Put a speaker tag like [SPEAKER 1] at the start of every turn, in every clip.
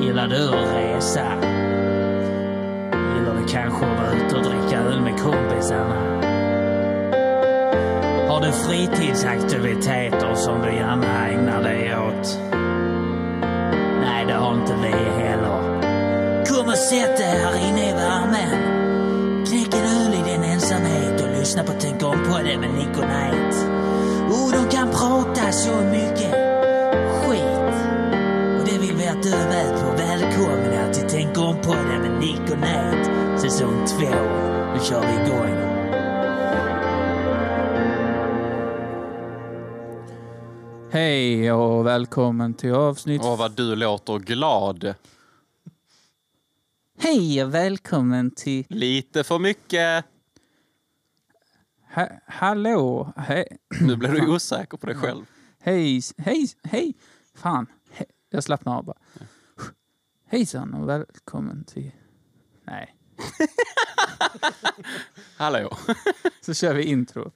[SPEAKER 1] Gillar du att resa? Gillar du kanske att vara ute och dricka öl med kompisarna? Har du fritidsaktiviteter som du gärna ägnar dig åt? Nej, det har inte vi heller. Kom och sätt dig här inne i värmen. Knäck en öl i din ensamhet och lyssna på Tänk om på det med Nick och Knight. Oh, de kan prata så mycket skit. Och det vill vi att du är med på. Välkomna till Tänk om på det med Nick och Knight. Säsong två. Nu kör vi igång.
[SPEAKER 2] Hej och välkommen till avsnitt...
[SPEAKER 3] Åh, vad du låter glad.
[SPEAKER 2] Hej och välkommen till...
[SPEAKER 3] Lite för mycket.
[SPEAKER 2] Ha- hallå! He-
[SPEAKER 3] Nu blir du osäker på dig själv.
[SPEAKER 2] hej, hej, hej! Fan, he- jag slappnar av bara. Hejsan och välkommen till... Nej,
[SPEAKER 3] Hallå.
[SPEAKER 2] så kör vi intro.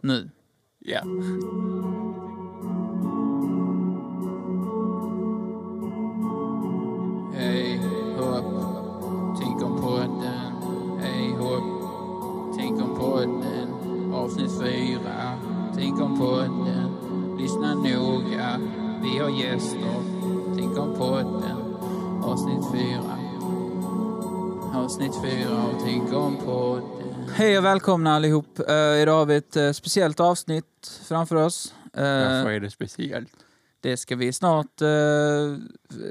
[SPEAKER 2] Nu.
[SPEAKER 3] Ja.
[SPEAKER 2] Hej hopp, tänk om podden. Hej hopp, tänk om podden. Avsnitt fyra, tänk om podden. Lyssna noga, vi har gäster. Tänk om podden. Avsnitt fyra. Avsnitt fyra och tänk om podden. Hej och välkomna allihop. Eh, idag har vi ett eh, speciellt avsnitt framför oss. Eh,
[SPEAKER 3] Varför är det speciellt?
[SPEAKER 2] det ska vi snart eh,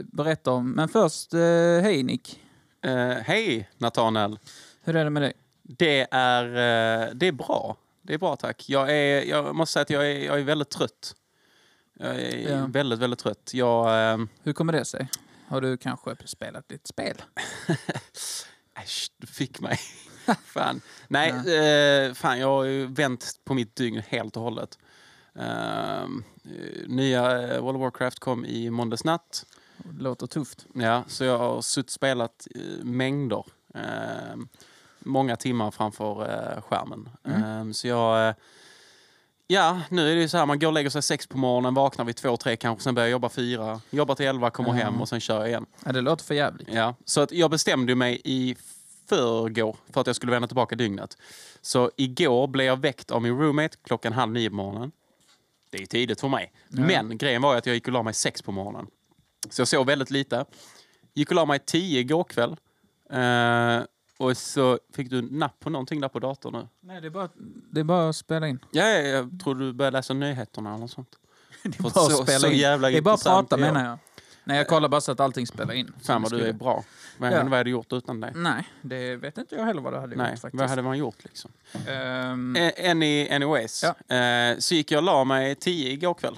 [SPEAKER 2] berätta om. Men först, eh, hej Nick.
[SPEAKER 3] Eh, Hej, Nathanael.
[SPEAKER 2] Hur är det med dig?
[SPEAKER 3] Det är, eh, det är bra. Det är bra, tack. Jag, är, jag måste säga att jag är, jag är väldigt trött. Jag är
[SPEAKER 2] Ja.
[SPEAKER 3] väldigt, väldigt trött. Jag... ehm,
[SPEAKER 2] Hur kommer det sig? Har du kanske spelat lite spel?
[SPEAKER 3] Äsch, du fick mig. fan. Nej, eh, fan, jag har ju vänt på mitt dygn helt och hållet. Ehm, eh, nya eh, World of Warcraft kom i måndags natt.
[SPEAKER 2] Det låter tufft.
[SPEAKER 3] Ja, så jag har suttit spelat eh, mängder. Ehm, många timmar framför eh, skärmen.
[SPEAKER 2] Mm.
[SPEAKER 3] Ehm, så jag... eh, ja, nu är det ju så här, man går och lägger sig sex på morgonen, vaknar vid två, tre kanske, sen börjar jag jobba fyra, jobbar till elva, kommer hem
[SPEAKER 2] Mm.
[SPEAKER 3] och sen kör jag igen.
[SPEAKER 2] Ja, det låter för jävligt.
[SPEAKER 3] Ja, så att jag bestämde ju mig i förrgår för att jag skulle vända tillbaka dygnet. Så igår blev jag väckt av min roommate klockan halv nio på morgonen. Det är ju tidigt för mig.
[SPEAKER 2] Ja.
[SPEAKER 3] Men grejen var ju att jag gick och la mig sex på morgonen. Så jag sov väldigt lite. Gick och la mig tio igår kväll. Eh, och så fick du napp på någonting där på datorn nu.
[SPEAKER 2] Nej, det är bara, det är bara att spela in.
[SPEAKER 3] Ja, ja, jag tror du började läsa nyheterna eller något sånt.
[SPEAKER 2] Det är
[SPEAKER 3] För
[SPEAKER 2] bara
[SPEAKER 3] så-
[SPEAKER 2] att spela
[SPEAKER 3] så
[SPEAKER 2] in.
[SPEAKER 3] jävla
[SPEAKER 2] det är bara att
[SPEAKER 3] intressant
[SPEAKER 2] prata
[SPEAKER 3] är jag.
[SPEAKER 2] menar jag. Nej, jag kollar bara så att allting spelar in.
[SPEAKER 3] Fan vad du är bra. Vad
[SPEAKER 2] Ja.
[SPEAKER 3] hade vad hade du gjort utan dig?
[SPEAKER 2] Nej, det vet inte jag heller vad det hade
[SPEAKER 3] Nej,
[SPEAKER 2] gjort faktiskt.
[SPEAKER 3] vad hade man gjort liksom?
[SPEAKER 2] Ehm,
[SPEAKER 3] Eh, Any, anyways.
[SPEAKER 2] Ja.
[SPEAKER 3] Eh, så gick jag och la mig tio igår kväll.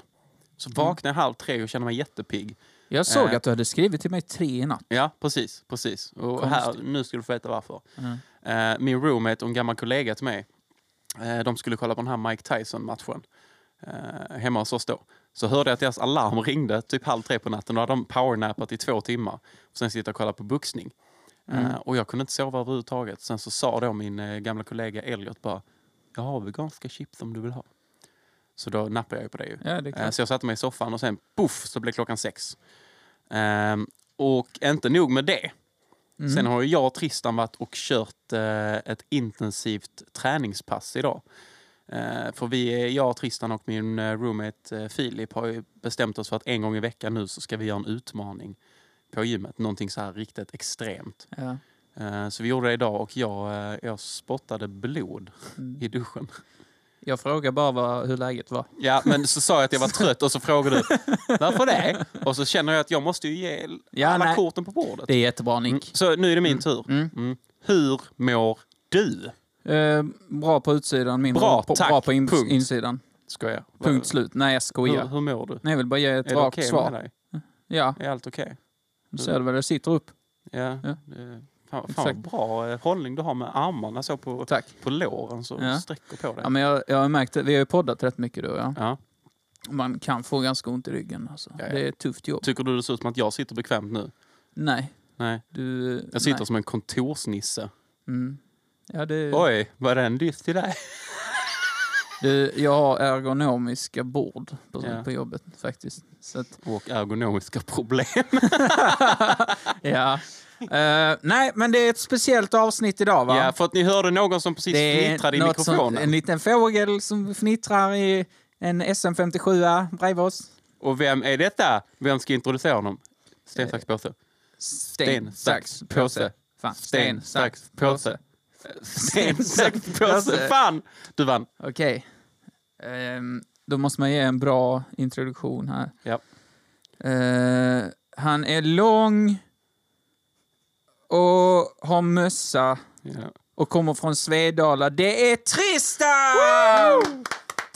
[SPEAKER 3] Så vaknade jag halv tre och kände mig jättepigg.
[SPEAKER 2] jag såg
[SPEAKER 3] eh.
[SPEAKER 2] att du hade skrivit till mig tre i natt.
[SPEAKER 3] Ja, precis. precis. Och här,
[SPEAKER 2] Konstigt.
[SPEAKER 3] nu ska du få veta varför.
[SPEAKER 2] Mm.
[SPEAKER 3] Eh, min roommate och en gammal kollega till mig, eh, de skulle kolla på den här Mike Tyson-matchen eh, hemma hos oss då. Så hörde jag att deras alarm ringde typ halv tre på natten. Då hade de powernappat i två timmar. Och sen sitter jag och kollar på boxning. Eh,
[SPEAKER 2] Mm.
[SPEAKER 3] och jag kunde inte sova överhuvudtaget. Sen så sa då min eh, gamla kollega Elliot bara, jag har veganska chips om du vill ha. Så då nappade jag ju på det ju.
[SPEAKER 2] Ja, det är
[SPEAKER 3] Eh,
[SPEAKER 2] klart.
[SPEAKER 3] Så jag satte mig i soffan och sen poff så blev klockan sex. Ehm, och inte nog med det.
[SPEAKER 2] Mm.
[SPEAKER 3] Sen har ju jag och Tristan varit och kört eh, ett intensivt träningspass idag. Eh, för vi, är- jag, Tristan och min eh, roommate eh, Filip har ju bestämt oss för att en gång i veckan nu så ska vi göra en utmaning på gymmet. Någonting så här riktigt extremt.
[SPEAKER 2] Ja.
[SPEAKER 3] Eh, så vi gjorde det idag och jag, eh, jag spottade blod
[SPEAKER 2] Mm.
[SPEAKER 3] i duschen.
[SPEAKER 2] Jag frågar bara vad, hur läget var.
[SPEAKER 3] Ja, men så sa jag att jag var trött och så frågade du varför det? Och så känner jag att jag måste ju ge
[SPEAKER 2] Ja,
[SPEAKER 3] alla
[SPEAKER 2] nej.
[SPEAKER 3] korten på bordet.
[SPEAKER 2] Det är jättebra
[SPEAKER 3] Mm,
[SPEAKER 2] Nick.
[SPEAKER 3] Så nu är det min tur.
[SPEAKER 2] Mm.
[SPEAKER 3] Mm. Hur mår du?
[SPEAKER 2] Ehm, bra på utsidan, mindre
[SPEAKER 3] Bra,
[SPEAKER 2] på,
[SPEAKER 3] tack.
[SPEAKER 2] bra på in-
[SPEAKER 3] Punkt.
[SPEAKER 2] insidan.
[SPEAKER 3] Skojar.
[SPEAKER 2] Punkt slut. Nej, jag
[SPEAKER 3] Hur,
[SPEAKER 2] skojar.
[SPEAKER 3] hur mår du?
[SPEAKER 2] Nej, jag vill bara ge ett
[SPEAKER 3] Är det
[SPEAKER 2] rakt
[SPEAKER 3] okej med
[SPEAKER 2] svar.
[SPEAKER 3] dig?
[SPEAKER 2] Ja,
[SPEAKER 3] Är allt okej?
[SPEAKER 2] du ser väl, det sitter upp.
[SPEAKER 3] Ja.
[SPEAKER 2] Ja.
[SPEAKER 3] det- Fan, fan
[SPEAKER 2] Exakt.
[SPEAKER 3] vad bra eh, hållning du har med armarna så på,
[SPEAKER 2] Tack.
[SPEAKER 3] på låren så
[SPEAKER 2] Ja.
[SPEAKER 3] sträcker på dig.
[SPEAKER 2] Ja, men jag, jag har märkt det. Vi har ju poddat rätt mycket du och jag.
[SPEAKER 3] Ja.
[SPEAKER 2] Man kan få ganska ont i ryggen. Alltså.
[SPEAKER 3] Ja, ja.
[SPEAKER 2] Det är ett tufft jobb.
[SPEAKER 3] Tycker du det ser ut som att jag sitter bekvämt nu?
[SPEAKER 2] Nej,
[SPEAKER 3] Nej.
[SPEAKER 2] du...
[SPEAKER 3] Jag sitter
[SPEAKER 2] nej.
[SPEAKER 3] som en kontorsnisse.
[SPEAKER 2] Mm. Ja, det...
[SPEAKER 3] Oj, var det en diss till dig?
[SPEAKER 2] Du, jag har ergonomiska bord på,
[SPEAKER 3] Ja.
[SPEAKER 2] på jobbet faktiskt. Så att,
[SPEAKER 3] Och ergonomiska problem.
[SPEAKER 2] ja. Eh, nej, men det är ett speciellt avsnitt idag va?
[SPEAKER 3] Ja, för att ni hörde någon som precis fnittrade i
[SPEAKER 2] något
[SPEAKER 3] mikrofonen.
[SPEAKER 2] Som, en liten fågel som fnittrar i en SM57 bredvid oss.
[SPEAKER 3] Och vem är detta? Vem ska introducera honom? Sten, sax, påse.
[SPEAKER 2] Eh, Sten, sax, påse. Fan.
[SPEAKER 3] Sten, sax, påse. Sten, sax, påse. Fan! Du vann.
[SPEAKER 2] Okej. Ehm, då måste man ge en bra introduktion här.
[SPEAKER 3] Ja.
[SPEAKER 2] Eh, han är lång och har mössa
[SPEAKER 3] Ja.
[SPEAKER 2] och kommer från Svedala. Det är Tristan!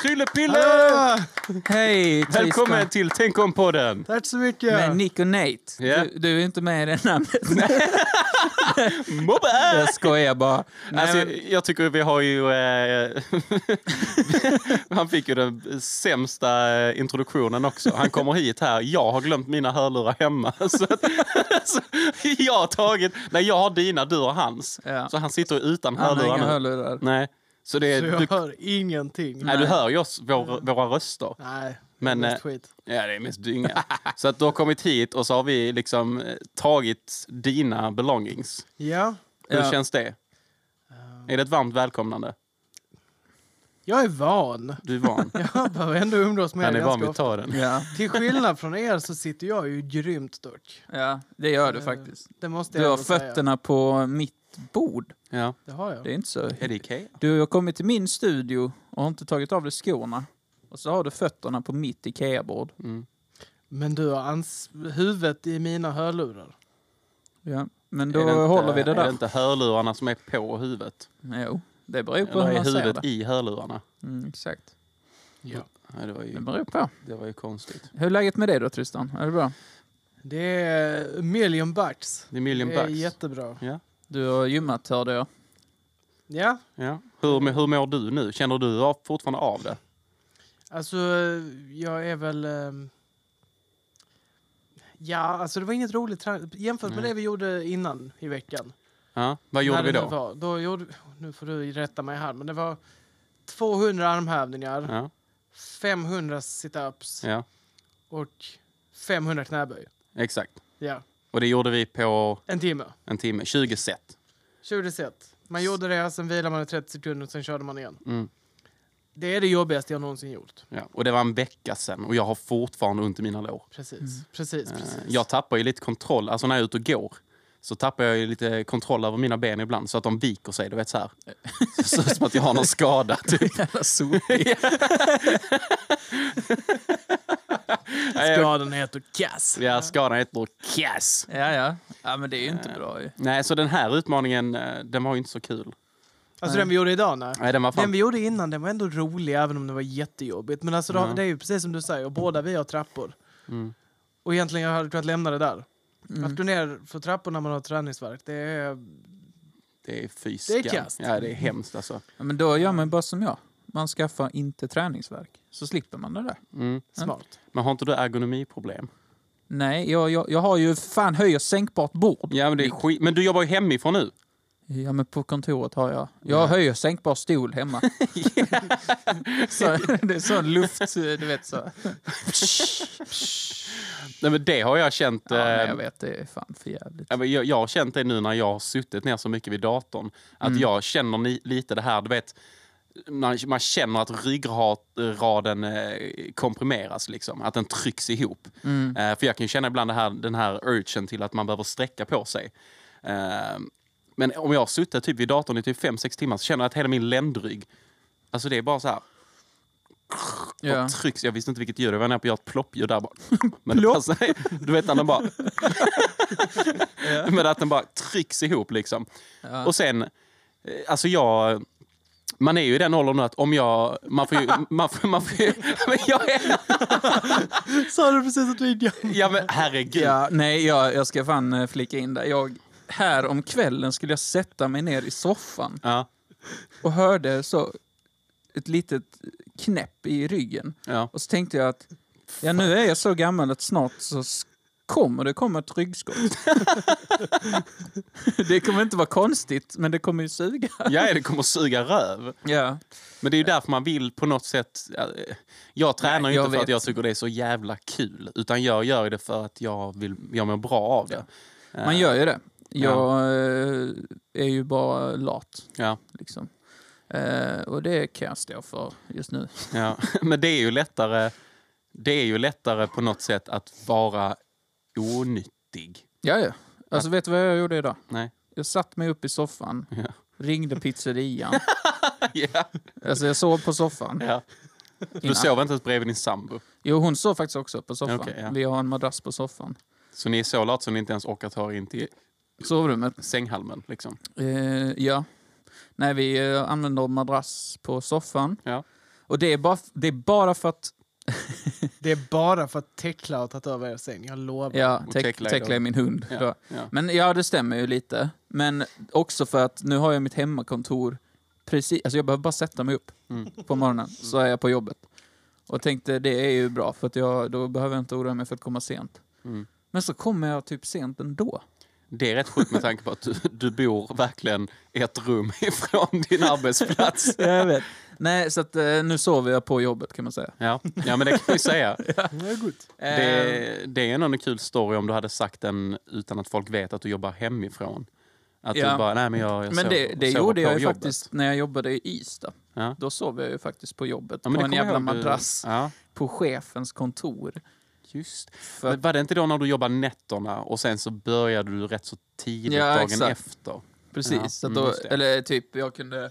[SPEAKER 3] Tryllepille!
[SPEAKER 4] Hallå!
[SPEAKER 2] Hej Tristan!
[SPEAKER 3] Välkommen till Tänk om-podden!
[SPEAKER 4] Tack så mycket!
[SPEAKER 2] Med Nick och Nate.
[SPEAKER 3] Ja.
[SPEAKER 2] Du, du är inte med i det namnet.
[SPEAKER 3] Mobbe!
[SPEAKER 2] Jag skojar bara. Nej,
[SPEAKER 3] Alltså,
[SPEAKER 2] men-
[SPEAKER 3] jag tycker vi har ju... Eh, han fick ju den sämsta eh, introduktionen också. Han kommer hit här. Jag har glömt mina hörlurar hemma. Så, att- så, jag har tagit... Nej, jag har dina, du har hans.
[SPEAKER 2] Ja.
[SPEAKER 3] Så han sitter utan
[SPEAKER 2] Han har
[SPEAKER 3] hörlurar
[SPEAKER 2] inga
[SPEAKER 3] nu.
[SPEAKER 2] hörlurar.
[SPEAKER 3] Nej. Så det är...
[SPEAKER 4] Så jag
[SPEAKER 3] du,
[SPEAKER 4] hör ingenting.
[SPEAKER 3] nej, du hör ju oss, vår, våra röster.
[SPEAKER 4] Nej,
[SPEAKER 3] Men,
[SPEAKER 4] det är
[SPEAKER 3] eh,
[SPEAKER 4] mest skit.
[SPEAKER 3] Ja, det är mest dynga. Så att du har kommit hit och så har vi liksom eh, tagit dina belongings.
[SPEAKER 4] Ja,
[SPEAKER 3] Hur
[SPEAKER 2] Ja.
[SPEAKER 3] känns det? Är det ett varmt välkomnande?
[SPEAKER 4] jag är van.
[SPEAKER 3] Du är van.
[SPEAKER 4] Jag behöver ändå umgås med
[SPEAKER 3] Han
[SPEAKER 4] er
[SPEAKER 3] är van
[SPEAKER 4] ganska
[SPEAKER 3] vid
[SPEAKER 4] ofta.
[SPEAKER 3] taren.
[SPEAKER 2] Ja,
[SPEAKER 4] Till skillnad från er så sitter jag ju grymt dock.
[SPEAKER 2] ja, det gör
[SPEAKER 3] Eh,
[SPEAKER 2] du faktiskt.
[SPEAKER 4] Det måste jag
[SPEAKER 2] Du har
[SPEAKER 4] ändå säga.
[SPEAKER 2] fötterna på mitt bord.
[SPEAKER 3] Ja. Mm.
[SPEAKER 4] Det har jag.
[SPEAKER 2] Det är inte så...
[SPEAKER 3] Är det Ikea?
[SPEAKER 2] Du har kommit till min studio och har inte tagit av dig skorna. Och så har du fötterna på mitt IKEA-bord.
[SPEAKER 4] Men du har ans- huvudet i mina hörlurar.
[SPEAKER 2] Ja, men
[SPEAKER 3] Är
[SPEAKER 2] då
[SPEAKER 3] det inte-
[SPEAKER 2] håller vi det
[SPEAKER 3] Är det
[SPEAKER 2] där.
[SPEAKER 3] inte hörlurarna som är på huvudet?
[SPEAKER 2] Jo, det beror på
[SPEAKER 3] Eller
[SPEAKER 2] hur
[SPEAKER 3] är
[SPEAKER 2] man ser
[SPEAKER 3] huvudet
[SPEAKER 2] det.
[SPEAKER 3] i hörlurarna?
[SPEAKER 2] Mm, exakt.
[SPEAKER 4] Ja.
[SPEAKER 3] Nej, det, var
[SPEAKER 2] Det
[SPEAKER 3] ju,
[SPEAKER 2] beror på.
[SPEAKER 3] det var ju konstigt.
[SPEAKER 2] Hur är läget med dig då, Tristan? Är det bra?
[SPEAKER 4] Det är million bucks.
[SPEAKER 3] Det är million
[SPEAKER 4] Det är
[SPEAKER 3] bucks.
[SPEAKER 4] jättebra.
[SPEAKER 2] Du har gymmat, hörde jag.
[SPEAKER 4] Ja,
[SPEAKER 3] Ja. Hur, hur mår du nu? Känner du av, fortfarande av det?
[SPEAKER 4] Alltså, jag är väl... ehm, Ja, alltså det var inget roligt tra- jämfört med
[SPEAKER 3] Nej.
[SPEAKER 4] det vi gjorde innan i veckan.
[SPEAKER 3] Ja. Vad gjorde
[SPEAKER 4] När
[SPEAKER 3] vi
[SPEAKER 4] det nu
[SPEAKER 3] då?
[SPEAKER 4] Var, då gjorde, nu får du rätta mig här, men det var 200 armhävningar,
[SPEAKER 3] Ja.
[SPEAKER 4] 500 situps
[SPEAKER 3] ja,
[SPEAKER 4] och 500 knäböj.
[SPEAKER 3] exakt.
[SPEAKER 4] Ja,
[SPEAKER 3] Och det gjorde vi på
[SPEAKER 4] en timme.
[SPEAKER 3] en timme, 20 set.
[SPEAKER 4] 20 set. Man gjorde det, sen vilade man i 30 sekunder och sen körde man igen.
[SPEAKER 3] Mm.
[SPEAKER 4] Det är det jobbigaste jag någonsin gjort.
[SPEAKER 3] Ja. Och det var en vecka sedan och jag har fortfarande ont i mina lår.
[SPEAKER 4] Precis, precis, precis.
[SPEAKER 3] Eh, Jag tappar ju lite kontroll, alltså när jag är ute och går så tappar jag ju lite kontroll över mina ben ibland så att de viker sig, du vet så här. Så ser ut som att jag har någon skada. Typ.
[SPEAKER 2] Jävla sopig.
[SPEAKER 3] Nej, jag-
[SPEAKER 4] Skadan heter Cass.
[SPEAKER 3] Ja, skadan heter Kass.
[SPEAKER 2] ja, ja. Ja, men det är ju
[SPEAKER 3] Eh.
[SPEAKER 2] inte bra ju.
[SPEAKER 3] Nej, så den här utmaningen, eh, den var ju inte så kul.
[SPEAKER 4] Alltså den vi gjorde idag, nej.
[SPEAKER 3] Nej, den var
[SPEAKER 4] Den vi
[SPEAKER 3] fan...
[SPEAKER 4] gjorde innan den var ändå rolig även om det var jättejobbigt. Men alltså, det- det är ju precis som du säger, och båda vi har trappor.
[SPEAKER 3] Mm.
[SPEAKER 4] Och egentligen hade jag kunnat lämna det där.
[SPEAKER 2] Mm.
[SPEAKER 4] Att gå ner för trappor när man har träningsvärk, det är...
[SPEAKER 3] Det är fy
[SPEAKER 4] Det är
[SPEAKER 3] skam.
[SPEAKER 4] kast.
[SPEAKER 3] Ja, det är hemskt alltså.
[SPEAKER 2] Ja, men då gör man bara som jag. Man skaffar inte träningsverk. Så slipper man det där.
[SPEAKER 3] Mm.
[SPEAKER 4] Smart.
[SPEAKER 3] Men har inte du ergonomiproblem?
[SPEAKER 2] Nej, jag, jag, jag har ju fan höj och sänkbart bord.
[SPEAKER 3] Ja, men det är skit. Men du jobbar ju hemifrån nu.
[SPEAKER 2] Ja, men på kontoret har jag. Jag har höj och sänkbar stol hemma. så, det är sån luft, du vet så.
[SPEAKER 3] Nej, men det har jag känt.
[SPEAKER 2] Ja, men
[SPEAKER 3] eh,
[SPEAKER 4] ehm,
[SPEAKER 2] jag vet, det är fan för jävligt.
[SPEAKER 3] Ja, men Jag, jag har känt det nu när jag har suttit ner så mycket vid datorn. Att jag känner ni, lite det här, du vet, när man känner att ryggraden eh, komprimeras, liksom, att den trycks ihop. Eh, för jag kan ju känna ibland det här, den här urgen till att man behöver sträcka på sig. Eh, men om jag har suttit typ vid datorn i typ 5-6 timmar så känner jag att hela min ländrygg, alltså det är bara så här,
[SPEAKER 2] Ja.
[SPEAKER 3] och trycks. Jag visste inte vilket ljud det var. Jag var på att göra ett ploppljud där bara. Men det passade, du vet när den bara... Men att den bara trycks ihop liksom. Och sen, eh, alltså jag... Man är ju i den åldern nu att om jag... Man får ju... Man får, man får ju men jag är,
[SPEAKER 4] Sa du precis att du är gammal?
[SPEAKER 3] ja men herregud.
[SPEAKER 2] Ja, nej, jag, jag ska fan eh, flika in där. Jag, här om kvällen skulle jag sätta mig ner i soffan
[SPEAKER 3] Ja,
[SPEAKER 2] och hörde så ett litet knäpp i ryggen.
[SPEAKER 3] ja.
[SPEAKER 2] Och så tänkte jag att ja, nu är jag så gammal att snart så s- kommer det komma ett ryggskott. det kommer inte vara konstigt, men det kommer ju suga.
[SPEAKER 3] Ja, det kommer att suga röv.
[SPEAKER 2] Ja.
[SPEAKER 3] Men det är ju därför man vill på något sätt... eh, Jag tränar
[SPEAKER 2] Nej,
[SPEAKER 3] ju
[SPEAKER 2] jag
[SPEAKER 3] inte för att
[SPEAKER 2] vet.
[SPEAKER 3] jag tycker det är så jävla kul. Utan jag gör det för att jag, vill, jag mår bra av det.
[SPEAKER 2] Man gör ju det. Jag eh, är ju bara lat.
[SPEAKER 3] Ja,
[SPEAKER 2] Liksom. Eh, och det kan jag stå för just nu.
[SPEAKER 3] ja. Men det är ju lättare... Det är ju lättare på något sätt att vara onyttig.
[SPEAKER 2] Ja, ja. Alltså, vet du vad jag gjorde idag?
[SPEAKER 3] Nej.
[SPEAKER 2] Jag satt mig upp i soffan,
[SPEAKER 3] Ja.
[SPEAKER 2] ringde pizzerian.
[SPEAKER 3] Ja.
[SPEAKER 2] alltså, jag sov på soffan.
[SPEAKER 3] ja. Du
[SPEAKER 2] Innan.
[SPEAKER 3] sov inte ens bredvid din sambo.
[SPEAKER 2] Jo, hon sov faktiskt också på soffan.
[SPEAKER 3] Okej, ja.
[SPEAKER 2] Vi har en madrass på soffan.
[SPEAKER 3] Så ni är så lat så ni inte ens orkar ta er in till
[SPEAKER 2] Sovrummet.
[SPEAKER 3] sänghalmen. Liksom.
[SPEAKER 2] Eh, ja. Nej, vi eh, använder madrass på soffan.
[SPEAKER 3] Ja.
[SPEAKER 2] Och det är bara, f- det är bara för att
[SPEAKER 4] Det är bara för att Tekla har tagit över er säng, jag lovar.
[SPEAKER 2] ja,
[SPEAKER 3] Och
[SPEAKER 2] Tek-
[SPEAKER 3] Tekla är
[SPEAKER 2] Tekla
[SPEAKER 3] då-
[SPEAKER 2] är min hund.
[SPEAKER 3] Ja,
[SPEAKER 2] Då.
[SPEAKER 3] ja.
[SPEAKER 2] Men ja, det stämmer ju lite. Men också för att nu har jag mitt hemmakontor precis, alltså jag behöver bara sätta mig upp
[SPEAKER 3] Mm.
[SPEAKER 2] på morgonen så är jag på jobbet. Och tänkte det är ju bra för att jag, då behöver jag inte oroa mig för att komma sent.
[SPEAKER 3] Mm.
[SPEAKER 2] Men så kommer jag typ sent ändå.
[SPEAKER 3] Det är rätt sjukt med tanke på att du, du bor verkligen ett rum ifrån din arbetsplats.
[SPEAKER 2] jag vet. Nej, så att eh, nu sover jag på jobbet kan man säga.
[SPEAKER 3] Ja, ja men det kan vi säga.
[SPEAKER 4] Det är gott.
[SPEAKER 2] Eh,
[SPEAKER 3] Det,
[SPEAKER 2] Ehm.
[SPEAKER 3] det är ändå en kul story om du hade sagt den utan att folk vet att du jobbar hemifrån. Att
[SPEAKER 2] Ja.
[SPEAKER 3] du bara, nej men jag, jag
[SPEAKER 2] Men det,
[SPEAKER 3] sover-
[SPEAKER 2] det
[SPEAKER 3] sover
[SPEAKER 2] gjorde
[SPEAKER 3] på
[SPEAKER 2] jag ju
[SPEAKER 3] jobbet."
[SPEAKER 2] faktiskt när jag jobbade i Ystad.
[SPEAKER 3] Ja.
[SPEAKER 2] Då sov jag ju faktiskt på jobbet.
[SPEAKER 3] Ja, men
[SPEAKER 2] på
[SPEAKER 3] det kommer
[SPEAKER 2] en
[SPEAKER 3] jag
[SPEAKER 2] jävla
[SPEAKER 3] ihåg du-
[SPEAKER 2] madrass.
[SPEAKER 3] Ja,
[SPEAKER 2] På chefens kontor.
[SPEAKER 3] just.
[SPEAKER 2] För
[SPEAKER 3] Men var det inte då när du jobbade nätterna och sen så började du rätt så tidigt
[SPEAKER 2] Ja,
[SPEAKER 3] dagen
[SPEAKER 2] exakt.
[SPEAKER 3] efter?
[SPEAKER 2] precis.
[SPEAKER 3] Ja,
[SPEAKER 2] så att
[SPEAKER 3] mm,
[SPEAKER 2] då,
[SPEAKER 3] just det.
[SPEAKER 2] eller typ, jag kunde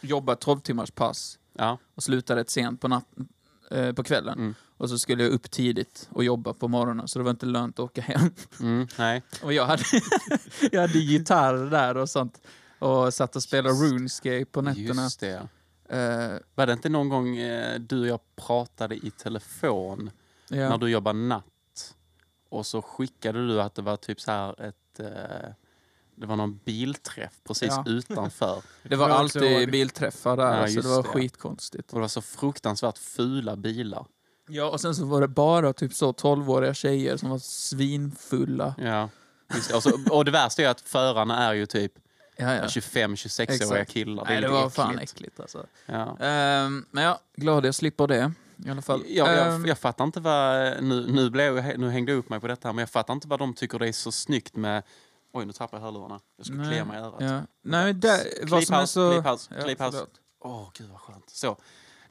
[SPEAKER 2] jobba 12 timmars pass
[SPEAKER 3] Ja,
[SPEAKER 2] och sluta rätt sent på, natten, eh, på kvällen.
[SPEAKER 3] Mm.
[SPEAKER 2] Och så skulle jag upp tidigt och jobba på morgonen, så det var inte lönt att åka hem.
[SPEAKER 3] mm, nej.
[SPEAKER 2] Och jag hade, jag hade gitarr där och sånt. Och satt och spelade RuneScape på nätterna.
[SPEAKER 3] Just det.
[SPEAKER 2] Eh,
[SPEAKER 3] Var det inte någon gång eh, du och jag pratade i telefon
[SPEAKER 2] ja.
[SPEAKER 3] när du jobbade natt. Och så skickade du att det var typ så här ett... Eh, det var någon bilträff precis
[SPEAKER 2] Ja.
[SPEAKER 3] utanför. Och
[SPEAKER 2] Det var
[SPEAKER 4] Jag kommer också
[SPEAKER 2] alltid
[SPEAKER 4] ihåg.
[SPEAKER 2] bilträffar där,
[SPEAKER 3] Ja,
[SPEAKER 2] alltså, det
[SPEAKER 3] just
[SPEAKER 2] var
[SPEAKER 3] det.
[SPEAKER 2] skitkonstigt.
[SPEAKER 3] det var så fruktansvärt fula bilar.
[SPEAKER 2] Ja, och sen så var det bara typ så 12-åriga tjejer som var svinfulla.
[SPEAKER 3] Ja. Just det. Och, så, och det värsta är att förarna är ju typ
[SPEAKER 2] Ja, ja.
[SPEAKER 3] 25-26-åriga
[SPEAKER 2] Exakt.
[SPEAKER 3] killar. Det är
[SPEAKER 2] Nej, det
[SPEAKER 3] lite
[SPEAKER 2] var fan
[SPEAKER 3] äckligt.
[SPEAKER 2] äckligt alltså.
[SPEAKER 3] Ja.
[SPEAKER 2] Ehm, men ja, glad jag slipper det. I alla fall.
[SPEAKER 3] Jag,
[SPEAKER 2] Ehm,
[SPEAKER 3] jag, jag fattar inte vad... Nu, nu, blev jag, nu hängde jag upp mig på detta, här, men jag fattar inte vad de tycker det är så snyggt med... Oj, nu tappade jag hörlurarna. Jag skulle
[SPEAKER 2] nej,
[SPEAKER 3] klia mig i örat.
[SPEAKER 2] Ja. Nej, det, vad som är
[SPEAKER 3] Klipphaus,
[SPEAKER 2] så...
[SPEAKER 3] klipphaus,
[SPEAKER 2] Ja,
[SPEAKER 3] klipphaus.
[SPEAKER 2] förlåt.
[SPEAKER 3] Åh, gud vad skönt. Så.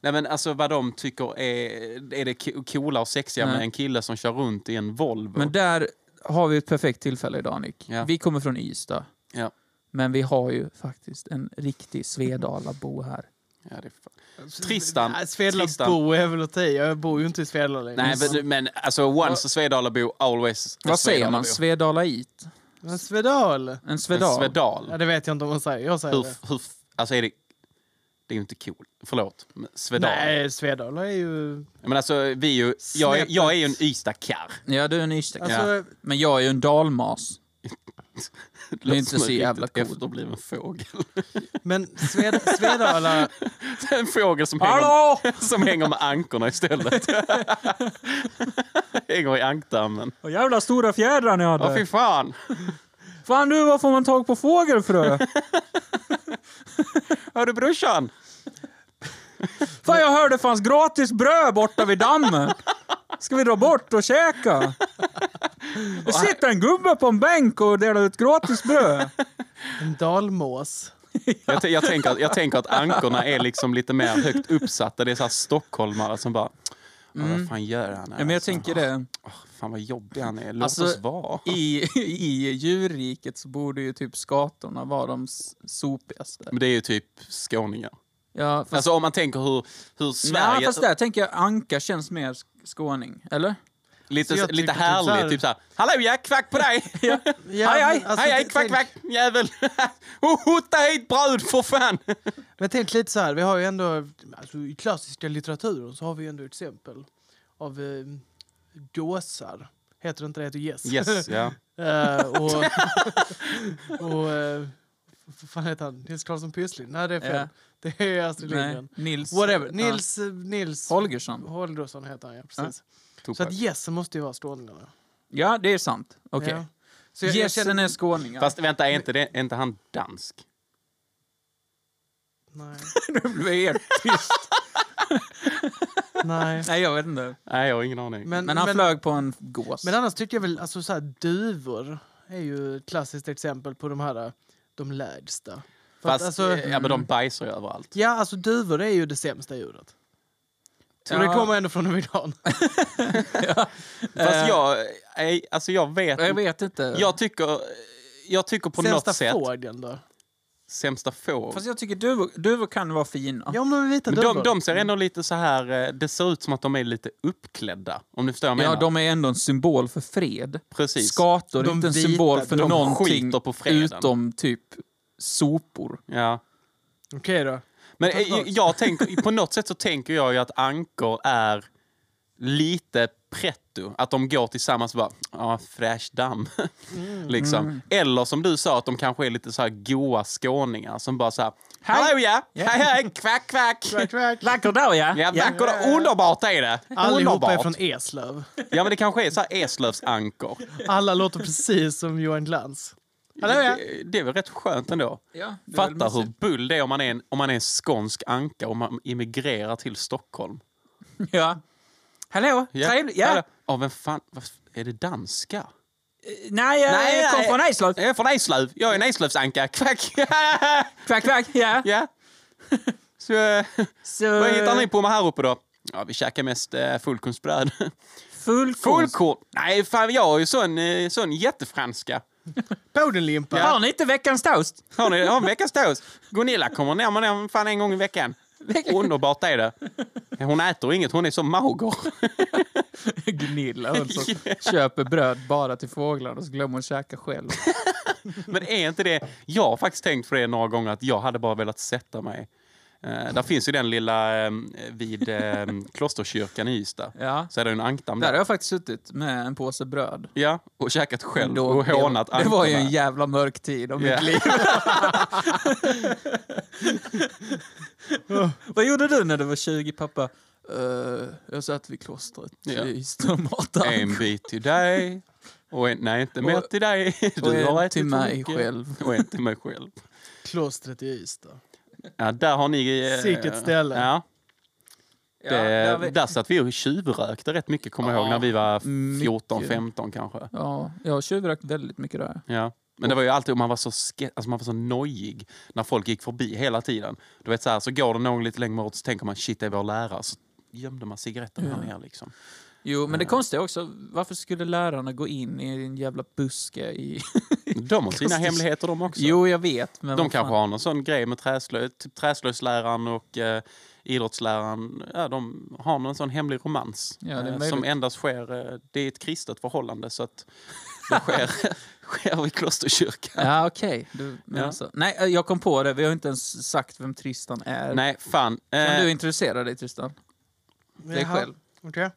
[SPEAKER 3] Nej, men alltså vad de tycker är, är det co- coola och sexiga
[SPEAKER 2] Nej.
[SPEAKER 3] med en kille som kör runt i en Volvo.
[SPEAKER 2] Men där har vi ett perfekt tillfälle idag, Nick.
[SPEAKER 3] Ja.
[SPEAKER 2] Vi kommer från Ystad.
[SPEAKER 3] Ja.
[SPEAKER 2] Men vi har ju faktiskt en riktig Svedalabo här.
[SPEAKER 3] ja, det är fan. Tristan,
[SPEAKER 4] Nej, Svedala
[SPEAKER 3] Tristan.
[SPEAKER 4] bo är väl att ta i. Jag bor ju inte i Svedala längre.
[SPEAKER 3] Nej, men, men alltså once a Svedalabo, always a
[SPEAKER 2] Vad säger man?
[SPEAKER 3] Svedalabo.
[SPEAKER 2] Svedalait?
[SPEAKER 4] Men Svedal?
[SPEAKER 2] En
[SPEAKER 3] En
[SPEAKER 2] svedal?
[SPEAKER 4] Ja,
[SPEAKER 3] Svedal.
[SPEAKER 4] det vet jag inte om man säger. Jag säger
[SPEAKER 3] Hur,
[SPEAKER 4] det.
[SPEAKER 3] hur, alltså är det... Det är ju inte cool. Förlåt. men Svedal.
[SPEAKER 4] Nej, Svedal är ju...
[SPEAKER 3] Men alltså, vi är ju, jag, är, jag är ju en Ystadkarr.
[SPEAKER 2] Ja, du är en ystad
[SPEAKER 4] Alltså,
[SPEAKER 3] Ja.
[SPEAKER 2] Men jag är ju en dalmas.
[SPEAKER 3] Det
[SPEAKER 2] är
[SPEAKER 3] låter
[SPEAKER 2] inte
[SPEAKER 3] som en
[SPEAKER 2] så jävla
[SPEAKER 3] riktigt
[SPEAKER 2] cool.
[SPEAKER 3] efterbliven fågel.
[SPEAKER 4] Men Sved, Svedala...
[SPEAKER 3] En fågel som hänger, som hänger med ankorna istället. hänger i ankdammen.
[SPEAKER 2] Vad jävla stora fjädrar ni hade!
[SPEAKER 3] Ja, fy fan.
[SPEAKER 2] Fan du, var får man tag på fågelfrö?
[SPEAKER 3] Hör du brorsan?
[SPEAKER 2] Fan jag hörde fanns gratis bröd borta vid dammen. Ska vi dra bort och käka? Det sitter en gubbe på en bänk och delar ut gratis bröd.
[SPEAKER 4] En dalmås.
[SPEAKER 3] Jag, t- jag, tänker, att- jag tänker att ankorna är liksom lite mer högt uppsatta. Det är så här stockholmare som bara... "Ja, Vad fan gör han här?
[SPEAKER 2] Mm. Men jag
[SPEAKER 3] alltså?
[SPEAKER 2] tänker det,
[SPEAKER 3] "Åh, fan vad jobbig han är. Låt
[SPEAKER 2] Alltså,
[SPEAKER 3] oss vara.
[SPEAKER 2] i, i djurriket så borde ju typ skatorna vara de s- sopigaste.
[SPEAKER 3] Men det är ju typ skåningar.
[SPEAKER 2] Ja, fast,
[SPEAKER 3] Alltså om man tänker hur, hur
[SPEAKER 2] nej,
[SPEAKER 3] Sverige...
[SPEAKER 2] fast där tänker jag anka känns mer sk- skåning, eller?
[SPEAKER 3] lite
[SPEAKER 2] alltså,
[SPEAKER 4] Så jag
[SPEAKER 3] lite
[SPEAKER 4] tycker typ så
[SPEAKER 3] härligt.
[SPEAKER 4] här-
[SPEAKER 3] Typ så här... Hallå ja, kvack på dig!
[SPEAKER 4] Ja,
[SPEAKER 3] hej, hej,
[SPEAKER 4] men alltså,
[SPEAKER 3] hej, hej, kvack,
[SPEAKER 4] tänk-
[SPEAKER 3] kvack, jävel! Oh, Hota hit brud, för fan!
[SPEAKER 4] Men tänk lite så här, vi har ju ändå... Alltså, I klassiska litteraturen så har vi ju ändå ett exempel av eh, dåsar. Heter det inte det? Heter gäss.
[SPEAKER 3] Yes, ja.
[SPEAKER 4] Eh, och... och eh, vad fan heter han? Nils Karlsson Pyssling? Nej, det är fel.
[SPEAKER 2] Ja.
[SPEAKER 4] Det är Astrid
[SPEAKER 2] Nej,
[SPEAKER 4] Lindgren.
[SPEAKER 2] Nils...
[SPEAKER 4] Whatever.
[SPEAKER 2] ja.
[SPEAKER 4] Nils... eh, Nils
[SPEAKER 2] Holgersson.
[SPEAKER 4] Holgersson heter han, ja. Precis. Så
[SPEAKER 3] Tupac.
[SPEAKER 4] att gässen måste ju vara skåningarna.
[SPEAKER 2] Ja, det är sant. Okej.
[SPEAKER 4] Ja. Så jag, jag
[SPEAKER 2] Gässen
[SPEAKER 4] känner...
[SPEAKER 2] är skåning. ja.
[SPEAKER 3] Fast vänta, är inte, det, är inte han dansk?
[SPEAKER 4] Nej.
[SPEAKER 2] Nu blev jag helt tyst.
[SPEAKER 4] Nej.
[SPEAKER 2] Nej, jag vet inte.
[SPEAKER 3] Nej, jag har ingen aning.
[SPEAKER 4] Men,
[SPEAKER 2] Men han
[SPEAKER 4] men,
[SPEAKER 2] flög på en gås.
[SPEAKER 4] men annars tycker jag väl, alltså så här, duvor är ju ett klassiskt exempel på de här, eh, de lägsta. För att,
[SPEAKER 3] Fast, eh,
[SPEAKER 4] alltså,
[SPEAKER 2] eh,
[SPEAKER 3] ja, men de bajsar ju överallt.
[SPEAKER 4] ja, alltså duvor är ju det sämsta djuret. Och
[SPEAKER 2] Ja.
[SPEAKER 4] det kommer ändå från en vegan.
[SPEAKER 3] Fast jag, nej, alltså jag vet,
[SPEAKER 2] Jag
[SPEAKER 3] jag,
[SPEAKER 2] vet inte.
[SPEAKER 3] tycker, jag tycker på
[SPEAKER 4] Sämsta
[SPEAKER 3] något sätt,
[SPEAKER 4] fågeln då?
[SPEAKER 3] sämsta får.
[SPEAKER 2] Fast jag tycker duvor, duvor kan vara fina.
[SPEAKER 4] Ja, om de är vita
[SPEAKER 3] Men
[SPEAKER 4] duvor.
[SPEAKER 3] de, de ser ändå lite så här, eh, det ser ut som att de är lite uppklädda. Om ni förstår vad jag
[SPEAKER 2] Ja,
[SPEAKER 3] menar.
[SPEAKER 2] de är ändå en symbol för fred.
[SPEAKER 3] Precis.
[SPEAKER 2] Skator är
[SPEAKER 4] De
[SPEAKER 2] inte en
[SPEAKER 4] vita,
[SPEAKER 2] symbol för
[SPEAKER 3] de
[SPEAKER 2] någonting
[SPEAKER 3] skiter på freden.
[SPEAKER 2] utom typ sopor.
[SPEAKER 3] Ja.
[SPEAKER 4] Okej då.
[SPEAKER 3] Men eh, jag, jag tänker, på något sätt så tänker jag ju att ankor är lite pretto. Att de går tillsammans och bara, ja, fräsch damm. liksom. Eller som du sa, att de kanske är lite så här goa skåningar som bara så här, hallå ja, hej hej, kvack kvack.
[SPEAKER 2] Vacker dag,
[SPEAKER 3] Ja, vackert och underbart är det.
[SPEAKER 4] Allihopa är
[SPEAKER 3] underbart.
[SPEAKER 4] från Eslöv.
[SPEAKER 3] Ja, men det kanske är så här Eslövs ankor.
[SPEAKER 4] Alla låter precis som Johan Glans. Hallå, ja.
[SPEAKER 3] Det, det är väl rätt skönt ändå.
[SPEAKER 2] Ja, det är väl
[SPEAKER 3] Fatta
[SPEAKER 2] mysigt.
[SPEAKER 3] hur bull det är om man är en, om man är en skånsk anka och man immigrerar till Stockholm.
[SPEAKER 2] Ja. Hallå, trevligt. Ja.
[SPEAKER 3] Hallå. Ja, vem fan, vad f- är det danska?
[SPEAKER 2] Nej, jag
[SPEAKER 3] Nej,
[SPEAKER 2] kom
[SPEAKER 3] nej.
[SPEAKER 2] från Eslöv.
[SPEAKER 3] Jag är från Eslöv. Jag är en Eslövsanka. Kvack!
[SPEAKER 2] Kvack, kvack. Ja.
[SPEAKER 3] ja. Så, eh,
[SPEAKER 2] Så,
[SPEAKER 3] vad hittar ni på med här uppe då? Ja, vi käkar mest eh, fullkornsbröd.
[SPEAKER 2] Fullkorns.
[SPEAKER 3] Fullkorn? Nej, fan jag är ju sån, eh, sån jättefranska.
[SPEAKER 4] Bodenlimpa.
[SPEAKER 2] Har ni inte veckans toast?
[SPEAKER 3] Har ni har en veckans toast? Gunilla kommer ner med den fan en gång i veckan. Underbart är det. Hon äter inget, hon är så mager.
[SPEAKER 2] Gunilla hon som köper bröd bara till fåglarna och så glömmer hon käka själv.
[SPEAKER 3] Men är inte det... Jag har faktiskt tänkt på det några gånger att jag hade bara velat sätta mig. Eh, där finns ju den lilla eh, vid eh, Klosterkyrkan i Ystad.
[SPEAKER 2] Ja.
[SPEAKER 3] Så är det en ankdamm
[SPEAKER 2] Där har
[SPEAKER 3] där.
[SPEAKER 2] jag faktiskt suttit med en påse bröd.
[SPEAKER 3] Ja, och käkat själv
[SPEAKER 2] Då-
[SPEAKER 3] och hånat
[SPEAKER 2] det, det var ju en
[SPEAKER 3] ankorna.
[SPEAKER 2] jävla mörk tid om
[SPEAKER 3] Ja.
[SPEAKER 2] mitt liv. Vad gjorde du när du var 20 pappa? Eh, jag satt vid klostret
[SPEAKER 3] Ja.
[SPEAKER 2] i Strömatan.
[SPEAKER 3] En bit till dig. Och en, nej, inte mer
[SPEAKER 2] Och-
[SPEAKER 3] till dig.
[SPEAKER 2] och en
[SPEAKER 3] har ätit
[SPEAKER 2] till
[SPEAKER 3] för
[SPEAKER 2] mig
[SPEAKER 3] mycket.
[SPEAKER 2] själv.
[SPEAKER 3] Och en till mig själv.
[SPEAKER 4] Klostret i Ystad.
[SPEAKER 3] Ja, där har ni... eh,
[SPEAKER 4] Sicket ställe.
[SPEAKER 3] Ja,
[SPEAKER 2] Ja,
[SPEAKER 3] det,
[SPEAKER 2] där
[SPEAKER 3] där,
[SPEAKER 2] vi-
[SPEAKER 3] satt vi och tjuvrökte rätt mycket, kommer jag ihåg, när vi var 14,
[SPEAKER 2] mycket.
[SPEAKER 3] 15 kanske.
[SPEAKER 2] ja, jag har tjuvrökt väldigt mycket där.
[SPEAKER 3] Ja. Men det var ju alltid, man var, så ske- alltså man var så nojig när folk gick förbi hela tiden. Du vet så här, så går det någon lite längre bort så tänker man shit, det är vår lärare. Så gömde man cigaretten här nere liksom.
[SPEAKER 2] Jo, men det konstiga är också, varför skulle lärarna gå in i en jävla buske i...
[SPEAKER 3] De har sina
[SPEAKER 2] Konstigt.
[SPEAKER 3] hemligheter de också.
[SPEAKER 2] jo, jag vet, men
[SPEAKER 3] de
[SPEAKER 2] vad fan.
[SPEAKER 3] kanske har någon sån grej med träslö, typ träslöjdsläraren och eh, idrottsläraren. Ja, de har någon sån hemlig romans.
[SPEAKER 2] Ja, det är
[SPEAKER 3] eh,
[SPEAKER 2] möjligt.
[SPEAKER 3] som endast sker, eh, det är ett kristet förhållande så att det sker, sker i klosterkyrkan.
[SPEAKER 2] Ja, okej. Du menar
[SPEAKER 3] Ja.
[SPEAKER 2] så. Nej, eh, jag kom på det. Vi har inte ens sagt vem Tristan är.
[SPEAKER 3] Nej, fan.
[SPEAKER 2] Kan du
[SPEAKER 3] Eh,
[SPEAKER 2] introducera dig, Tristan? Dig
[SPEAKER 4] Jaha,
[SPEAKER 2] själv.
[SPEAKER 4] Okej.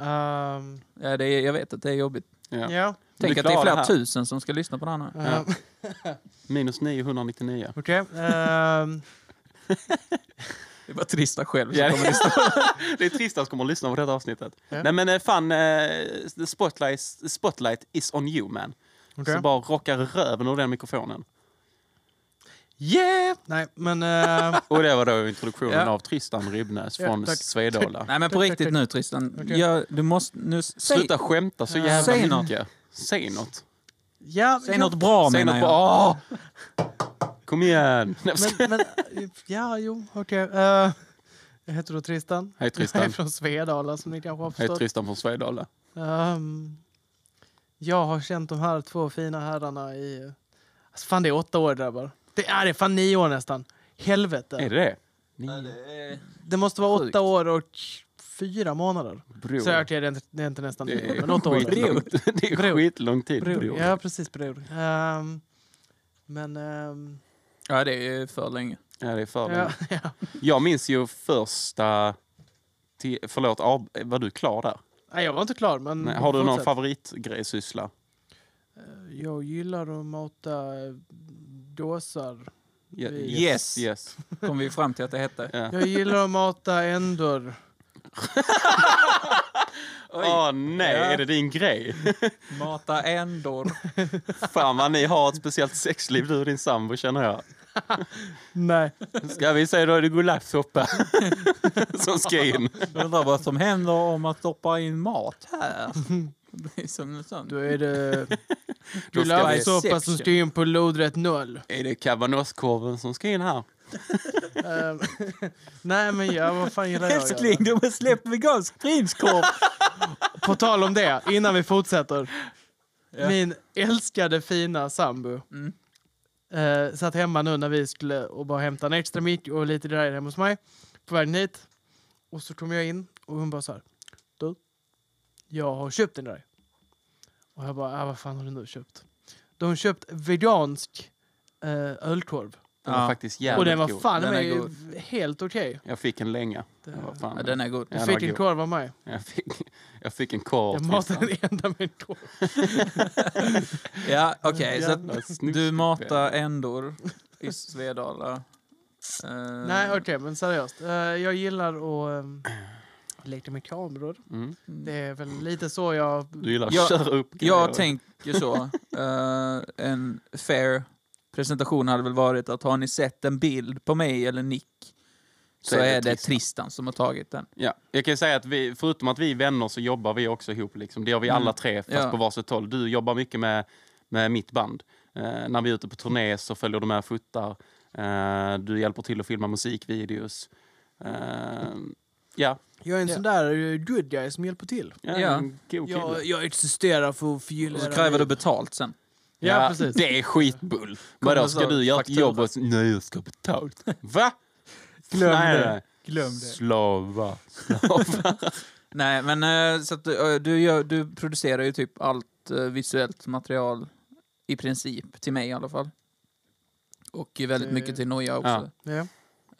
[SPEAKER 4] Ehm,
[SPEAKER 2] Ja, det är, jag vet att det är jobbigt.
[SPEAKER 3] ja.
[SPEAKER 4] ja.
[SPEAKER 2] Tänk
[SPEAKER 3] Du
[SPEAKER 2] att det är
[SPEAKER 3] klarar
[SPEAKER 2] flera
[SPEAKER 3] det här.
[SPEAKER 2] tusen som ska lyssna på den här.
[SPEAKER 4] ehm,
[SPEAKER 3] Minus 999.
[SPEAKER 4] Okej. ehm,
[SPEAKER 2] Det var Tristan själv som
[SPEAKER 3] Ja.
[SPEAKER 2] kommer lyssna.
[SPEAKER 3] Det är trist att jag kommer att lyssna på detta avsnittet.
[SPEAKER 4] Ja.
[SPEAKER 3] Nej men eh, fan, eh, the spotlight, spotlight is on you man.
[SPEAKER 4] Okej.
[SPEAKER 3] Så bara rocka röven ur den mikrofonen.
[SPEAKER 4] Yeah! Nej, men... ehm,
[SPEAKER 3] Och det var då introduktionen
[SPEAKER 2] Ja.
[SPEAKER 3] av Tristan Ribnäs
[SPEAKER 4] Ja,
[SPEAKER 3] från
[SPEAKER 4] tack.
[SPEAKER 3] Svedala.
[SPEAKER 2] Nej, men på riktigt nu, Tristan.
[SPEAKER 4] Okej.
[SPEAKER 2] Ja, du måste... Nu, s- säg,
[SPEAKER 3] Sluta skämta så jävla
[SPEAKER 2] Säg
[SPEAKER 3] mycket.
[SPEAKER 2] något.
[SPEAKER 3] Säg något.
[SPEAKER 4] ja,
[SPEAKER 2] säg
[SPEAKER 4] ja,
[SPEAKER 2] något bra,
[SPEAKER 3] Säg
[SPEAKER 2] menar
[SPEAKER 3] något
[SPEAKER 2] jag.
[SPEAKER 3] bra. Kom igen. Nej, jag skojar.
[SPEAKER 4] Men, men, eh, ja, jo, okej. Eh, jag heter då Tristan.
[SPEAKER 3] Hej, Tristan.
[SPEAKER 4] Jag är från Svedala som ni kanske har
[SPEAKER 3] Jag heter
[SPEAKER 4] förstått.
[SPEAKER 3] Tristan från Svedala.
[SPEAKER 4] Ehm, jag har känt de här två fina herrarna i... Alltså fan, det är åtta år grabbar. Det är, det är fan nio år nästan. Helvete.
[SPEAKER 3] Är det det?
[SPEAKER 4] Det måste vara
[SPEAKER 2] Sjukt.
[SPEAKER 4] åtta år och fyra månader.
[SPEAKER 3] Bror.
[SPEAKER 4] Så jag det är inte, det är inte nästan
[SPEAKER 3] Det
[SPEAKER 4] nio,
[SPEAKER 3] är
[SPEAKER 4] men åtta år.
[SPEAKER 3] skitlångt. Det är skitlång tid.
[SPEAKER 4] Bror.
[SPEAKER 3] Bror.
[SPEAKER 4] Ja, precis. Bror. Ehm, men... ehm,
[SPEAKER 2] Ja, det är för länge.
[SPEAKER 3] Ja, det är för länge.
[SPEAKER 4] ja, ja.
[SPEAKER 3] Jag minns ju första... Till, förlåt, av, var du klar där?
[SPEAKER 4] Nej, jag var inte klar, men...
[SPEAKER 3] Nej, har du någon
[SPEAKER 4] Mm, fortsätt.
[SPEAKER 3] favoritgrejsyssla?
[SPEAKER 4] Jag gillar att mata dåsar.
[SPEAKER 3] Ja,
[SPEAKER 2] Yes.
[SPEAKER 3] yes.
[SPEAKER 2] Kom vi fram till att det hette.
[SPEAKER 3] Ja.
[SPEAKER 4] Jag gillar att mata ändor.
[SPEAKER 3] Åh, Åh nej,
[SPEAKER 2] Ja.
[SPEAKER 3] är det din grej?
[SPEAKER 2] Mata ändor.
[SPEAKER 3] Fan vad ni har ett speciellt sexliv du och din sambo känner jag.
[SPEAKER 4] Nej.
[SPEAKER 3] Ska vi säga då är det gulaschsoppa som ska in.
[SPEAKER 2] Undrar vad som händer om man stoppar in mat här. Det är som en sån.
[SPEAKER 4] Då är det
[SPEAKER 3] Då ska vi-
[SPEAKER 4] gulaschsoppa som ska in på lodrätt noll.
[SPEAKER 3] Är det cabanoskorven som ska in här?
[SPEAKER 4] Ehm, Nej men ja, vad fan gillar jag? att
[SPEAKER 2] Älskling,
[SPEAKER 4] göra?
[SPEAKER 2] du måste släppa vegansk prinskorv!
[SPEAKER 4] På tal om det, innan vi fortsätter.
[SPEAKER 2] Ja.
[SPEAKER 4] Min älskade fina sambo
[SPEAKER 2] Mm.
[SPEAKER 4] eh, satt hemma nu när vi skulle och bara hämta en extra mick och lite grejer hemma hos mig. På vägen hit. Och så kom jag in och hon bara så här. Du, jag har köpt den där. Och jag bara, ah, vad fan har du nu köpt? Då har hon köpt vegansk eh, ölkorv.
[SPEAKER 3] Den
[SPEAKER 2] Ja.
[SPEAKER 3] var faktiskt jävligt
[SPEAKER 4] och den var
[SPEAKER 3] god.
[SPEAKER 4] fan
[SPEAKER 2] Den är
[SPEAKER 4] mig
[SPEAKER 2] god.
[SPEAKER 4] helt okej.
[SPEAKER 3] Jag fick en länge. Den var fan.
[SPEAKER 2] Ja, den är god.
[SPEAKER 3] Ja, den
[SPEAKER 4] Du
[SPEAKER 3] var
[SPEAKER 4] fick en
[SPEAKER 3] god.
[SPEAKER 4] korv av mig.
[SPEAKER 3] Jag fick, jag fick en korv.
[SPEAKER 4] Jag
[SPEAKER 3] till
[SPEAKER 4] matade den enda med en korv.
[SPEAKER 2] Ja, okej. så
[SPEAKER 3] Jävla
[SPEAKER 2] att
[SPEAKER 3] snusk.
[SPEAKER 2] du matar ändor i Svedala. Eh,
[SPEAKER 3] Mm.
[SPEAKER 4] Nej, okej, men seriöst. Eh, jag gillar att um, leka med kameror.
[SPEAKER 3] Mm.
[SPEAKER 4] Det är väl lite så jag...
[SPEAKER 3] Du gillar att
[SPEAKER 2] Jag-
[SPEAKER 3] köra upp
[SPEAKER 2] Jag
[SPEAKER 3] grejer.
[SPEAKER 2] tänker så. Eh, en fair presentation hade väl varit att har ni sett en bild på mig eller Nick så, är det, Tristan. som har tagit den.
[SPEAKER 3] Ja, jag kan ju säga att vi, förutom att vi är vänner så jobbar vi också ihop. Liksom. Det gör vi alla tre, fast
[SPEAKER 2] Mm. Ja.
[SPEAKER 3] på varsitt håll. Du jobbar mycket med, med mitt band. Eh, när vi är ute på turné så följer du med och fotar. Eh, du hjälper till att filma musikvideos. Eh, ja,
[SPEAKER 4] Jag är en
[SPEAKER 2] Ja.
[SPEAKER 4] sån där eh, good guy som hjälper till.
[SPEAKER 3] ja,
[SPEAKER 2] Ja.
[SPEAKER 3] en god kille.
[SPEAKER 4] Jag, jag existerar för att förgylla
[SPEAKER 2] Och så
[SPEAKER 4] era
[SPEAKER 2] kräver du
[SPEAKER 4] liv.
[SPEAKER 2] betalt sen.
[SPEAKER 4] Ja, precis.
[SPEAKER 3] Det är skitbull. Vadå,
[SPEAKER 2] med
[SPEAKER 3] ska
[SPEAKER 2] så
[SPEAKER 3] du göra ett
[SPEAKER 2] faktura.
[SPEAKER 3] jobb och... Nej, jag ska ha betalt. Va?
[SPEAKER 2] Glöm
[SPEAKER 3] Nej,
[SPEAKER 2] det.
[SPEAKER 3] nej.
[SPEAKER 2] Glöm
[SPEAKER 3] Slava.
[SPEAKER 2] Nej, men eh, så att, eh, du, gör, du producerar ju typ allt eh, visuellt material i princip, till mig i alla fall. Och ju väldigt
[SPEAKER 4] Det-
[SPEAKER 2] mycket till Noja också.
[SPEAKER 4] Ja.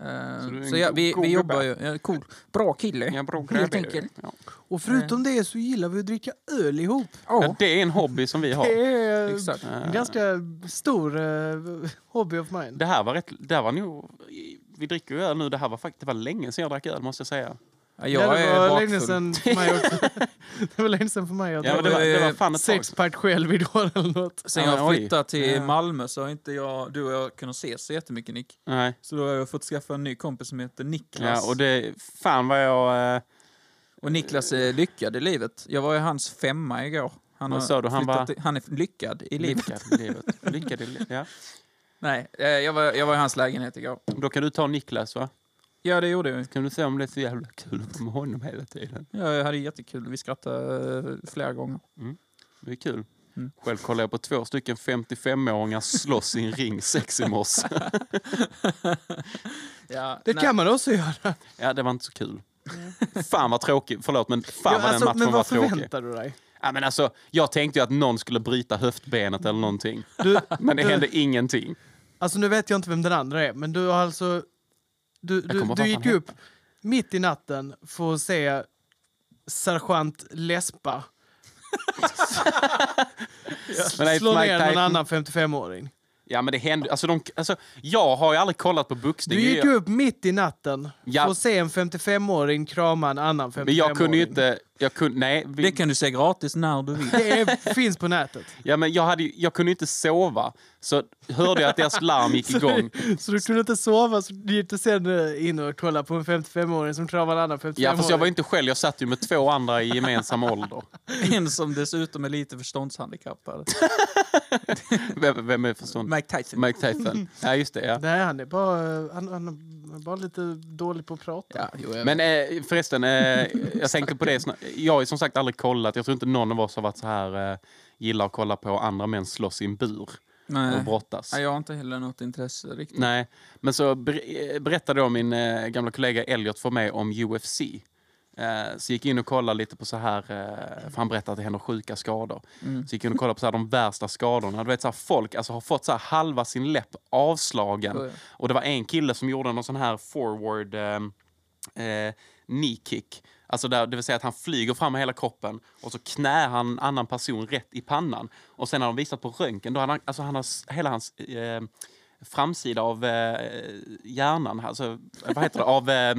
[SPEAKER 2] Eh,
[SPEAKER 3] Så du är en
[SPEAKER 2] så ja,
[SPEAKER 3] go-
[SPEAKER 2] vi,
[SPEAKER 3] god
[SPEAKER 2] vi jobbar
[SPEAKER 3] gubbe.
[SPEAKER 2] ju. Ja, cool. Bra kille.
[SPEAKER 3] Jag brukar
[SPEAKER 2] Helt
[SPEAKER 3] det.
[SPEAKER 2] enkelt.
[SPEAKER 3] Ja.
[SPEAKER 4] Och förutom det så gillar vi att dricka öl ihop.
[SPEAKER 3] Ja, det är en hobby som vi har.
[SPEAKER 4] Det är eh,
[SPEAKER 2] Exakt.
[SPEAKER 4] en ganska stor eh, hobby of mine.
[SPEAKER 3] Det här var rätt... Det här var nog... Vi dricker ju öl nu. Det här var faktiskt... Det var länge sedan jag drack öl, måste jag säga.
[SPEAKER 2] Ja,
[SPEAKER 4] Ja,
[SPEAKER 2] jag
[SPEAKER 4] det
[SPEAKER 2] är
[SPEAKER 4] var
[SPEAKER 2] bakfull.
[SPEAKER 4] länge sedan för mig också. det var länge sedan för mig att
[SPEAKER 3] Ja,
[SPEAKER 4] dra
[SPEAKER 3] men det, var, det var fan ett tag.
[SPEAKER 4] sexpack själv idag eller något.
[SPEAKER 2] Sen
[SPEAKER 3] Ja, men
[SPEAKER 2] jag
[SPEAKER 3] oj.
[SPEAKER 2] flyttade till
[SPEAKER 3] Ja.
[SPEAKER 2] Malmö så har inte jag, du och jag kunnat ses så jättemycket Nick.
[SPEAKER 3] Nej.
[SPEAKER 2] Så då har jag fått skaffa en ny kompis som heter Niklas.
[SPEAKER 3] Ja, och det... Fan vad jag... Eh,
[SPEAKER 2] Och Niklas är lyckad i livet. Jag var ju hans femma igår. Han,
[SPEAKER 3] Vad
[SPEAKER 2] har
[SPEAKER 3] sa du? Han
[SPEAKER 2] flyttat
[SPEAKER 3] var- Mm.
[SPEAKER 2] till- han är lyckad i livet.
[SPEAKER 3] lyckad i livet. Lyckad i livet. Ja.
[SPEAKER 2] Nej, eh, jag var, jag var i hans lägenhet igår.
[SPEAKER 3] Då kan du ta Niklas, va?
[SPEAKER 2] Ja, det gjorde jag.
[SPEAKER 3] Kan du se om det är så jävla kul att vara med honom hela tiden?
[SPEAKER 2] Ja, Jag hade jättekul. Vi skrattade eh, flera gånger.
[SPEAKER 3] Det är kul.
[SPEAKER 2] Mm.
[SPEAKER 3] Själv kollade jag på två stycken 55-åringar slåss i en ring sex i morse.
[SPEAKER 2] Ja,
[SPEAKER 4] Det kan man också göra.
[SPEAKER 3] Ja, det var inte så kul. Fan vad tråkig, förlåt men fan
[SPEAKER 4] Ja,
[SPEAKER 3] vad
[SPEAKER 4] alltså,
[SPEAKER 3] den
[SPEAKER 4] men
[SPEAKER 3] matchen var
[SPEAKER 4] vad
[SPEAKER 3] tråkig.
[SPEAKER 4] förväntar du dig?
[SPEAKER 3] Ja, men alltså, jag tänkte ju att någon skulle bryta höftbenet eller någonting.
[SPEAKER 4] Du,
[SPEAKER 3] Men det hände ingenting.
[SPEAKER 4] Alltså nu vet jag inte vem den andra är, men du har alltså... Du, du,
[SPEAKER 3] kommer
[SPEAKER 4] du
[SPEAKER 3] fan
[SPEAKER 4] gick
[SPEAKER 3] ihåg.
[SPEAKER 4] upp mitt i natten för att se sergeant Lespa
[SPEAKER 3] Men det är
[SPEAKER 4] slå
[SPEAKER 3] Mike
[SPEAKER 4] ner någon
[SPEAKER 3] Tyson.
[SPEAKER 4] annan 55-åring.
[SPEAKER 3] Ja men det hände, alltså, de, alltså jag har ju aldrig kollat på boxning.
[SPEAKER 4] Du gick
[SPEAKER 3] Jag-
[SPEAKER 4] upp mitt i natten
[SPEAKER 3] Ja.
[SPEAKER 4] för att se en 55-åring krama en annan 55-åring.
[SPEAKER 3] Men jag kunde ju inte, jag kunde, nej. vi-
[SPEAKER 2] Det kan du se gratis när du vill.
[SPEAKER 4] Det är, finns på nätet.
[SPEAKER 3] Ja, men jag, hade, ju- jag kunde ju inte sova. Så hörde jag att deras larm gick igång.
[SPEAKER 4] Så du kunde inte sova, så du gick inte sen eh, in och kollade på en 55-åring som kramar en annan 55-åring.
[SPEAKER 3] Ja fast jag var ju inte själv, jag satt ju med två andra i gemensam ålder.
[SPEAKER 2] En som dessutom är lite förståndshandikappad.
[SPEAKER 3] Vem, vem är förstånd?
[SPEAKER 2] Mike Tyson.
[SPEAKER 3] Mike Tyson. Ja just det ja.
[SPEAKER 4] Nej, han är bara, eh, han, han är bara lite dålig på att prata.
[SPEAKER 2] Ja, jo, jag
[SPEAKER 3] Men eh, förresten, eh, jag tänkte på det. snart. Jag har ju som sagt aldrig kollat. Jag tror inte någon av oss har varit så här eh, gillar att kolla på andra män slåss i en bur och
[SPEAKER 2] Nej.
[SPEAKER 3] brottas.
[SPEAKER 2] Nej, jag har inte heller något intresse riktigt.
[SPEAKER 3] Nej, men så ber- eh, berättade då min eh, gamla kollega Elliot för mig om UFC. Eh, så gick jag in och kollade lite på så här, eh, för han berättade att det händer sjuka skador. Så gick jag in och kollade på så här, de värsta skadorna. Du vet, så här, folk alltså, har fått så här, halva sin läpp avslagen.
[SPEAKER 2] Oj.
[SPEAKER 3] Och det var en kille som gjorde någon sån här forward eh, eh, knee kick. Alltså där, det vill säga att han flyger fram med hela kroppen och så knär han en annan person rätt i pannan. Och sen har de visat på röntgen, då hade han, alltså han har, s- hela hans eh, framsida av eh, hjärnan, alltså, vad heter det, av eh, eh,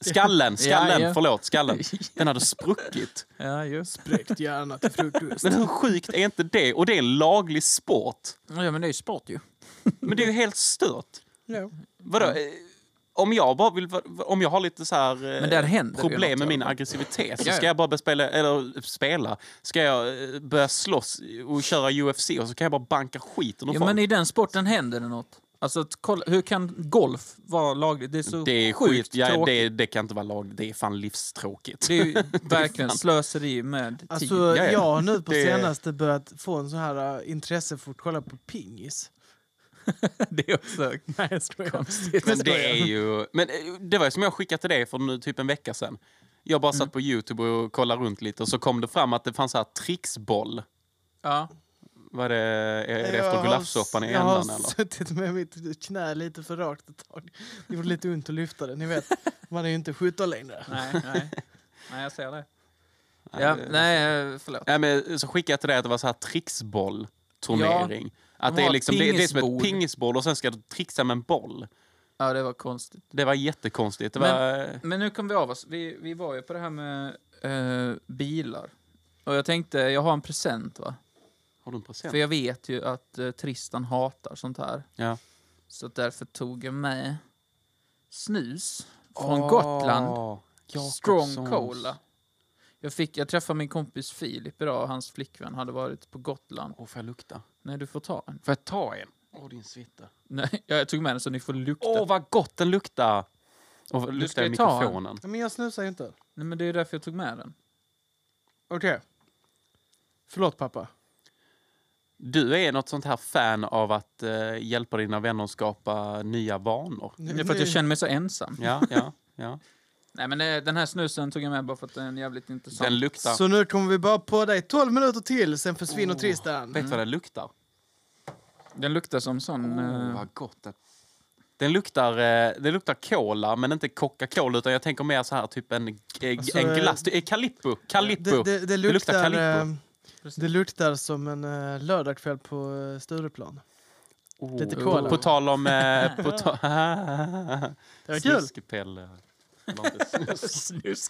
[SPEAKER 3] skallen, skallen,
[SPEAKER 2] ja.
[SPEAKER 3] förlåt, skallen. Den hade spruckit.
[SPEAKER 2] Ja, just
[SPEAKER 4] Spräckt hjärna till frukost.
[SPEAKER 3] Men hur sjukt är inte det? Och det är en laglig sport.
[SPEAKER 2] Ja, men det är ju sport ju.
[SPEAKER 3] Men det är ju helt stört.
[SPEAKER 4] ja.
[SPEAKER 3] Vadå? eh, Om jag bara vill, va- om jag har lite så här eh,
[SPEAKER 2] Men där händer ju något,
[SPEAKER 3] problem med
[SPEAKER 2] ja.
[SPEAKER 3] min aggressivitet så
[SPEAKER 2] Ja,
[SPEAKER 3] ska
[SPEAKER 2] ja.
[SPEAKER 3] jag bara spela, eller spela, ska jag eh, börja slåss och köra UFC och så kan jag bara banka skiten ur
[SPEAKER 2] Ja,
[SPEAKER 3] folk.
[SPEAKER 2] men i den sporten händer det något. Alltså, att kolla, hur kan golf vara lagligt? Det är så
[SPEAKER 3] Det är
[SPEAKER 2] sjukt
[SPEAKER 3] skit, ja,
[SPEAKER 2] tråkigt.
[SPEAKER 3] det, det kan inte vara lag, det är fan livstråkigt.
[SPEAKER 2] Det är ju verkligen slöseri med tid.
[SPEAKER 4] Alltså,
[SPEAKER 3] ja.
[SPEAKER 4] jag har nu på
[SPEAKER 3] Det-
[SPEAKER 4] senaste börjat få en sån här äh, intresse för att kolla på pingis.
[SPEAKER 2] det är också
[SPEAKER 4] Nej, jag skojar.
[SPEAKER 2] konstigt.
[SPEAKER 3] Men det är ju... Men eh, det var ju som jag skickade till dig för nu typ en vecka sedan. Jag bara
[SPEAKER 2] Mm.
[SPEAKER 3] satt på Youtube och kollade runt lite och så kom det fram att det fanns så här trixboll.
[SPEAKER 2] Ja.
[SPEAKER 3] Var det, är är det
[SPEAKER 4] Jag
[SPEAKER 3] efter
[SPEAKER 4] har-
[SPEAKER 3] gulaschsoppan i
[SPEAKER 4] Jag har
[SPEAKER 3] ändan eller?
[SPEAKER 4] suttit med mitt knä lite för rakt ett tag. Det gjorde lite ont att lyfta det, ni vet. Man är ju inte 17 längre.
[SPEAKER 2] Nej, nej. Nej, jag ser det. Ja, nej, eh, förlåt.
[SPEAKER 3] Ja, men, så skickade jag till dig att det var så här trixbollturnering. att
[SPEAKER 2] de
[SPEAKER 3] det, är
[SPEAKER 2] har
[SPEAKER 3] liksom, det, det är som ett
[SPEAKER 2] pingisbord.
[SPEAKER 3] pingisbord och sen ska du trixa med en boll.
[SPEAKER 2] Ja, det var konstigt.
[SPEAKER 3] Det var jättekonstigt. Det
[SPEAKER 2] Men-
[SPEAKER 3] var, eh,
[SPEAKER 2] Men nu kom vi av oss. Vi, vi var ju på det här med eh, bilar. Och jag tänkte, jag har en present va?
[SPEAKER 3] Har du en present?
[SPEAKER 2] För jag vet ju att eh, Tristan hatar sånt här.
[SPEAKER 3] Ja.
[SPEAKER 2] Så därför tog jag med snus från Gotland.
[SPEAKER 3] Åh, Ah, Jakobssons.
[SPEAKER 2] Strong Cola. Jag, fick, jag träffade min kompis Filip idag och hans flickvän hade varit på Gotland.
[SPEAKER 3] Åh, får jag lukta?
[SPEAKER 2] Nej, du får ta en.
[SPEAKER 3] Får jag ta en? Åh, din svitta.
[SPEAKER 2] Nej, jag tog med den så ni får lukta.
[SPEAKER 3] Åh, vad gott den luktar! Och
[SPEAKER 2] ska
[SPEAKER 3] luktar i
[SPEAKER 2] ju ta en.
[SPEAKER 3] mikrofonen.
[SPEAKER 4] Men jag snusar ju inte.
[SPEAKER 2] Nej, men det är därför jag tog med den.
[SPEAKER 4] Okej. Förlåt pappa.
[SPEAKER 3] Du är något sånt här fan av att eh, hjälpa dina vänner att skapa nya vanor.
[SPEAKER 2] Det är för att jag känner mig så ensam.
[SPEAKER 3] Ja, ja, ja.
[SPEAKER 2] Nej, men eh, den här snusen tog jag med bara för att den är jävligt intressant.
[SPEAKER 3] Den luktar...
[SPEAKER 4] Så nu kommer vi bara på dig 12 minuter till, sen
[SPEAKER 3] Oh.
[SPEAKER 4] försvinner Tristan.
[SPEAKER 3] Vet du vad den luktar?
[SPEAKER 2] Den luktar som sån... eh,
[SPEAKER 3] Vad gott den... Den luktar, eh, den luktar cola, men inte Coca-Cola utan jag tänker mer så här typ en, eh,
[SPEAKER 4] Alltså,
[SPEAKER 3] en
[SPEAKER 4] eh,
[SPEAKER 3] glass. Eh, Calippo! Calippo!
[SPEAKER 4] Det, det, det
[SPEAKER 3] luktar
[SPEAKER 4] luktar,
[SPEAKER 3] Calippo.
[SPEAKER 4] eh, det luktar som en eh, lördagkväll på eh, Stureplan.
[SPEAKER 3] Oh.
[SPEAKER 4] lite
[SPEAKER 3] På-
[SPEAKER 4] cola.
[SPEAKER 3] På tal om... Eh, på ta-
[SPEAKER 4] Det var kul.
[SPEAKER 3] Snuskpelle. Eller inte snus.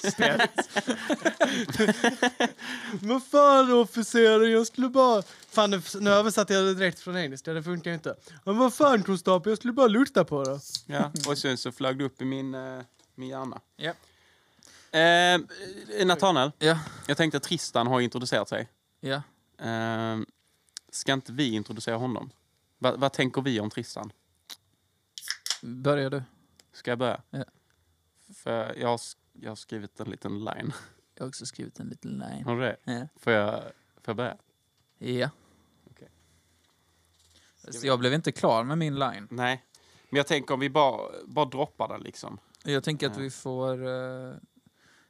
[SPEAKER 4] Vad fan officerare, jag skulle bara... Fan, nu- nu översatte jag det direkt från engelska, det funkar ju inte. Men vad fan Konstapeln, jag skulle bara lukta på det.
[SPEAKER 3] ja. Och sen så flög det upp i min, eh, min hjärna.
[SPEAKER 2] Ja.
[SPEAKER 3] Eh, Nathanael,
[SPEAKER 2] Ja,
[SPEAKER 3] jag tänkte att Tristan har introducerat sig.
[SPEAKER 2] ja.
[SPEAKER 3] Eh, ska inte vi introducera honom? Va, vad tänker vi om Tristan?
[SPEAKER 2] Börjar du?
[SPEAKER 3] Ska jag börja?
[SPEAKER 2] Ja.
[SPEAKER 3] För jag har, sk- jag har skrivit en liten line.
[SPEAKER 2] Jag har också skrivit en liten line.
[SPEAKER 3] Har du det?
[SPEAKER 2] Ja.
[SPEAKER 3] Får jag, får jag börja?
[SPEAKER 2] ja.
[SPEAKER 3] Okej.
[SPEAKER 2] Så jag blev inte klar med min line.
[SPEAKER 3] Nej. Men jag tänker om vi bara, bara droppar den liksom.
[SPEAKER 2] Jag tänker att
[SPEAKER 3] Ja.
[SPEAKER 2] vi får... eh,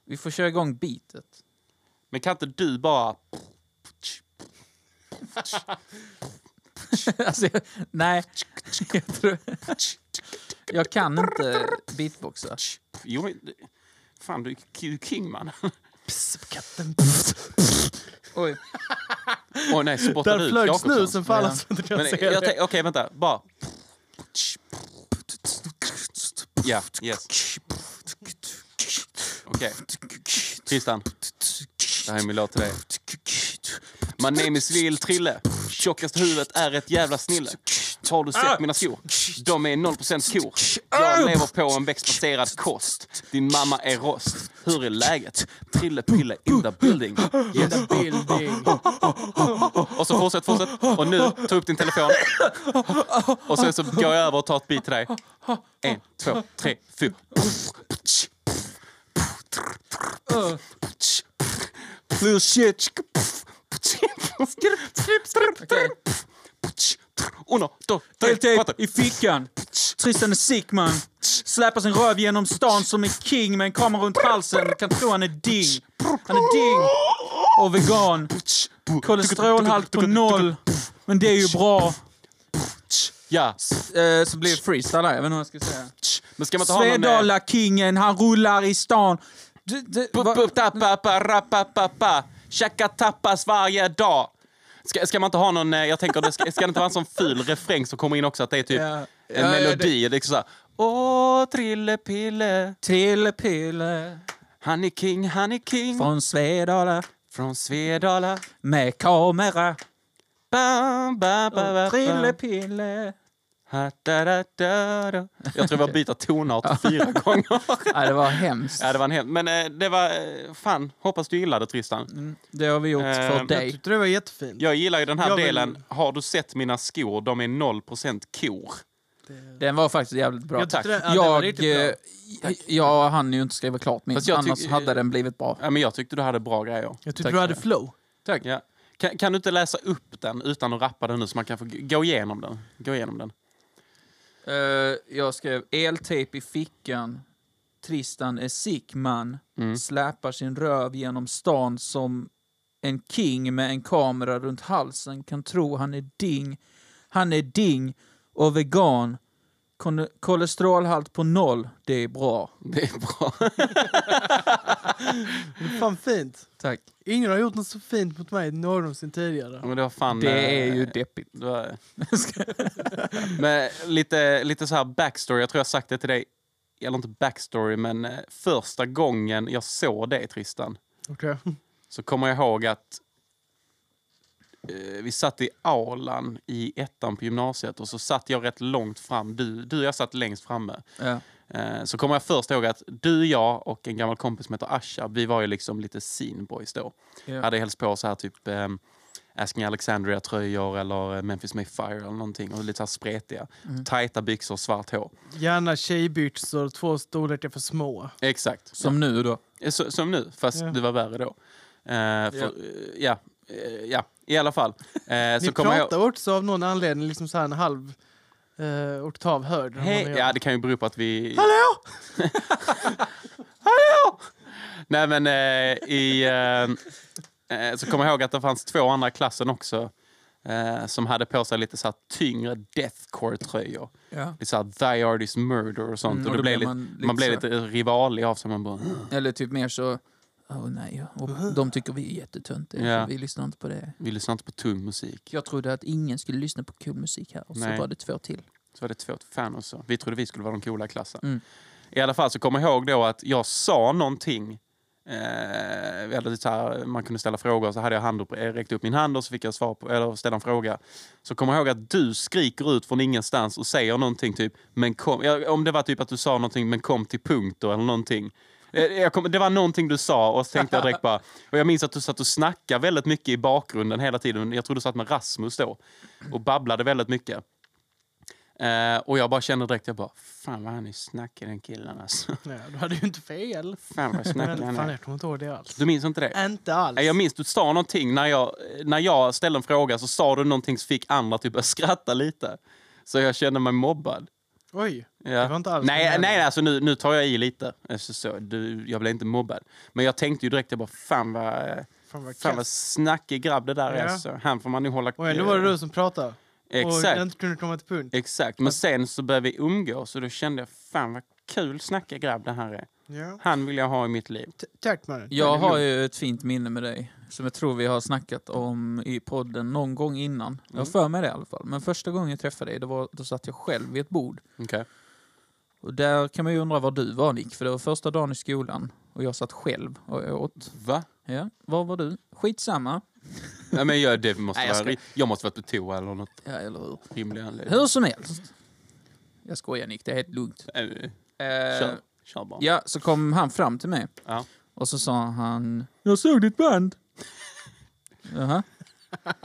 [SPEAKER 2] vi får köra igång beatet.
[SPEAKER 3] Men kan inte du bara...
[SPEAKER 2] alltså, jag, nej. jag, tror, jag kan inte beatboxa.
[SPEAKER 3] Jo, men... det- Fan, du är ju king man.
[SPEAKER 2] Oj.
[SPEAKER 3] Åh nej, spottar du
[SPEAKER 4] Där
[SPEAKER 3] ut
[SPEAKER 4] flög
[SPEAKER 3] Jakobsson?
[SPEAKER 4] snusen för alla
[SPEAKER 2] Ja.
[SPEAKER 4] som alltså, inte kan
[SPEAKER 3] Men
[SPEAKER 4] se
[SPEAKER 3] jag
[SPEAKER 4] det.
[SPEAKER 3] tänk- Okej, vänta. Bara... Ja, yes. Okej. Tristan. Det här är min låt till dig. My name is Lil Trille. Tjockaste huvudet är ett jävla snille. Har du sett mina skor? De är 0% kor. Jag lever på en växtbaserad kost. Din mamma är rost. Hur är läget? Trille Prille in the building. Yes.
[SPEAKER 4] Bilding.
[SPEAKER 3] Och så fortsätt, fortsätt. Och nu, ta upp din telefon. Och sen så går jag över och tar ett beat till dig. En, två, tre, fyra. Blue shit.
[SPEAKER 2] Okej.
[SPEAKER 3] Uno, dos, tre,
[SPEAKER 2] Duct
[SPEAKER 3] quattro.
[SPEAKER 2] tape typ i fickan. Tristan är sick man. Släpar sin röv genom stan som är king med en kamera runt halsen. Kan tro han är ding. Han är ding och vegan. Kolesterolhalt på noll. Men det är ju bra.
[SPEAKER 3] Ja.
[SPEAKER 2] Eh, så blir det freestyle här. Jag vet inte vad jag ska säga.
[SPEAKER 3] Men ska man inte ha någon... eh,
[SPEAKER 2] Svedala-kingen, han rullar i stan. Du, du,
[SPEAKER 3] Bup,
[SPEAKER 2] va-
[SPEAKER 3] bup, tappa, pa, rappa, pappa. Käka tapas varje dag. Ska, ska man inte ha någon, eh, jag tänker, det ska, ska det inte vara en sån ful refräng som kommer in också? Att det är typ
[SPEAKER 5] Ja.
[SPEAKER 3] en melodi. Liksom såhär, Åh, Trillepille,
[SPEAKER 5] Trillepille
[SPEAKER 3] han är king, han är king. Från,
[SPEAKER 5] från Svedala
[SPEAKER 3] Svedala.
[SPEAKER 5] med kamera.
[SPEAKER 3] Ba, ba, ba, ba, ba.
[SPEAKER 5] Trillepille.
[SPEAKER 3] Ha, da, da, da, da. Jag tror jag byta tonart fyra gånger.
[SPEAKER 2] Ja, det var hemskt.
[SPEAKER 3] ja, det var en hel, men eh, det var, eh, fan, hoppas du gillade Tristan.
[SPEAKER 5] Det har vi gjort
[SPEAKER 3] Eh,
[SPEAKER 5] för
[SPEAKER 4] Jag
[SPEAKER 5] dig.
[SPEAKER 4] tyckte det var jättefint.
[SPEAKER 3] Jag gillar ju den här
[SPEAKER 4] Jag vill-
[SPEAKER 3] delen. Har du sett mina skor? De är 0% kor.
[SPEAKER 2] Den var faktiskt jävligt bra.
[SPEAKER 4] Jag tyckte det- ja, det var
[SPEAKER 2] jag,
[SPEAKER 4] riktigt bra.
[SPEAKER 2] eh, jag, jag hann ju inte skriva klart min,
[SPEAKER 3] Fast jag
[SPEAKER 2] annars
[SPEAKER 3] tyck-
[SPEAKER 2] hade den blivit bra.
[SPEAKER 3] Ja, men jag tyckte du hade bra grejer.
[SPEAKER 4] Jag tyckte
[SPEAKER 2] Tack.
[SPEAKER 4] du hade flow.
[SPEAKER 2] Tack.
[SPEAKER 3] Ja. Kan, kan du inte läsa upp den utan att rappa den nu så man kan få g- gå igenom den? Gå igenom den.
[SPEAKER 2] Eh, jag skrev eltejp i fickan. Tristan är sick man.
[SPEAKER 3] Mm.
[SPEAKER 2] Släpar sin röv genom stan som en king med en kamera runt halsen. Kan tro han är ding. Han är ding och vegan. Kon- kolesterolhalt på noll. Det är bra.
[SPEAKER 3] Det är bra.
[SPEAKER 4] Det är fan fint.
[SPEAKER 2] Tack.
[SPEAKER 4] Ingen har gjort något så fint mot mig någonsin
[SPEAKER 3] Ja,
[SPEAKER 2] Mm.
[SPEAKER 4] tidigare.
[SPEAKER 3] men det var fan...
[SPEAKER 2] Det är
[SPEAKER 3] eh,
[SPEAKER 2] ju deppigt.
[SPEAKER 3] det var- men lite, lite så här backstory. Jag tror jag sagt det till dig. Eller inte backstory, men eh, första gången jag såg dig, Tristan,
[SPEAKER 4] Okej.
[SPEAKER 3] så kommer jag ihåg att eh, vi satt i aulan i ettan på gymnasiet och så satt jag rätt långt fram. Du, du och jag satt längst framme.
[SPEAKER 2] Ja.
[SPEAKER 3] Eh, så kommer jag först ihåg att du, jag och en gammal kompis som heter Asha, vi var ju liksom lite scene boys då.
[SPEAKER 2] Ja.
[SPEAKER 3] Hade hälls på så här typ ehm, Asking Alexandria-tröjor eller eh, Memphis May Fire eller någonting. Och lite så här spretiga.
[SPEAKER 4] Mm.
[SPEAKER 3] Tajta byxor, svart hår.
[SPEAKER 4] Gärna tjejbyxor, två storlekar för små.
[SPEAKER 3] Exakt.
[SPEAKER 2] Som nu då.
[SPEAKER 3] Eh, så, som nu, fast
[SPEAKER 4] Ja.
[SPEAKER 3] det var värre då. Eh, för,
[SPEAKER 2] Ja.
[SPEAKER 3] eh, ja. eh, ja, i alla fall. Eh,
[SPEAKER 4] Ni
[SPEAKER 3] så kommer jag...
[SPEAKER 4] pratar också av någon anledning liksom så här en halv eh, oktav högre. än vad ni
[SPEAKER 3] Hej!
[SPEAKER 4] gör.
[SPEAKER 3] Ja, det kan ju bero på att vi... Hallå! Hallå! Nej, men eh, i... Eh, eh, så kommer jag ihåg att det fanns två andra i klassen också eh, som hade på sig lite så här tyngre deathcore-tröjor.
[SPEAKER 2] Ja.
[SPEAKER 3] Lite så här Die Artist Murder och sånt.
[SPEAKER 2] Mm,
[SPEAKER 3] och
[SPEAKER 2] och
[SPEAKER 3] det blev
[SPEAKER 2] då blev
[SPEAKER 3] lite, man
[SPEAKER 2] man lite
[SPEAKER 3] blev
[SPEAKER 2] så-
[SPEAKER 3] lite rivalig av sig. Man bara...
[SPEAKER 2] Eller typ mer så... Åh nej, och de tycker vi är jättetöntiga.
[SPEAKER 3] Ja.
[SPEAKER 2] så Vi lyssnar inte på det.
[SPEAKER 3] Vi lyssnar inte på tung musik.
[SPEAKER 2] Jag trodde att ingen skulle lyssna på kul musik här och
[SPEAKER 3] Nej.
[SPEAKER 2] så var det två till.
[SPEAKER 3] Så var det två fan och så. Vi trodde vi skulle vara de coola i klassen.
[SPEAKER 2] Mm.
[SPEAKER 3] I alla fall så kommer jag ihåg då att jag sa någonting. Eh, vi hade lite så här, man kunde ställa frågor så hade jag hand upp, eh, räckt upp min hand och så fick jag svar på, eller ställa en fråga. Så kommer jag ihåg att du skriker ut från ingenstans och säger någonting typ, men kom, ja, om det var typ att du sa någonting, men kom till punkt då eller någonting. Eh, Jag kom, det var någonting du sa och så tänkte jag direkt bara, och jag minns att du satt och snackade väldigt mycket i bakgrunden hela tiden. Jag tror du satt med Rasmus då och babblade väldigt mycket. Eh, och jag bara kände direkt, jag bara, fan vad han är snackig den killen alltså.
[SPEAKER 4] Nej, du hade ju inte fel.
[SPEAKER 3] Fan vad
[SPEAKER 4] Men
[SPEAKER 3] snackig han
[SPEAKER 4] fan,
[SPEAKER 3] är.
[SPEAKER 4] jag kommer inte ihåg det alls.
[SPEAKER 3] Du minns inte det?
[SPEAKER 4] Inte alls.
[SPEAKER 3] Nej, Jag minns du sa någonting när jag, när jag ställde en fråga så sa du någonting som fick andra typ att skratta lite. Så jag kände mig mobbad.
[SPEAKER 4] Oj.
[SPEAKER 3] Ja.
[SPEAKER 4] Det var inte alls min
[SPEAKER 3] nej,
[SPEAKER 4] mening.
[SPEAKER 3] nej, alltså nu, nu tar jag i lite. Alltså, så, du, jag blev inte mobbad. Men jag tänkte ju direkt, jag bara fan vad,
[SPEAKER 4] Fan vad
[SPEAKER 3] fan
[SPEAKER 4] kass.
[SPEAKER 3] vad snackig grabb det där är.
[SPEAKER 4] Ja.
[SPEAKER 3] Alltså. Han får man nu hålla...
[SPEAKER 4] Och ändå var det du som pratade.
[SPEAKER 3] Exakt.
[SPEAKER 4] Och inte kunde komma till punkt.
[SPEAKER 3] Exakt, men sen så började vi umgås och då kände jag fan vad kul snacka grabb det här är.
[SPEAKER 4] Ja.
[SPEAKER 3] Han vill jag ha i mitt liv.
[SPEAKER 4] T- Tack mannen.
[SPEAKER 2] Jag har ju ett fint minne med dig som jag tror vi har snackat om i podden någon gång innan. Jag
[SPEAKER 3] Mm.
[SPEAKER 2] har för mig det i alla fall. Men första gången jag träffade dig, det var, då satt jag själv vid ett bord.
[SPEAKER 3] Okej.
[SPEAKER 2] Och där kan man ju undra var du var Nick, för det var första dagen i skolan och jag satt själv och åt.
[SPEAKER 3] Va?
[SPEAKER 2] Ja, var var du? Skitsamma.
[SPEAKER 3] Nej men jag, det måste
[SPEAKER 2] Nej, jag
[SPEAKER 3] vara... Jag, jag måste varit på toa eller något
[SPEAKER 2] Ja, eller hur?
[SPEAKER 3] rimlig anledning.
[SPEAKER 2] Hur som helst. Jag skojar Nick, det är helt lugnt.
[SPEAKER 3] Eh,
[SPEAKER 2] Eh,
[SPEAKER 3] Kör. Kör bara.
[SPEAKER 2] Ja, så kom han fram till mig.
[SPEAKER 3] Ja.
[SPEAKER 2] Och så sa han... Jag såg ditt band. Jaha.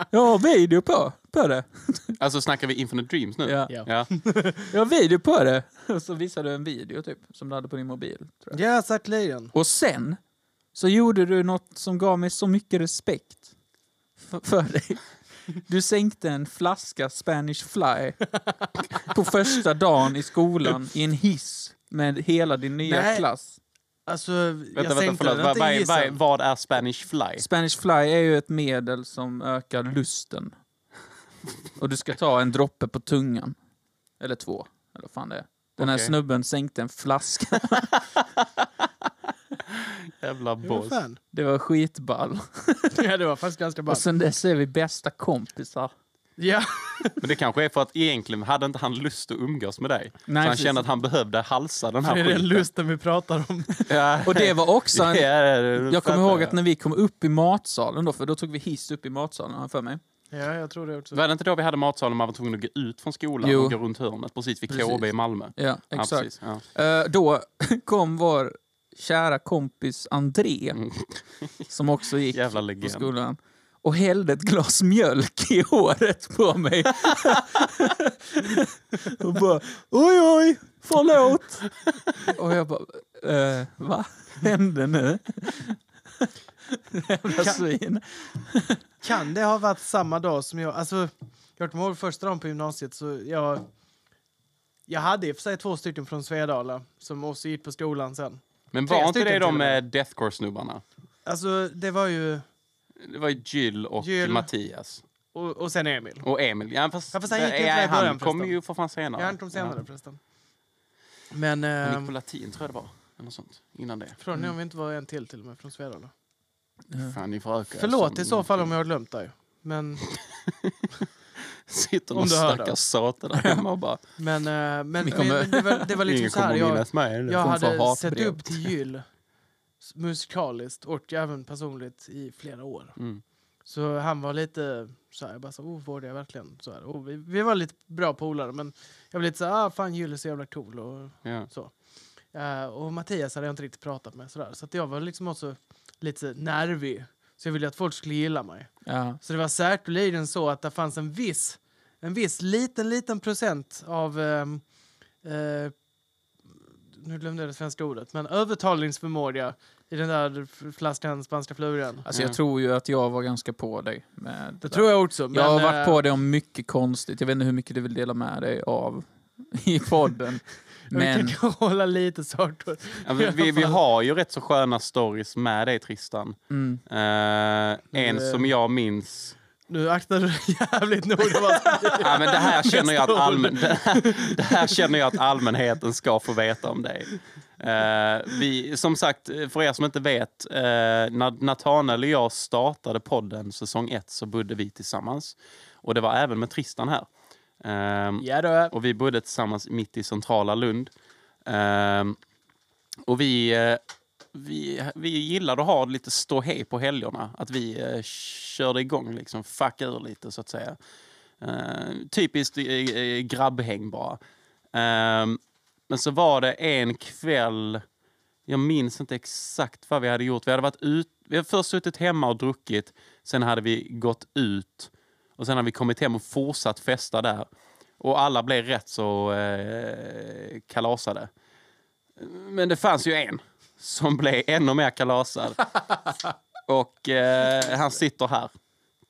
[SPEAKER 2] Jag har video på, på det.
[SPEAKER 3] Alltså snackar vi Infinite Dreams nu?
[SPEAKER 2] Ja.
[SPEAKER 4] Ja.
[SPEAKER 3] Ja.
[SPEAKER 2] Jag har video på det. Och så visade du en video typ, som du hade på din mobil. Tror jag.
[SPEAKER 4] Ja, säkerligen.
[SPEAKER 2] Och sen så gjorde du något som gav mig så mycket respekt för, för dig. Du sänkte en flaska Spanish Fly på första dagen i skolan i en hiss med hela din nya
[SPEAKER 4] Nej.
[SPEAKER 2] klass.
[SPEAKER 4] Alltså,
[SPEAKER 3] Vänta,
[SPEAKER 4] jag
[SPEAKER 3] vänta,
[SPEAKER 4] sänkte
[SPEAKER 3] förlåt.
[SPEAKER 4] den
[SPEAKER 3] Vad, vad,
[SPEAKER 4] inte
[SPEAKER 3] är- vad, är-
[SPEAKER 4] gissa.
[SPEAKER 3] vad är Spanish fly?
[SPEAKER 2] Spanish fly är ju ett medel som ökar lusten. Och du ska ta en droppe på tungan. Eller två, eller vad fan det är. Den här
[SPEAKER 3] Okej.
[SPEAKER 2] snubben sänkte en flaska.
[SPEAKER 3] Jävla
[SPEAKER 4] Det var
[SPEAKER 3] boss.
[SPEAKER 4] fan.
[SPEAKER 6] Det var skitball.
[SPEAKER 4] Ja, det var faktiskt ganska bra.
[SPEAKER 6] Och sen dess är vi bästa kompisar.
[SPEAKER 4] Ja,
[SPEAKER 3] Men det kanske är för att egentligen hade inte han lust att umgås med
[SPEAKER 6] Nej,
[SPEAKER 3] dig. så han
[SPEAKER 6] precis.
[SPEAKER 3] kände att han behövde halsa den här
[SPEAKER 4] det är den lusten vi pratar om.
[SPEAKER 3] Ja.
[SPEAKER 6] Och det var också en...
[SPEAKER 3] Ja, det- det
[SPEAKER 6] Jag kommer
[SPEAKER 3] fattar
[SPEAKER 6] ihåg att när vi kom upp i matsalen då, för då tog vi hiss upp i matsalen, har jag för mig.
[SPEAKER 4] Ja, jag tror det också.
[SPEAKER 3] eh, Var det inte då vi hade matsalen man var tvungen att gå ut från skolan
[SPEAKER 6] Jo.
[SPEAKER 3] och gå runt hörnet? Precis vid
[SPEAKER 6] Precis.
[SPEAKER 3] KB i Malmö.
[SPEAKER 6] Ja, exakt.
[SPEAKER 3] Ja, precis. Ja.
[SPEAKER 6] Eh, då kom vår kära kompis André,
[SPEAKER 3] Mm.
[SPEAKER 6] som också gick
[SPEAKER 3] Jävla
[SPEAKER 6] på
[SPEAKER 3] legend.
[SPEAKER 6] skolan, och hällde ett glas mjölk i håret på mig. och bara oj, oj, förlåt. och jag bara, eh, va? Hände nu? Jävla svin.
[SPEAKER 4] Kan det ha varit samma dag som jag... Alltså, jag kommer ihåg första dagen på gymnasiet så jag... Jag hade i och för sig två stycken från Svedala som också gick på skolan sen.
[SPEAKER 3] Men
[SPEAKER 4] Tre
[SPEAKER 3] var inte
[SPEAKER 4] stycken
[SPEAKER 3] det de
[SPEAKER 4] till och
[SPEAKER 3] eh, Deathcore-snubbarna?
[SPEAKER 4] Alltså, det var ju...
[SPEAKER 3] Det var ju Jill och
[SPEAKER 4] Jill.
[SPEAKER 3] Mattias.
[SPEAKER 4] Och, och sen Emil.
[SPEAKER 3] Och Emil. Ja, fast,
[SPEAKER 4] Ja, fast han gick ju
[SPEAKER 3] eh,
[SPEAKER 4] inte med i
[SPEAKER 3] han
[SPEAKER 4] början
[SPEAKER 3] kom
[SPEAKER 4] förresten.
[SPEAKER 3] ju för fan senare.
[SPEAKER 4] Jag har inte dem senare
[SPEAKER 3] Ja.
[SPEAKER 4] förresten. Men...
[SPEAKER 3] Han
[SPEAKER 4] Eh,
[SPEAKER 3] gick på latin tror jag det var. Eller något sånt. Innan det.
[SPEAKER 4] frågan är om vi inte var en till till och med från Svedala.
[SPEAKER 3] Fan, ni får öka.
[SPEAKER 4] Förlåt i så fall om jag har glömt dig. Men,
[SPEAKER 3] Sitter
[SPEAKER 4] om
[SPEAKER 3] någon
[SPEAKER 4] du hör det.
[SPEAKER 3] stackars sate där hemma och bara...
[SPEAKER 4] men, eh, men,
[SPEAKER 6] Vi kommer-
[SPEAKER 4] men, men det, var, det var liksom
[SPEAKER 3] Ingen
[SPEAKER 4] så här.
[SPEAKER 3] kommer att
[SPEAKER 4] Jag,
[SPEAKER 3] minnas mig. nu.
[SPEAKER 4] jag
[SPEAKER 6] kommer få
[SPEAKER 4] hade sett
[SPEAKER 6] hatbrev.
[SPEAKER 4] upp till Gyll s- musikaliskt och även personligt i flera år.
[SPEAKER 3] Mm.
[SPEAKER 4] Så han var lite så här, jag bara så oh, var det jag verkligen? Så här, oh, vi, vi var lite bra polare, men jag var lite så här, ah, fan Gyll är så jävla cool. Och,
[SPEAKER 3] Ja.
[SPEAKER 4] eh, och Mattias hade jag inte riktigt pratat med. Så, där. så att jag var liksom också lite så här nervig. Så jag ville att folk skulle gilla mig.
[SPEAKER 6] Ja.
[SPEAKER 4] Så det var säkerligen så att det fanns en viss, en viss liten, liten procent av ehm, eh, nu glömde jag det svenska ordet, men övertalningsförmåga i den där f- flaskan spanska flugan.
[SPEAKER 6] Alltså
[SPEAKER 3] Ja.
[SPEAKER 6] jag tror ju att jag var ganska på dig med
[SPEAKER 4] Det tror jag också.
[SPEAKER 6] Jag har
[SPEAKER 4] men,
[SPEAKER 6] varit
[SPEAKER 4] eh,
[SPEAKER 6] på det om mycket konstigt. Jag vet inte hur mycket du vill dela med dig av i podden. Men
[SPEAKER 4] Vi kan hålla lite saker.
[SPEAKER 3] Ja, vi, vi, vi har ju rätt så sköna stories med dig Tristan.
[SPEAKER 6] mm,
[SPEAKER 3] Eh, en
[SPEAKER 4] det-
[SPEAKER 3] som jag minns
[SPEAKER 4] Nu aktar du dig jävligt noga. vad som-
[SPEAKER 3] Ja, men det, här känner jag att allmän, det, här, det här känner jag att allmänheten ska få veta om dig. Eh, vi, som sagt, för er som inte vet, eh, när Nathanael och jag startade podden säsong ett så bodde vi tillsammans. Och det var även med Tristan här. Ehm,
[SPEAKER 4] ja då.
[SPEAKER 3] och vi bodde tillsammans mitt i centrala Lund. Ehm, och vi, eh, vi, vi gillade att ha lite ståhej på helgerna. Att vi eh, körde igång, liksom fuck ur lite så att säga. Ehm, typiskt eh, eh, grabbhäng bara. Ehm, men så var det en kväll, jag minns inte exakt vad vi hade gjort. Vi hade, varit ut, vi hade först suttit hemma och druckit, sen hade vi gått ut och sen hade vi kommit hem och fortsatt festa där. Och alla blev rätt så eh, kalasade. Men det fanns ju en som blev ännu mer kalasad. Och eh, han sitter här.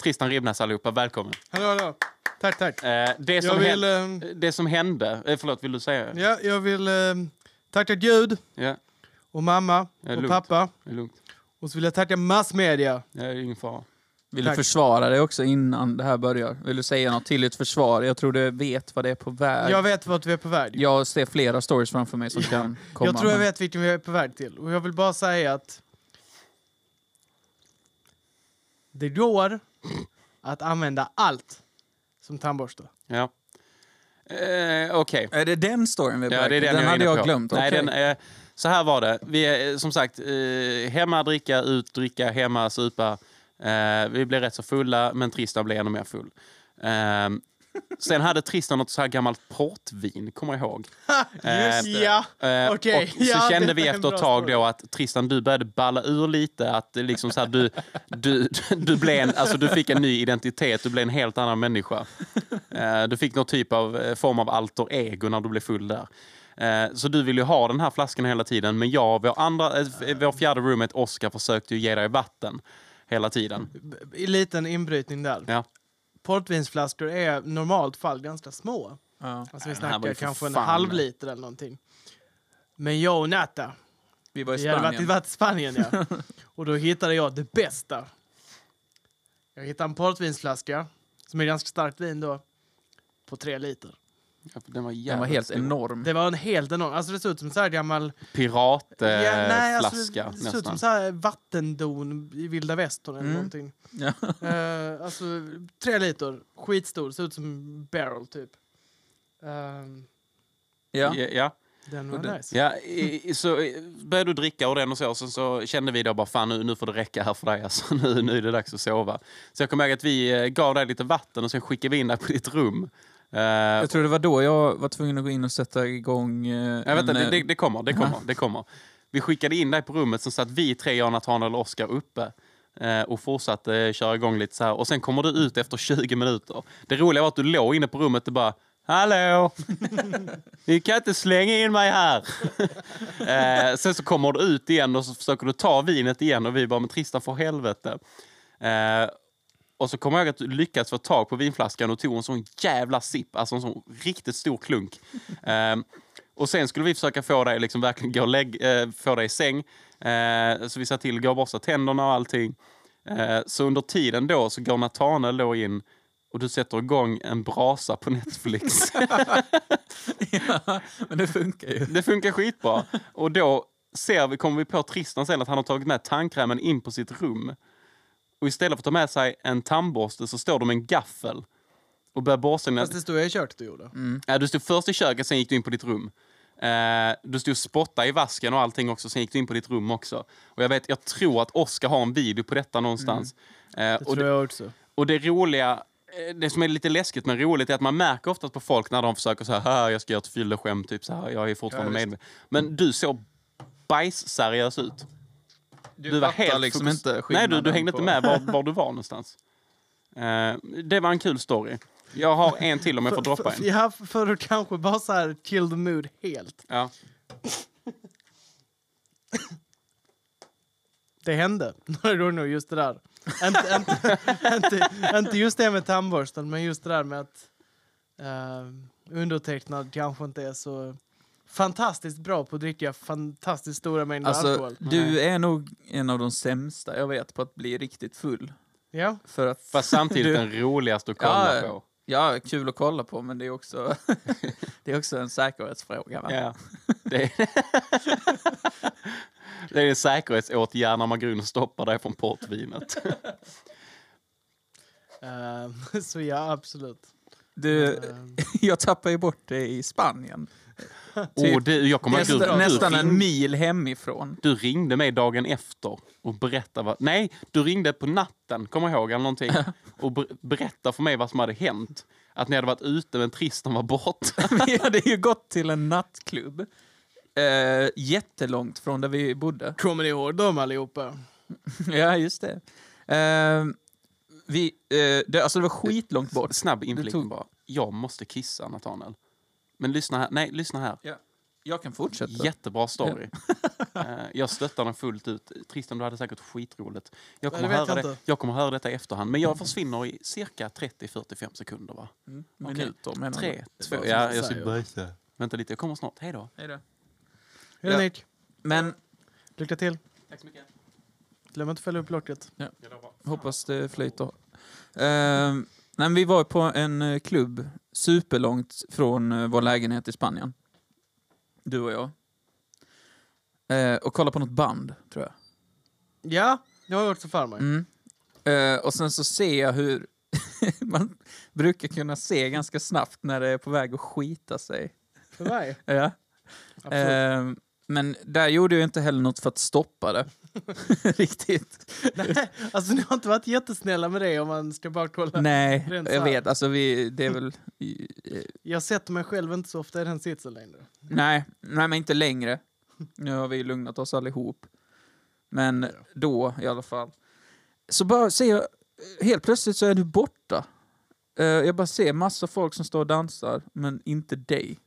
[SPEAKER 3] Tristan Ribnäs allihopa, välkommen.
[SPEAKER 4] Hallå, hallå. Tack, tack.
[SPEAKER 3] Eh, det,
[SPEAKER 4] Jag
[SPEAKER 3] som
[SPEAKER 4] vill,
[SPEAKER 3] hände,
[SPEAKER 4] ehm,
[SPEAKER 3] det som hände... Eh, förlåt, vill du säga? Ja,
[SPEAKER 4] ja, jag vill ehm, tacka Gud
[SPEAKER 3] ja
[SPEAKER 4] och mamma
[SPEAKER 3] Ja,
[SPEAKER 4] och
[SPEAKER 3] lugnt.
[SPEAKER 4] pappa.
[SPEAKER 3] det är lugnt.
[SPEAKER 4] Och så vill jag tacka massmedia.
[SPEAKER 3] Ja, det är ingen fara.
[SPEAKER 6] vill
[SPEAKER 4] Tack.
[SPEAKER 6] du försvara dig också innan det här börjar? Vill du säga något till ditt försvar? Jag tror du vet vad det är på väg.
[SPEAKER 4] Jag
[SPEAKER 6] Jag,
[SPEAKER 4] vet vart vi är på väg.
[SPEAKER 6] ser flera stories framför mig som kan komma.
[SPEAKER 4] Jag tror jag
[SPEAKER 6] men-
[SPEAKER 4] vet vilken vi är på väg till. Och jag vill bara säga att det går att använda allt som tandborste.
[SPEAKER 3] Ja. Eh, Okej.
[SPEAKER 6] Är det den storyn vi är på
[SPEAKER 3] Ja,
[SPEAKER 6] väg
[SPEAKER 3] det är
[SPEAKER 6] till?
[SPEAKER 3] den, jag är
[SPEAKER 6] hade
[SPEAKER 3] inne
[SPEAKER 6] jag
[SPEAKER 3] på.
[SPEAKER 6] glömt.
[SPEAKER 3] Nej,
[SPEAKER 6] Okej.
[SPEAKER 3] den, eh, så här var det. Vi är eh, som sagt eh, hemma dricka, ut dricka, hemma supa. Eh, vi blev rätt så fulla, men Tristan blev ännu mer full. Eh, sen hade Tristan något så här gammalt portvin, kommer jag ihåg. Eh,
[SPEAKER 4] Ja,
[SPEAKER 3] Eh,
[SPEAKER 4] Okej,
[SPEAKER 3] Och så
[SPEAKER 4] ja, det
[SPEAKER 3] kände vi
[SPEAKER 4] var en
[SPEAKER 3] efter ett
[SPEAKER 4] bra
[SPEAKER 3] tag
[SPEAKER 4] story.
[SPEAKER 3] då att Tristan, du började balla ur lite. Att det liksom så här, du, du, du, blev en, alltså, du fick en ny identitet, du blev en helt annan människa. Eh, Du fick någon typ av eh, form av alter ego när du blev full där. Eh, Så du ville ju ha den här flaskan hela tiden, men jag och vår, andra, eh, f- vår fjärde roommate Oscar försökte ju ge dig vatten hela tiden.
[SPEAKER 4] I liten inbrytning där.
[SPEAKER 3] Ja.
[SPEAKER 4] Portvinsflaskor är normalt fall ganska små.
[SPEAKER 6] Ja.
[SPEAKER 4] Alltså vi
[SPEAKER 3] den här var
[SPEAKER 4] snackar
[SPEAKER 3] ju för
[SPEAKER 4] kanske en
[SPEAKER 3] fan-
[SPEAKER 4] halv liter eller någonting. Men jag och Natta,
[SPEAKER 6] Vi var i
[SPEAKER 4] vi hade
[SPEAKER 6] Spanien.
[SPEAKER 4] varit, varit i Spanien ja. och då hittade jag det bästa. Jag hittade en portvinsflaska, som är ganska starkt vin då, på tre liter.
[SPEAKER 3] Ja, Den var jävligt
[SPEAKER 2] Den var helt
[SPEAKER 3] stor.
[SPEAKER 2] enorm.
[SPEAKER 4] Det var en helt enorm... Alltså det såg ut som en så här gammal...
[SPEAKER 3] Piratflaska
[SPEAKER 4] Ja, nej, alltså,
[SPEAKER 3] nästan.
[SPEAKER 4] det såg ut som så här vattendon i vilda västern eller
[SPEAKER 2] Mm.
[SPEAKER 4] någonting.
[SPEAKER 2] Ja.
[SPEAKER 4] Eh, alltså tre liter, skitstor, såg ut som en barrel typ. Eh,
[SPEAKER 2] Ja.
[SPEAKER 3] Ja, ja.
[SPEAKER 4] den var
[SPEAKER 2] Och den-
[SPEAKER 4] nice.
[SPEAKER 3] ja i, i- så eh, började du dricka och den och så. Sen så kände vi då bara fan nu, nu får det räcka här för dig. Alltså, nu, nu är det dags att sova. Så jag kommer ihåg att vi eh, gav dig lite vatten och sen skickade vi in dig på ditt rum. Eh,
[SPEAKER 2] Jag tror det var då jag var tvungen att gå in och sätta igång... eh,
[SPEAKER 3] nej, vänta,
[SPEAKER 2] en,
[SPEAKER 3] det,
[SPEAKER 2] eh,
[SPEAKER 3] det, det kommer, det kommer, det kommer. Vi skickade in dig på rummet, sen satt vi tre, jag, Nathan och Oskar uppe eh, och fortsatte eh, köra igång lite så här. Och sen kommer du ut efter 20 minuter. Det roliga var att du låg inne på rummet och bara Hallå! Ni kan inte slänga in mig här! eh, sen så kommer du ut igen och så försöker du ta vinet igen och vi bara, men Tristan för helvete. Eh, och så kommer jag ihåg att du lyckades få tag på vinflaskan och tog en sån jävla sipp, alltså en sån riktigt stor klunk. Eh, och sen skulle vi försöka få dig liksom verkligen gå och lägg, eh, få dig i säng. Eh, så vi sa till, gå och borsta tänderna och allting. Eh, så under tiden då så går Nathanael då in och du sätter igång en brasa på Netflix.
[SPEAKER 2] ja, men det funkar ju.
[SPEAKER 3] Det funkar skitbra. Och då ser vi, kommer vi på Tristan sen att han har tagit med tandkrämen in på sitt rum. Och istället för att ta med sig en tandborste så står de med en gaffel och börjar borsta dina...
[SPEAKER 4] Fast det stod jag i köket du gjorde.
[SPEAKER 3] Ja, Eh, du stod först i köket, sen gick du in på ditt rum. Eh, du stod och spottade i vasken och allting också, sen gick du in på ditt rum också. Och jag vet, jag tror att Oskar har en video på detta någonstans. Eh,
[SPEAKER 4] Det
[SPEAKER 3] och,
[SPEAKER 4] tror jag också.
[SPEAKER 3] och det roliga, eh, det som är lite läskigt men roligt är att man märker oftast på folk när de försöker så här, "Haha, jag ska göra ett fylleskämt, typ så här, jag är fortfarande
[SPEAKER 2] Ja, visst.
[SPEAKER 3] medveten. Men du såg bajsseriös ut.
[SPEAKER 2] Du,
[SPEAKER 3] var helt
[SPEAKER 2] liksom
[SPEAKER 3] fokus-
[SPEAKER 2] inte
[SPEAKER 3] Nej, du, du
[SPEAKER 2] skillnaden
[SPEAKER 3] hängde
[SPEAKER 2] på-
[SPEAKER 3] inte med var, var du var någonstans. Eh, det var en kul story. Jag har en till om jag får droppa en.
[SPEAKER 4] Ja, för du kanske bara så här kill the mood helt.
[SPEAKER 3] Ja.
[SPEAKER 4] Det hände några gånger just det där. inte, inte, inte, inte just det med tandborsten, men just det där med att eh, undertecknad kanske inte är så fantastiskt bra på att dricka fantastiskt stora mängder
[SPEAKER 2] Alltså,
[SPEAKER 4] alkohol.
[SPEAKER 2] du är nog en av de sämsta jag vet på att bli riktigt full.
[SPEAKER 4] Ja,
[SPEAKER 2] För att...
[SPEAKER 3] Fast samtidigt
[SPEAKER 2] Du-
[SPEAKER 3] den roligaste att kolla
[SPEAKER 2] Ja,
[SPEAKER 3] på.
[SPEAKER 2] Ja, kul att kolla på, men det är också, det är också en säkerhetsfråga. Va?
[SPEAKER 3] Ja. Det, är... det är en säkerhetsåtgärd när man går in och stoppar dig från portvinet.
[SPEAKER 2] Typ.
[SPEAKER 4] eh, så ja, absolut.
[SPEAKER 2] Du,
[SPEAKER 4] Eh,
[SPEAKER 2] jag tappade ju bort det i Spanien. Typ.
[SPEAKER 3] Åh, det, jag kommer ihåg,
[SPEAKER 2] Nästa,
[SPEAKER 3] du,
[SPEAKER 2] nästan
[SPEAKER 3] du,
[SPEAKER 2] en mil hemifrån.
[SPEAKER 3] du ringde mig dagen efter och berättade vad... Nej, du ringde på natten, kommer jag ihåg, eller någonting. Och ber, berättade för mig vad som hade hänt. Att ni hade varit ute men Tristan var borta.
[SPEAKER 2] Vi hade ju gått till en nattklubb. Eh, jättelångt från där vi bodde.
[SPEAKER 4] kommer ni ihåg dem allihopa?
[SPEAKER 2] Ja, just det. Eh, vi, eh, det, alltså det var skitlångt bort.
[SPEAKER 3] Snabb
[SPEAKER 2] Det
[SPEAKER 3] inflik
[SPEAKER 2] tog-
[SPEAKER 3] bara. Jag måste kissa, Nathaniel. Men lyssna här. Nej, lyssna här.
[SPEAKER 2] Jag kan fortsätta.
[SPEAKER 3] Jättebra story. Eh, jag stöttar den fullt ut. Tristan, du hade säkert skitroligt. Jag
[SPEAKER 4] Ja,
[SPEAKER 3] kommer,
[SPEAKER 4] det vet
[SPEAKER 3] höra,
[SPEAKER 4] jag
[SPEAKER 3] det,
[SPEAKER 4] inte.
[SPEAKER 3] jag kommer höra detta i efterhand, men jag försvinner i cirka 30-45 sekunder. Va?
[SPEAKER 2] Mm, Minuter menar du?
[SPEAKER 3] Tre, två...
[SPEAKER 2] bara
[SPEAKER 3] Ja,
[SPEAKER 2] så
[SPEAKER 3] jag
[SPEAKER 2] säger.
[SPEAKER 3] ska bajsa. Vänta lite, jag kommer snart. Hej då.
[SPEAKER 2] Hej då.
[SPEAKER 4] Hej
[SPEAKER 2] Ja.
[SPEAKER 4] Nick,
[SPEAKER 2] Men
[SPEAKER 4] lycka till.
[SPEAKER 3] Tack så mycket.
[SPEAKER 4] Glöm inte att fälla upp locket.
[SPEAKER 2] hoppas det flyter. Eh, nej, men vi var på en eh, klubb superlångt från eh, vår lägenhet i Spanien. Du och jag. Eh, och kollade på något band, tror jag.
[SPEAKER 4] Ja, jag har gjort så för mig.
[SPEAKER 2] Mm. Eh, och sen så ser jag hur man brukar kunna se ganska snabbt när det är på väg att skita sig.
[SPEAKER 4] För mig?
[SPEAKER 2] Ja.
[SPEAKER 4] Absolut.
[SPEAKER 2] Eh, men där gjorde jag inte heller något för att stoppa det. Riktigt.
[SPEAKER 4] Nej, alltså ni har inte varit jättesnälla med det om man ska bara kolla.
[SPEAKER 2] Nej,
[SPEAKER 4] Rent
[SPEAKER 2] jag
[SPEAKER 4] så här.
[SPEAKER 2] vet. Alltså vi, det är väl... eh,
[SPEAKER 4] Jag sätter mig själv inte så ofta i den sitsen längre.
[SPEAKER 2] nej, nej, men inte längre. Nu har vi lugnat oss allihop. Men då i alla fall. Så bara ser jag, helt plötsligt så är du borta. Eh, jag bara ser massa folk som står och dansar, men inte dig.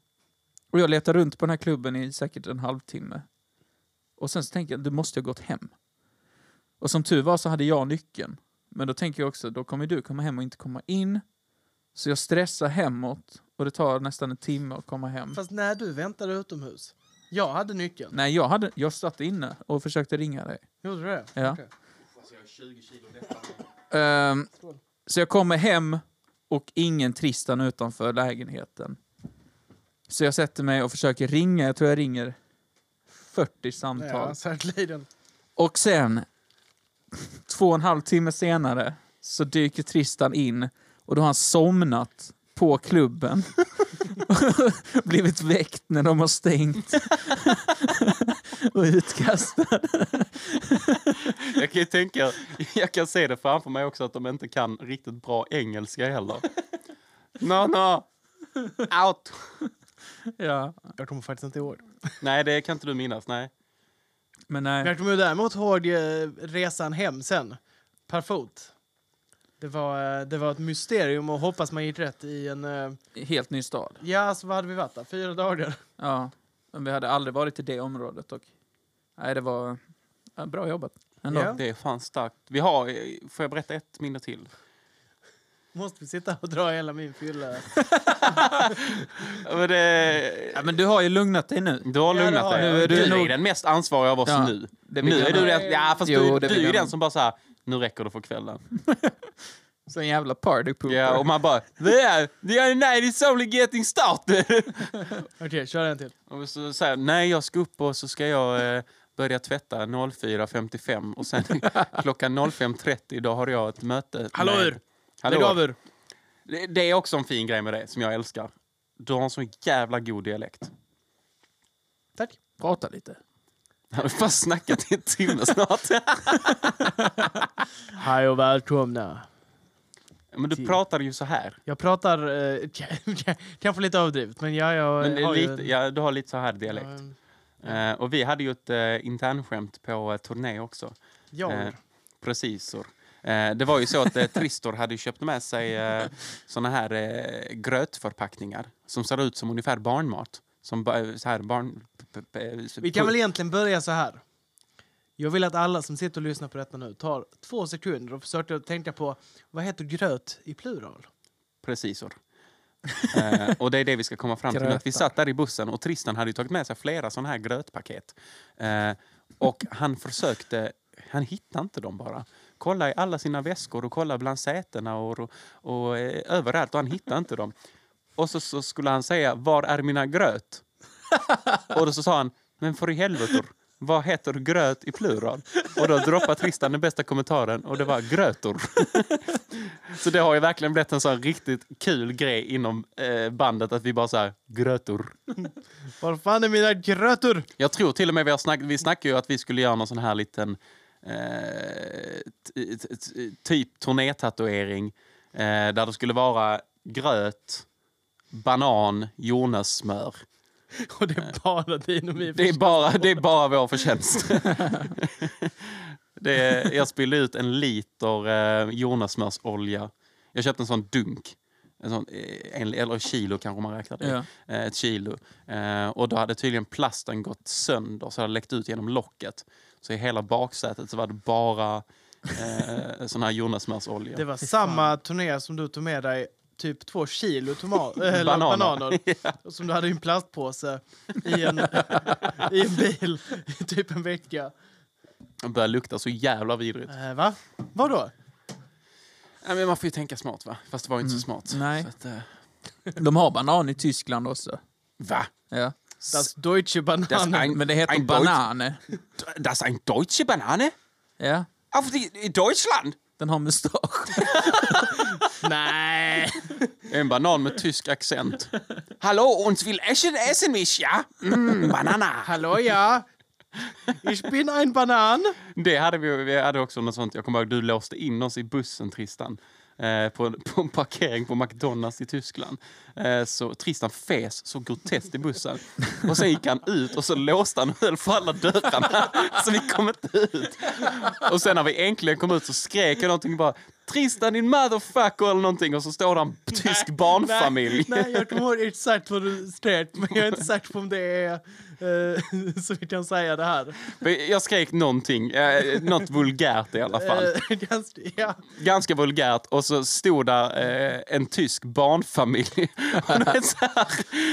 [SPEAKER 2] Och jag letar runt på den här klubben i säkert en halvtimme. Och sen så tänker jag, du måste ju ha gått hem. Och som tur var så hade jag nyckeln. Men då tänker jag också, då kommer du komma hem och inte komma in. Så jag stressar hemåt och det tar nästan en timme att komma hem.
[SPEAKER 4] Fast när du väntade utomhus. Jag hade nyckeln.
[SPEAKER 2] Nej, jag, hade, jag satt inne och försökte ringa dig.
[SPEAKER 4] Gjorde du det?
[SPEAKER 2] Ja.
[SPEAKER 4] Okej.
[SPEAKER 2] Ehm, så jag kommer hem och ingen Tristan utanför lägenheten. Så jag sätter mig och försöker ringa. Jag tror jag ringer 40
[SPEAKER 3] Mm,
[SPEAKER 2] samtal.
[SPEAKER 4] Ja, säkerligen.
[SPEAKER 2] Och sen, två och en halv timme senare, så dyker Tristan in och då har han somnat på klubben. Blivit väckt när de har stängt. och utkastad.
[SPEAKER 3] Jag kan ju tänka, jag kan se det framför mig också att de inte kan riktigt bra engelska heller. No, no. Out.
[SPEAKER 2] Ja.
[SPEAKER 4] Jag kommer faktiskt inte ihåg.
[SPEAKER 3] Nej, det kan inte du minnas. Nej.
[SPEAKER 2] Men nej.
[SPEAKER 4] Jag kommer däremot ihåg eh, resan hem sen. Per fot. Det var, eh, det var ett mysterium och hoppas man gick rätt i en... eh,
[SPEAKER 2] Helt ny stad.
[SPEAKER 4] Ja, så vad hade vi varit där? Fyra dagar.
[SPEAKER 2] Ja. Men vi hade aldrig varit i det området. Och, nej, det var ja, bra jobbat. Ändå.
[SPEAKER 4] Ja.
[SPEAKER 3] Det är fan starkt. Vi har, får jag berätta ett minne till?
[SPEAKER 4] Måste vi sitta och dra hela min fylla?
[SPEAKER 3] Ja, Men det,
[SPEAKER 2] Ja, men du har ju lugnat dig nu.
[SPEAKER 3] du har
[SPEAKER 4] Ja, det
[SPEAKER 3] lugnat
[SPEAKER 4] har
[SPEAKER 3] dig.
[SPEAKER 2] jag. Nu är
[SPEAKER 3] du
[SPEAKER 2] du
[SPEAKER 3] är
[SPEAKER 2] nog-
[SPEAKER 3] den mest ansvariga av oss
[SPEAKER 2] Ja,
[SPEAKER 3] nu.
[SPEAKER 2] Det vill
[SPEAKER 3] Nu är
[SPEAKER 2] jag
[SPEAKER 3] du
[SPEAKER 2] ha.
[SPEAKER 3] den, ja, fast
[SPEAKER 2] Jo,
[SPEAKER 3] du,
[SPEAKER 2] det
[SPEAKER 3] du
[SPEAKER 2] vill
[SPEAKER 3] är ju
[SPEAKER 2] jag Mm.
[SPEAKER 3] den
[SPEAKER 2] nog.
[SPEAKER 3] som bara så här, nu räcker det för kvällen.
[SPEAKER 2] Så en jävla party pooper.
[SPEAKER 3] Ja, och man bara, the, the other night is only getting started.
[SPEAKER 4] Okej, kör en till.
[SPEAKER 3] Och så säger jag, nej jag ska upp och så ska jag eh, börja tvätta 04.55 och sen klockan 05.30 då har jag ett möte.
[SPEAKER 4] Hallå,
[SPEAKER 3] med-
[SPEAKER 4] ur. Lägg av
[SPEAKER 3] Hallå.
[SPEAKER 4] ur.
[SPEAKER 3] Det, det är också en fin grej med det som jag älskar. Du har en sån jävla god dialekt.
[SPEAKER 4] Tack.
[SPEAKER 2] Prata lite.
[SPEAKER 3] Jag har fast snackat i en timme snart.
[SPEAKER 4] Hej och välkomna.
[SPEAKER 3] Men du pratar ju så här.
[SPEAKER 4] Jag pratar eh, kanske lite överdrivet, men jag, jag
[SPEAKER 3] Men det är
[SPEAKER 4] har ju
[SPEAKER 3] lite,
[SPEAKER 4] en-
[SPEAKER 3] ja, du har lite så här
[SPEAKER 4] jag har
[SPEAKER 3] dialekt.
[SPEAKER 4] en-
[SPEAKER 3] Eh, och vi hade ju ett eh, internskämt på eh, turné också.
[SPEAKER 4] Ja,
[SPEAKER 3] Eh, precisor. Eh, det var ju så att eh, Tristor hade ju köpt med sig eh, såna här eh, grötförpackningar som ser ut som ungefär barnmat. Som ba- eh, så här barn... p- p- p- så-
[SPEAKER 4] Vi kan väl egentligen börja så här. Jag vill att alla som sitter och lyssnar på detta nu tar två sekunder och försöker att tänka på vad heter gröt i plural?
[SPEAKER 3] Precisor. eh, och det är det vi ska komma fram till. nu, Att vi
[SPEAKER 2] Grötar.
[SPEAKER 3] satt där i bussen och Tristan hade ju tagit med sig flera såna här grötpaket. Eh, och han försökte... Han hittade inte dem bara. Kolla i alla sina väskor och kolla bland sätena och, och, och eh, överallt och han hittade inte dem. Och så, så skulle han säga, var är mina gröt? Och då så sa han, men för i helvete, vad heter gröt i plural? Och då droppade Tristan den bästa kommentaren och det var grötor. Så det har ju verkligen blivit en sån riktigt kul grej inom eh, bandet att vi bara så här, grötor.
[SPEAKER 4] Var fan är mina grötor?
[SPEAKER 3] Jag tror till och med vi har snack, vi snackade ju att vi skulle göra någon sån här liten eh, t- t- t- typ turnétatuering eh, där det skulle vara gröt, banan, jordnötssmör.
[SPEAKER 4] Och det är bara din och min.
[SPEAKER 3] Det är bara, det är bara vår förtjänst. det är, jag spillde ut en liter eh, jordnötssmörsolja. Jag köpte en sån dunk. En sån, eh, en, eller kilo kanske man räknar det.
[SPEAKER 2] Ja.
[SPEAKER 3] Eh, ett kilo. Eh, och då hade tydligen plasten gått sönder så hade läckt ut genom locket. Så i hela baksätet så var det bara eh, sån här jordnötssmörsolja.
[SPEAKER 4] Det var samma turné som du tog med dig typ två kilo toma- eller
[SPEAKER 3] Bananer.
[SPEAKER 4] bananer och som du hade i en plastpåse i en, i en bil i typ en vecka.
[SPEAKER 3] Det började lukta så jävla vidrigt.
[SPEAKER 4] Eh, va? Vadå?
[SPEAKER 3] Nej, men man får ju tänka smart va? Fast det var ju inte så smart.
[SPEAKER 2] Nej.
[SPEAKER 3] Så att, eh,
[SPEAKER 2] De har banan i Tyskland också.
[SPEAKER 3] va?
[SPEAKER 2] Ja.
[SPEAKER 4] Das deutsche
[SPEAKER 3] Das
[SPEAKER 4] Banan.
[SPEAKER 3] ein,
[SPEAKER 2] Men det heter
[SPEAKER 3] ein
[SPEAKER 2] banane.
[SPEAKER 3] Deutsch, das ein deutsche Banane?
[SPEAKER 2] Ja.
[SPEAKER 3] Auf die, I Deutschland?
[SPEAKER 2] Den har mustasch.
[SPEAKER 4] Nej!
[SPEAKER 3] En banan med tysk accent. Hallå, uns will essen essen mich, ja? Mm, banana.
[SPEAKER 4] Hallå ja! Ich bin ein Banan.
[SPEAKER 3] Det hade vi, vi hade också något sånt. Jag kommer ihåg, du låste in oss i bussen, Tristan. Eh, på, på en parkering på McDonalds i Tyskland. Eh, så Tristan fes så groteskt i bussen. Och sen gick han ut och så låste han och höll för alla dörrarna. Så vi kom inte ut. Och sen när vi äntligen kom ut så skrek jag någonting bara Tristan din motherfucker eller någonting och så står det en tysk barnfamilj.
[SPEAKER 4] Nej, nej, jag kommer ihåg exakt vad du skrek, men jag är inte säker på om det är eh, så vi kan säga det här.
[SPEAKER 3] Men Jag skrek någonting, eh, något vulgärt i alla fall.
[SPEAKER 4] Eh, ganska, ja.
[SPEAKER 3] Ganska vulgärt och så stod där eh, en tysk barnfamilj. Och det, är så här,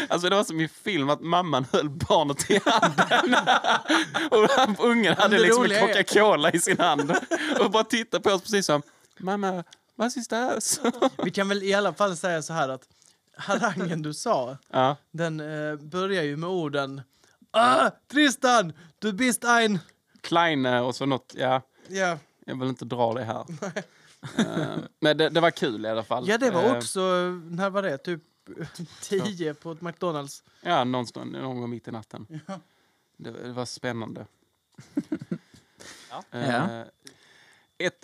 [SPEAKER 3] alltså det var som i film att mamman höll barnet i handen. Och han- ungen hade
[SPEAKER 4] det
[SPEAKER 3] liksom en
[SPEAKER 4] roliga är-
[SPEAKER 3] Coca-Cola i sin hand och bara tittade på oss precis som mamma, vad is this?
[SPEAKER 4] Vi kan väl i alla fall säga så här att harangen du sa,
[SPEAKER 3] Ja.
[SPEAKER 4] den eh, börjar ju med orden ah, Tristan, du bist ein...
[SPEAKER 3] Kleine och så något, ja.
[SPEAKER 4] Ja,
[SPEAKER 3] Jag vill inte dra det här. Eh, men det, det var kul i alla fall.
[SPEAKER 4] ja det var
[SPEAKER 3] Eh,
[SPEAKER 4] också, när var det? Typ 10 på ett McDonalds.
[SPEAKER 3] Ja, någonstans, någon gång mitt i natten. Det, det var spännande. Eh,
[SPEAKER 2] Ja.
[SPEAKER 3] ett,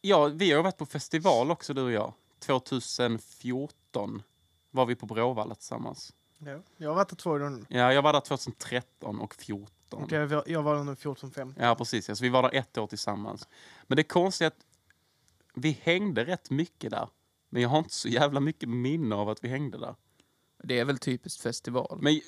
[SPEAKER 3] ja, vi har ju varit på festival också, du och jag. 2014 var vi på Bråvalla tillsammans.
[SPEAKER 4] Ja, jag har varit där två gånger.
[SPEAKER 3] Ja, jag var där 2013 och 14.
[SPEAKER 4] Okej, jag- jag var under 14-15.
[SPEAKER 3] Ja, precis. Ja. Så vi var där ett år tillsammans. Men det konstiga är att vi hängde rätt mycket där. Men jag har inte så jävla mycket minne av att vi hängde där.
[SPEAKER 2] Det är väl typiskt festival.
[SPEAKER 3] Men eh,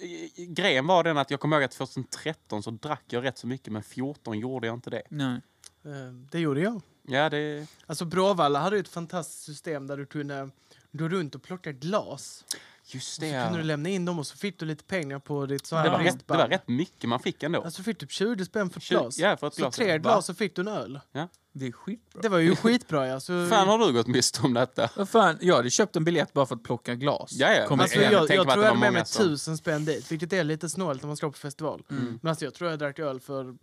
[SPEAKER 3] grejen var den att jag kommer ihåg att 2013 så drack jag rätt så mycket, men 14 gjorde jag inte det.
[SPEAKER 2] Nej.
[SPEAKER 4] Eh, Det gjorde jag.
[SPEAKER 3] Ja, det...
[SPEAKER 4] Alltså Bråvalla hade ju ett fantastiskt system där du kunde gå runt och plocka glas.
[SPEAKER 3] Just
[SPEAKER 4] Så
[SPEAKER 3] det.
[SPEAKER 4] kunde du
[SPEAKER 3] ja.
[SPEAKER 4] lämna in dem och så fick du lite pengar på ditt sån
[SPEAKER 3] Det
[SPEAKER 4] här
[SPEAKER 3] var, rätt, det
[SPEAKER 4] wristband.
[SPEAKER 3] var rätt mycket man fick ändå.
[SPEAKER 4] Alltså fick du typ 20 spänn för ett
[SPEAKER 3] Tjugo-
[SPEAKER 4] glas.
[SPEAKER 3] Ja, för ett
[SPEAKER 4] så
[SPEAKER 3] glas.
[SPEAKER 4] tre
[SPEAKER 3] Va?
[SPEAKER 4] glas så fick du en öl.
[SPEAKER 6] Det är skitbra.
[SPEAKER 4] Det var ju skitbra ja. Så, alltså,
[SPEAKER 3] fan har du gått miste om detta?
[SPEAKER 6] Vad fan, jag hade köpt en biljett bara för att plocka glas.
[SPEAKER 3] Ja, ja.
[SPEAKER 6] Kommer
[SPEAKER 4] alltså,
[SPEAKER 3] igen,
[SPEAKER 4] jag,
[SPEAKER 3] jag
[SPEAKER 4] jag,
[SPEAKER 3] tänker
[SPEAKER 4] tror
[SPEAKER 3] på att
[SPEAKER 4] jag
[SPEAKER 3] det
[SPEAKER 4] hade
[SPEAKER 3] var
[SPEAKER 4] med mig
[SPEAKER 3] många som-
[SPEAKER 4] tusen spänn dit, vilket är lite snålt när man ska på festival.
[SPEAKER 3] Mm.
[SPEAKER 4] Men alltså jag tror jag drack öl för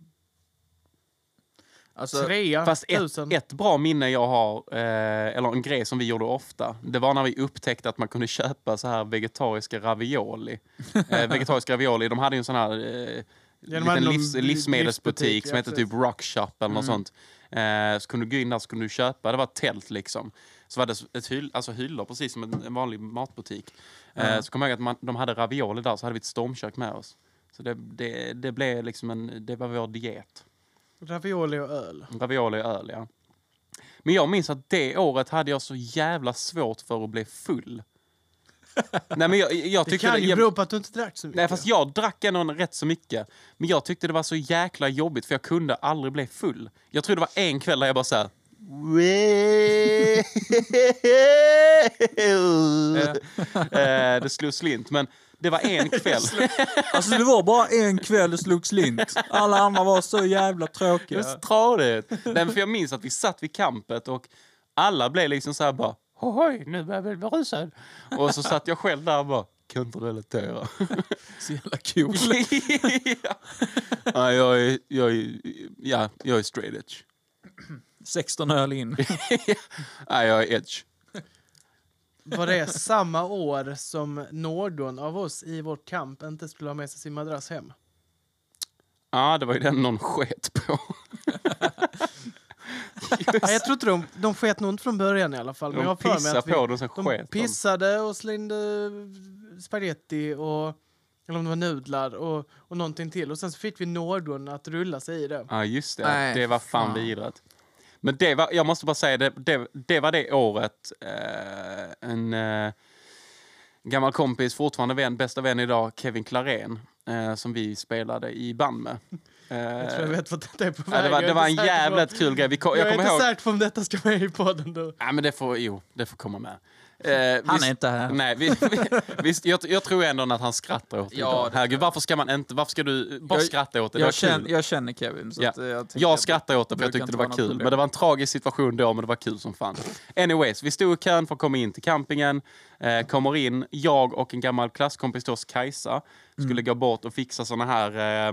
[SPEAKER 6] Alltså,
[SPEAKER 4] trea,
[SPEAKER 3] Fast ett,
[SPEAKER 4] tusen.
[SPEAKER 3] ett bra minne jag har, eh, eller en grej som vi gjorde ofta, det var när vi upptäckte att man kunde köpa så här vegetariska ravioli. Eh, vegetariska ravioli, de hade ju en sån här eh,
[SPEAKER 4] de hade
[SPEAKER 3] liten
[SPEAKER 4] någon
[SPEAKER 3] livs,
[SPEAKER 4] li-
[SPEAKER 3] livsmedelsbutik
[SPEAKER 4] livsbutik,
[SPEAKER 3] som
[SPEAKER 4] ja,
[SPEAKER 3] hette
[SPEAKER 4] precis. Mm.
[SPEAKER 3] typ Rock Shop eller något sånt. Eh, så kunde du gå in där så kunde du köpa, det var ett tält liksom. Så var det ett hyll, alltså hyllor, precis som en, en vanlig matbutik. Eh, så kommer jag ihåg att man, de hade ravioli där, så hade vi ett stormkök med oss. Så det, det, det blev liksom en, det var vår diet.
[SPEAKER 4] Ravioli och öl.
[SPEAKER 3] Ravioli och öl, ja. Men jag minns att det året hade jag så jävla svårt för att bli full. Nej, men jag, jag
[SPEAKER 4] Det
[SPEAKER 3] tyckte
[SPEAKER 4] kan
[SPEAKER 3] det-
[SPEAKER 4] ju
[SPEAKER 3] jag,
[SPEAKER 4] bero på att du inte drack så mycket.
[SPEAKER 3] Nej, fast jag drack ändå rätt så mycket. Men jag tyckte det var så jäkla jobbigt för jag kunde aldrig bli full. Jag tror det var en kväll där jag bara såhär... eh, det slog slint, men det var en kväll.
[SPEAKER 6] alltså det var bara en kväll det slog slint. Alla andra var så jävla
[SPEAKER 3] Det är
[SPEAKER 6] tråkiga.
[SPEAKER 3] så tradigt. Nej, men för jag minns att vi satt vid kampet och alla blev liksom så här bara Hoj, nu börjar jag bli berusad. Och så satt jag själv där och bara kan inte relatera.
[SPEAKER 6] Så jävla cool.
[SPEAKER 3] ja. Ja, jag, är, jag, är, ja, jag är straight edge.
[SPEAKER 6] 16 öl in.
[SPEAKER 3] Nej, jag är edge.
[SPEAKER 4] Var det samma år som någon av oss i vårt kamp inte skulle ha med sig sin madrass hem?
[SPEAKER 3] Ja, det var ju den någon sket på.
[SPEAKER 4] Nej, jag tror inte de, de sket nog inte från början i alla fall. men
[SPEAKER 3] De
[SPEAKER 4] jag har för mig
[SPEAKER 3] pissade
[SPEAKER 4] att vi-
[SPEAKER 3] på den och sen
[SPEAKER 4] De
[SPEAKER 3] sket de.
[SPEAKER 4] pissade och slängde spaghetti och eller om det var nudlar och, och någonting till. Och sen så fick vi någon att rulla sig i det.
[SPEAKER 3] Ja, just det.
[SPEAKER 2] Nej,
[SPEAKER 3] det var fan,
[SPEAKER 2] fan.
[SPEAKER 3] vidrigt. Men det var, jag måste bara säga, det, det, det var det året eh, en eh, gammal kompis, fortfarande vän, bästa vän idag, Kevin Klarén, eh, som vi spelade i band med. Eh,
[SPEAKER 4] Jag tror jag vet vad detta är på väg.
[SPEAKER 3] ja, det var,
[SPEAKER 4] Jag är
[SPEAKER 3] det var en
[SPEAKER 4] inte säker på-
[SPEAKER 3] jävligt kul grej. Vi kom,
[SPEAKER 4] Jag
[SPEAKER 3] jag
[SPEAKER 4] är
[SPEAKER 3] kommer
[SPEAKER 4] inte
[SPEAKER 3] ihåg...
[SPEAKER 4] säker på om detta ska med i podden. Då.
[SPEAKER 3] Ja, men det får, jo, det får komma med. Eh,
[SPEAKER 6] Han
[SPEAKER 3] visst-
[SPEAKER 6] är inte här.
[SPEAKER 3] Nej, vi, vi, visst, jag, jag tror ändå att han skrattar åt det
[SPEAKER 2] Ja,
[SPEAKER 3] idag.
[SPEAKER 2] det
[SPEAKER 3] Herregud, varför ska man inte... Varför ska du bara
[SPEAKER 6] Jag-
[SPEAKER 3] skratta åt det? det var
[SPEAKER 6] Jag
[SPEAKER 3] kul.
[SPEAKER 6] känner, jag känner Kevin. Så
[SPEAKER 3] Ja.
[SPEAKER 6] att eh, jag, tänker
[SPEAKER 3] Jag
[SPEAKER 6] att-
[SPEAKER 3] skrattade åt det för jag
[SPEAKER 6] brukar
[SPEAKER 3] tyckte det
[SPEAKER 6] inte
[SPEAKER 3] var
[SPEAKER 6] vara något
[SPEAKER 3] kul.
[SPEAKER 6] problem.
[SPEAKER 3] Men det var en tragisk situation då, men det var kul som fan. Anyways, vi stod i kön för att komma in till campingen. Eh, kommer in, jag och en gammal klasskompis till oss, Kajsa, skulle
[SPEAKER 6] Mm.
[SPEAKER 3] gå bort och fixa såna här eh,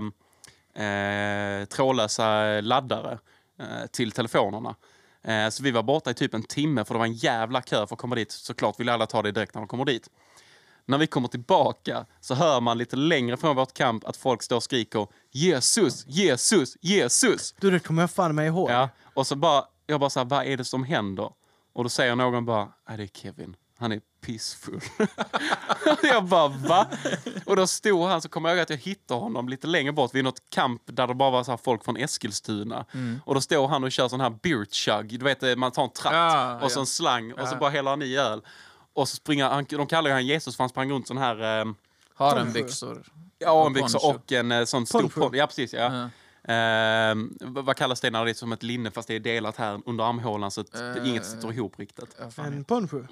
[SPEAKER 3] eh, trådlösa laddare eh, till telefonerna. Eh, så vi var borta i typ en timme för det var en jävla kö för att komma dit. Såklart vill alla ta det direkt när de kommer dit. När vi kommer tillbaka så hör man lite längre från vårt kamp att folk står och skriker Jesus, Jesus, Jesus.
[SPEAKER 4] Du, det kommer jag fan mig ihåg.
[SPEAKER 3] Ja, och så bara, jag bara så här, vad är det som händer? Och då säger någon bara, "Ja, det är Kevin. Han är pissfull. Och jag bara, va? Och då stod han, så kommer jag ihåg att jag hittade honom lite längre bort vid något kamp där det bara var så här folk från Eskilstuna. Och då står han och kör sån här beer chug. Du vet, man tar en tratt
[SPEAKER 2] Ja,
[SPEAKER 3] och så
[SPEAKER 2] ja.
[SPEAKER 3] en slang och så bara häller han i öl. Och så springer han, de kallar ju han Jesus för han sprang runt sån här... ehm,
[SPEAKER 2] Har en byxor.
[SPEAKER 3] Ja, en byxa
[SPEAKER 2] poncho.
[SPEAKER 3] och en eh, sån stor
[SPEAKER 4] Poncho.
[SPEAKER 3] poncho. Ja, precis. Ja. Ehm, vad vad kallas det när det är som ett linne fast det är delat här under armhålan så att det- inget sitter ihop riktigt?
[SPEAKER 2] Ja, fan.
[SPEAKER 4] En poncho.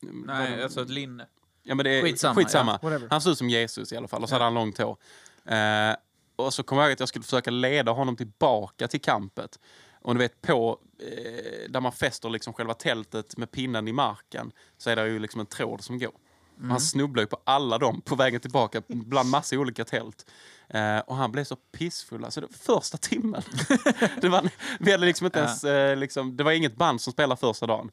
[SPEAKER 6] Nej, alltså ett linne.
[SPEAKER 3] Ja, men det är,
[SPEAKER 2] Skitsamma,
[SPEAKER 4] ja, whatever.
[SPEAKER 3] Han ser ut som Jesus i alla fall och så hade han långt hår. Eh, och så kommer jag ihåg att jag skulle försöka leda honom tillbaka till kampet. Och du vet på, eh, där man fäster liksom själva tältet med pinnen i marken så är det ju liksom en tråd som går.
[SPEAKER 4] Mm.
[SPEAKER 3] Han snubblade ju på alla dem på vägen tillbaka bland massa olika tält. Eh, och han blev så pissfull. Alltså, det, första timmen. det, var, vi hade liksom inte ens, eh, liksom, det var inget band som spelade första dagen.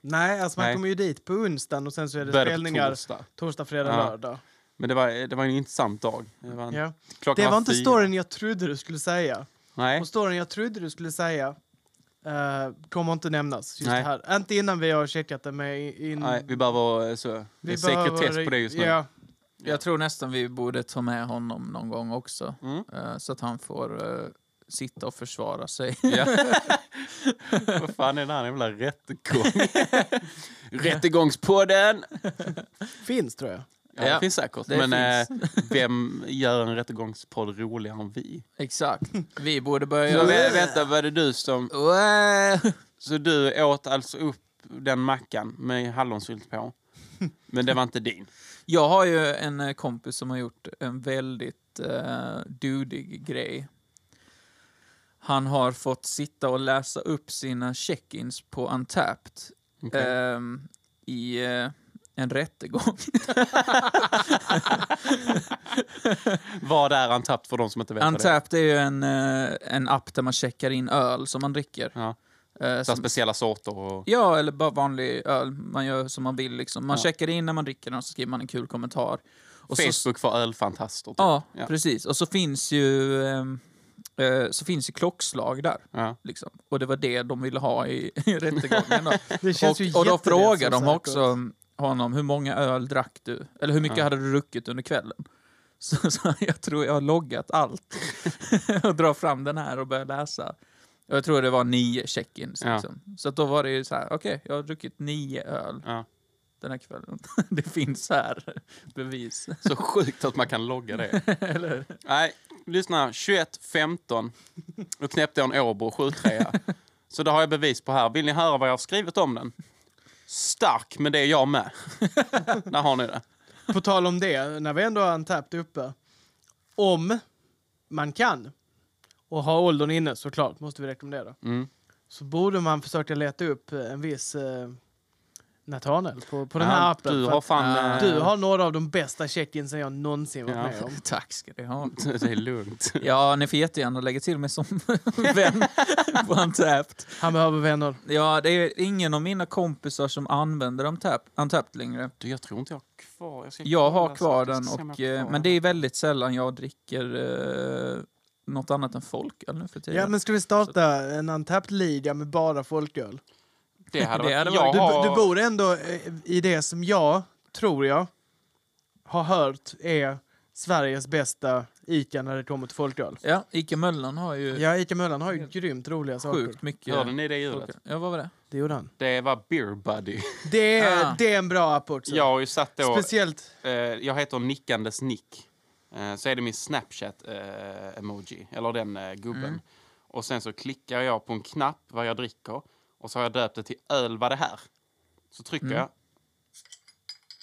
[SPEAKER 4] Nej, alltså man
[SPEAKER 3] Nej.
[SPEAKER 4] kommer ju dit på onsdagen och sen så är det
[SPEAKER 3] Började på
[SPEAKER 4] spelningar
[SPEAKER 3] torsdag.
[SPEAKER 4] torsdag, fredag,
[SPEAKER 3] Ja.
[SPEAKER 4] lördag.
[SPEAKER 3] Men det var, det var en intressant dag. Det var, en-
[SPEAKER 4] Ja.
[SPEAKER 3] klockan
[SPEAKER 4] Det var inte
[SPEAKER 3] fyra.
[SPEAKER 4] storyn jag trodde du skulle säga.
[SPEAKER 3] Nej.
[SPEAKER 4] Och storyn jag trodde du skulle säga eh, kommer inte nämnas just
[SPEAKER 3] Nej.
[SPEAKER 4] det här. Inte innan vi har checkat det med in...
[SPEAKER 3] Nej, vi behöver eh, så, det är sekretess på det just nu.
[SPEAKER 4] Ja,
[SPEAKER 2] Jag tror nästan vi borde ta med honom någon gång också.
[SPEAKER 3] Mm.
[SPEAKER 2] eh, Så att han får eh, sitta och försvara sig.
[SPEAKER 3] Ja. Vad fan är den här jävla rättegång? Rättegångspodden!
[SPEAKER 4] finns tror jag.
[SPEAKER 3] Ja, det
[SPEAKER 2] Ja,
[SPEAKER 3] finns säkert.
[SPEAKER 2] det
[SPEAKER 3] men Eh, vem gör en rättegångspodd roligare än vi?
[SPEAKER 2] Exakt. Vi borde börja...
[SPEAKER 3] Så, vä- vänta, var det du som...
[SPEAKER 2] Wow.
[SPEAKER 3] Så du åt alltså upp den mackan med hallonsylt på? Men det var inte din?
[SPEAKER 2] Jag har ju en eh, kompis som har gjort en väldigt eh, dudig grej. Han har fått sitta och läsa upp sina check-ins på Untapped
[SPEAKER 3] Okej.
[SPEAKER 2] ehm, i eh, en rättegång.
[SPEAKER 3] Vad är Antapt för de som inte vet vad det är?
[SPEAKER 2] Untapped är ju en, eh, en app där man checkar in öl som man dricker.
[SPEAKER 3] Ja.
[SPEAKER 2] Eh,
[SPEAKER 3] Så här
[SPEAKER 2] som,
[SPEAKER 3] speciella sorter och...
[SPEAKER 2] ja, eller bara vanlig öl. Man gör som man vill. Liksom. Man
[SPEAKER 3] Ja.
[SPEAKER 2] checkar in när man dricker den och så skriver man en kul kommentar. Och så-
[SPEAKER 3] Facebook för ölfantaster. typ.
[SPEAKER 2] Ja,
[SPEAKER 3] Ja.
[SPEAKER 2] precis. Och så finns ju ehm, eh, så finns ju klockslag där.
[SPEAKER 3] Ja.
[SPEAKER 2] Liksom. Och det var det de ville ha i, i rättegången. Då.
[SPEAKER 4] Det känns ju
[SPEAKER 2] Och, och då
[SPEAKER 4] jätterätt
[SPEAKER 2] frågade
[SPEAKER 4] som
[SPEAKER 2] de
[SPEAKER 4] sagt.
[SPEAKER 2] också honom, hur många öl drack du? Eller hur mycket
[SPEAKER 3] Ja.
[SPEAKER 2] hade du druckit under kvällen? Så, så jag tror jag har loggat allt. och drar fram den här och börjar läsa. Och jag tror det var nio check-ins.
[SPEAKER 3] Ja.
[SPEAKER 2] Liksom. Så att då var det ju så här, okej, jag har druckit nio öl
[SPEAKER 3] Ja.
[SPEAKER 2] den här kvällen. det finns här bevis.
[SPEAKER 3] Så sjukt att man kan logga det.
[SPEAKER 2] Eller hur?
[SPEAKER 3] Nej, lyssna. 21.15. Då knäppte jag en Åbo 73 Så det har jag bevis på här. Vill ni höra vad jag har skrivit om den? Stark, men det är jag med. Där har ni det.
[SPEAKER 4] På tal om det, när vi ändå har Untapped uppe. Om man kan och har åldern inne såklart, måste vi rekommendera.
[SPEAKER 3] Mm.
[SPEAKER 4] Så borde man försöka leta upp eh, en viss eh, Nathaniel på, på den
[SPEAKER 3] Ja,
[SPEAKER 4] här appen.
[SPEAKER 3] Du
[SPEAKER 4] för
[SPEAKER 3] har
[SPEAKER 4] att
[SPEAKER 3] fan... eh,
[SPEAKER 4] du har några av de bästa check-insen jag någonsin varit
[SPEAKER 3] Ja.
[SPEAKER 4] med om.
[SPEAKER 2] Tack ska ni ha.
[SPEAKER 3] Det är lugnt.
[SPEAKER 2] Ja, ni får jättegärna lägga till mig som vän på Untapped.
[SPEAKER 4] Han behöver vänner.
[SPEAKER 2] Ja, det är ingen av mina kompisar som använder Untapp- Untapped längre.
[SPEAKER 3] Du, jag tror inte jag har kvar. ska
[SPEAKER 2] Jag har
[SPEAKER 3] kolla så
[SPEAKER 2] kvar
[SPEAKER 3] att jag
[SPEAKER 2] den,
[SPEAKER 3] ska se om
[SPEAKER 2] och,
[SPEAKER 3] jag har
[SPEAKER 2] eh,
[SPEAKER 3] kvar
[SPEAKER 2] men det
[SPEAKER 3] den.
[SPEAKER 2] är väldigt sällan jag dricker eh, något annat än folköl nu för tiden.
[SPEAKER 4] Ja, men ska vi starta en Untapped liga med bara folköl?
[SPEAKER 3] Det hade
[SPEAKER 2] det
[SPEAKER 3] varit...
[SPEAKER 2] hade
[SPEAKER 3] jag
[SPEAKER 2] varit-
[SPEAKER 4] Du,
[SPEAKER 3] har...
[SPEAKER 4] du bor ändå eh, i det som jag, tror jag, har hört är Sveriges bästa ICA när det kommer till folköl.
[SPEAKER 2] Ja, Ica Möllan har ju
[SPEAKER 4] Ja, ICA Möllan har ju grymt roliga saker.
[SPEAKER 2] sjukt mycket...
[SPEAKER 3] Hörde ni det ljudet?
[SPEAKER 2] folköl. Ja, vad var det?
[SPEAKER 4] Det gjorde han.
[SPEAKER 3] Det var Beer Buddy.
[SPEAKER 4] Det är,
[SPEAKER 2] Ah.
[SPEAKER 4] det är en bra app också.
[SPEAKER 3] Jag har ju satt då...
[SPEAKER 4] Speciellt,
[SPEAKER 3] eh, jag heter Nickandes Nick. Eh, så är det min Snapchat-emoji, eller den eh, gubben. Och sen så klickar jag på en knapp vad jag dricker och så har jag döpt det till öl vad det här. Så trycker jag.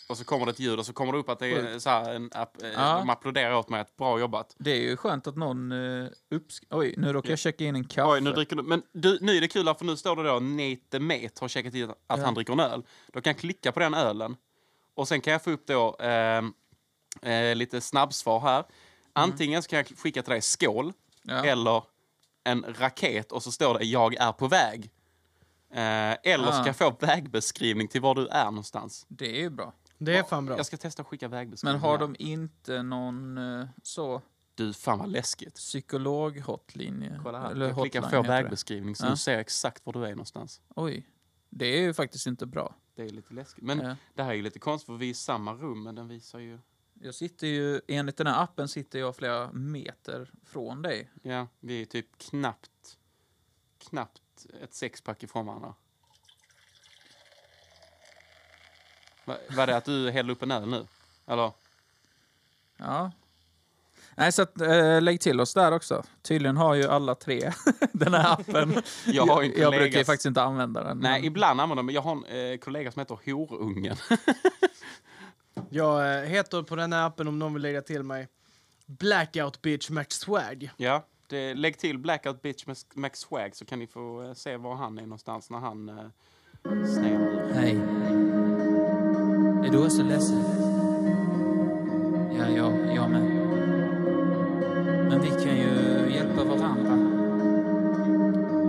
[SPEAKER 3] Och så kommer det ett ljud och så kommer det upp att det är så här en app, eh,
[SPEAKER 2] Ja.
[SPEAKER 3] de applåderar åt mig att bra jobbat.
[SPEAKER 2] Det är ju skönt att någon uh, uppsk... Oj, nu råkar
[SPEAKER 3] Ja.
[SPEAKER 2] jag checka in en kaffe.
[SPEAKER 3] Oj, nu dricker du. Men du, nu är det kul här, för nu står det då Nate Met har checkat in att han dricker en öl. Då kan jag klicka på den ölen och sen kan jag få upp då ehm, eh, lite snabbsvar här. Antingen så kan jag skicka till dig skål
[SPEAKER 2] Mm. Ja.
[SPEAKER 3] eller en raket och så står det jag är på väg. Eh, eller så
[SPEAKER 2] Ah.
[SPEAKER 3] kan jag få vägbeskrivning till var du är någonstans.
[SPEAKER 2] Det är ju bra.
[SPEAKER 4] det är fan bra.
[SPEAKER 3] Jag ska testa att skicka
[SPEAKER 2] Men
[SPEAKER 3] vägbeskrivning.
[SPEAKER 2] har
[SPEAKER 3] här.
[SPEAKER 2] de inte någon eh, så...
[SPEAKER 3] Du, fan vad läskigt.
[SPEAKER 2] psykolog-hotlinje.
[SPEAKER 3] Kolla här.
[SPEAKER 2] Eller
[SPEAKER 3] jag klickar
[SPEAKER 2] hotline
[SPEAKER 3] få
[SPEAKER 2] heter det.
[SPEAKER 3] vägbeskrivning så
[SPEAKER 2] Ja.
[SPEAKER 3] nu ser jag exakt var du är någonstans.
[SPEAKER 2] Oj. Det är ju faktiskt inte bra. Eh,
[SPEAKER 3] Det är lite läskigt. Men
[SPEAKER 2] Ja.
[SPEAKER 3] Det här är ju lite konstigt för vi är i samma rum men den visar ju...
[SPEAKER 2] Jag sitter ju, enligt den här appen sitter jag flera meter från dig.
[SPEAKER 3] Ja, vi är typ knappt, knappt ett sexpack ifrån varandra. Va- Var det att du hällde upp en öl nu? Eller?
[SPEAKER 2] Ja. Nej, så att, eh, lägg till oss där också. Tydligen har ju alla tre den här appen.
[SPEAKER 3] Jag har ju inte
[SPEAKER 2] jag
[SPEAKER 3] legat-
[SPEAKER 2] brukar ju faktiskt inte använda den.
[SPEAKER 3] Nej,
[SPEAKER 2] men-
[SPEAKER 3] ibland använder jag men Jag har en eh, kollega som heter Horungen.
[SPEAKER 4] Jag eh, heter på den här appen, om någon vill lägga till mig, Blackout Bitch McSwag.
[SPEAKER 3] ja, det, lägg till Blackout Bitch med S- Max Swag så kan ni få eh, se var han är någonstans när han eh, snäller.
[SPEAKER 2] Nej.
[SPEAKER 6] Är du också ledsen?
[SPEAKER 7] Ja, jag, jag med. Men vi kan ju hjälpa varandra.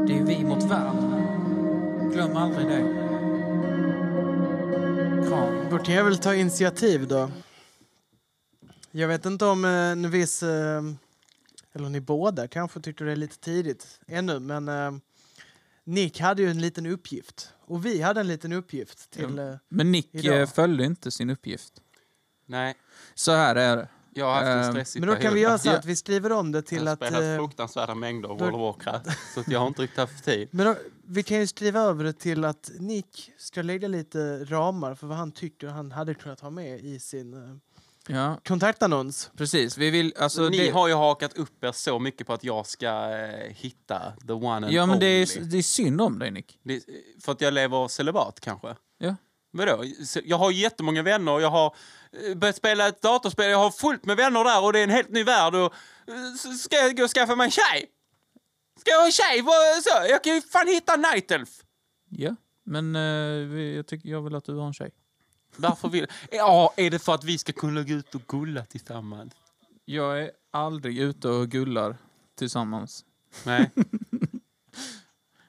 [SPEAKER 7] Det är ju vi mot världen. Glöm aldrig det. Kram.
[SPEAKER 4] Då kan jag väl ta initiativ då. Jag vet inte om eh, en viss, eh, eller ni båda kanske tyckte det är lite tidigt ännu, men eh, Nick hade ju en liten uppgift. Och vi hade en liten uppgift till... eh,
[SPEAKER 2] Men Nick eh,
[SPEAKER 4] Idag.
[SPEAKER 2] följde inte sin uppgift.
[SPEAKER 3] Nej,
[SPEAKER 2] Så här är det.
[SPEAKER 3] jag har haft en
[SPEAKER 2] Ehm,
[SPEAKER 3] stressig
[SPEAKER 4] Men då kan vi
[SPEAKER 3] period.
[SPEAKER 4] göra så här
[SPEAKER 2] Ja.
[SPEAKER 4] att vi skriver om det till
[SPEAKER 3] Jag har
[SPEAKER 4] att...
[SPEAKER 3] spelat
[SPEAKER 4] eh,
[SPEAKER 3] fruktansvärda mängder av
[SPEAKER 4] då-
[SPEAKER 3] World of Warcraft. Så att jag har inte riktigt haft tid.
[SPEAKER 4] Men då, vi kan ju skriva över det till att Nick ska lägga lite ramar för vad han tycker han hade kunnat ha med i sin eh,
[SPEAKER 2] Ja,
[SPEAKER 4] kontaktannons.
[SPEAKER 2] precis. Vi vill... Alltså,
[SPEAKER 3] ni
[SPEAKER 2] det,
[SPEAKER 3] har ju hakat upp er så mycket på att jag ska eh, hitta the one and
[SPEAKER 2] ja, men
[SPEAKER 3] only.
[SPEAKER 2] det är, det är synd om dig, Nick.
[SPEAKER 3] Det- För att jag lever celibat kanske?
[SPEAKER 2] Ja.
[SPEAKER 3] Vadå? Så Jag har jättemånga vänner och jag har eh, börjat spela ett datorspel. Jag har fullt med vänner där och det är en helt ny värld. Och eh, s- ska jag gå och skaffa mig en tjej? Ska jag ha en tjej? Vad- Så, jag kan ju fan hitta en Night Elf.
[SPEAKER 2] Ja, men eh, vi- jag, tycker, jag vill att du har en tjej.
[SPEAKER 3] Varför vill... Ja, är det för att vi ska kunna gå ut och gulla tillsammans?
[SPEAKER 2] Jag är aldrig ute och gullar tillsammans.
[SPEAKER 3] Nej.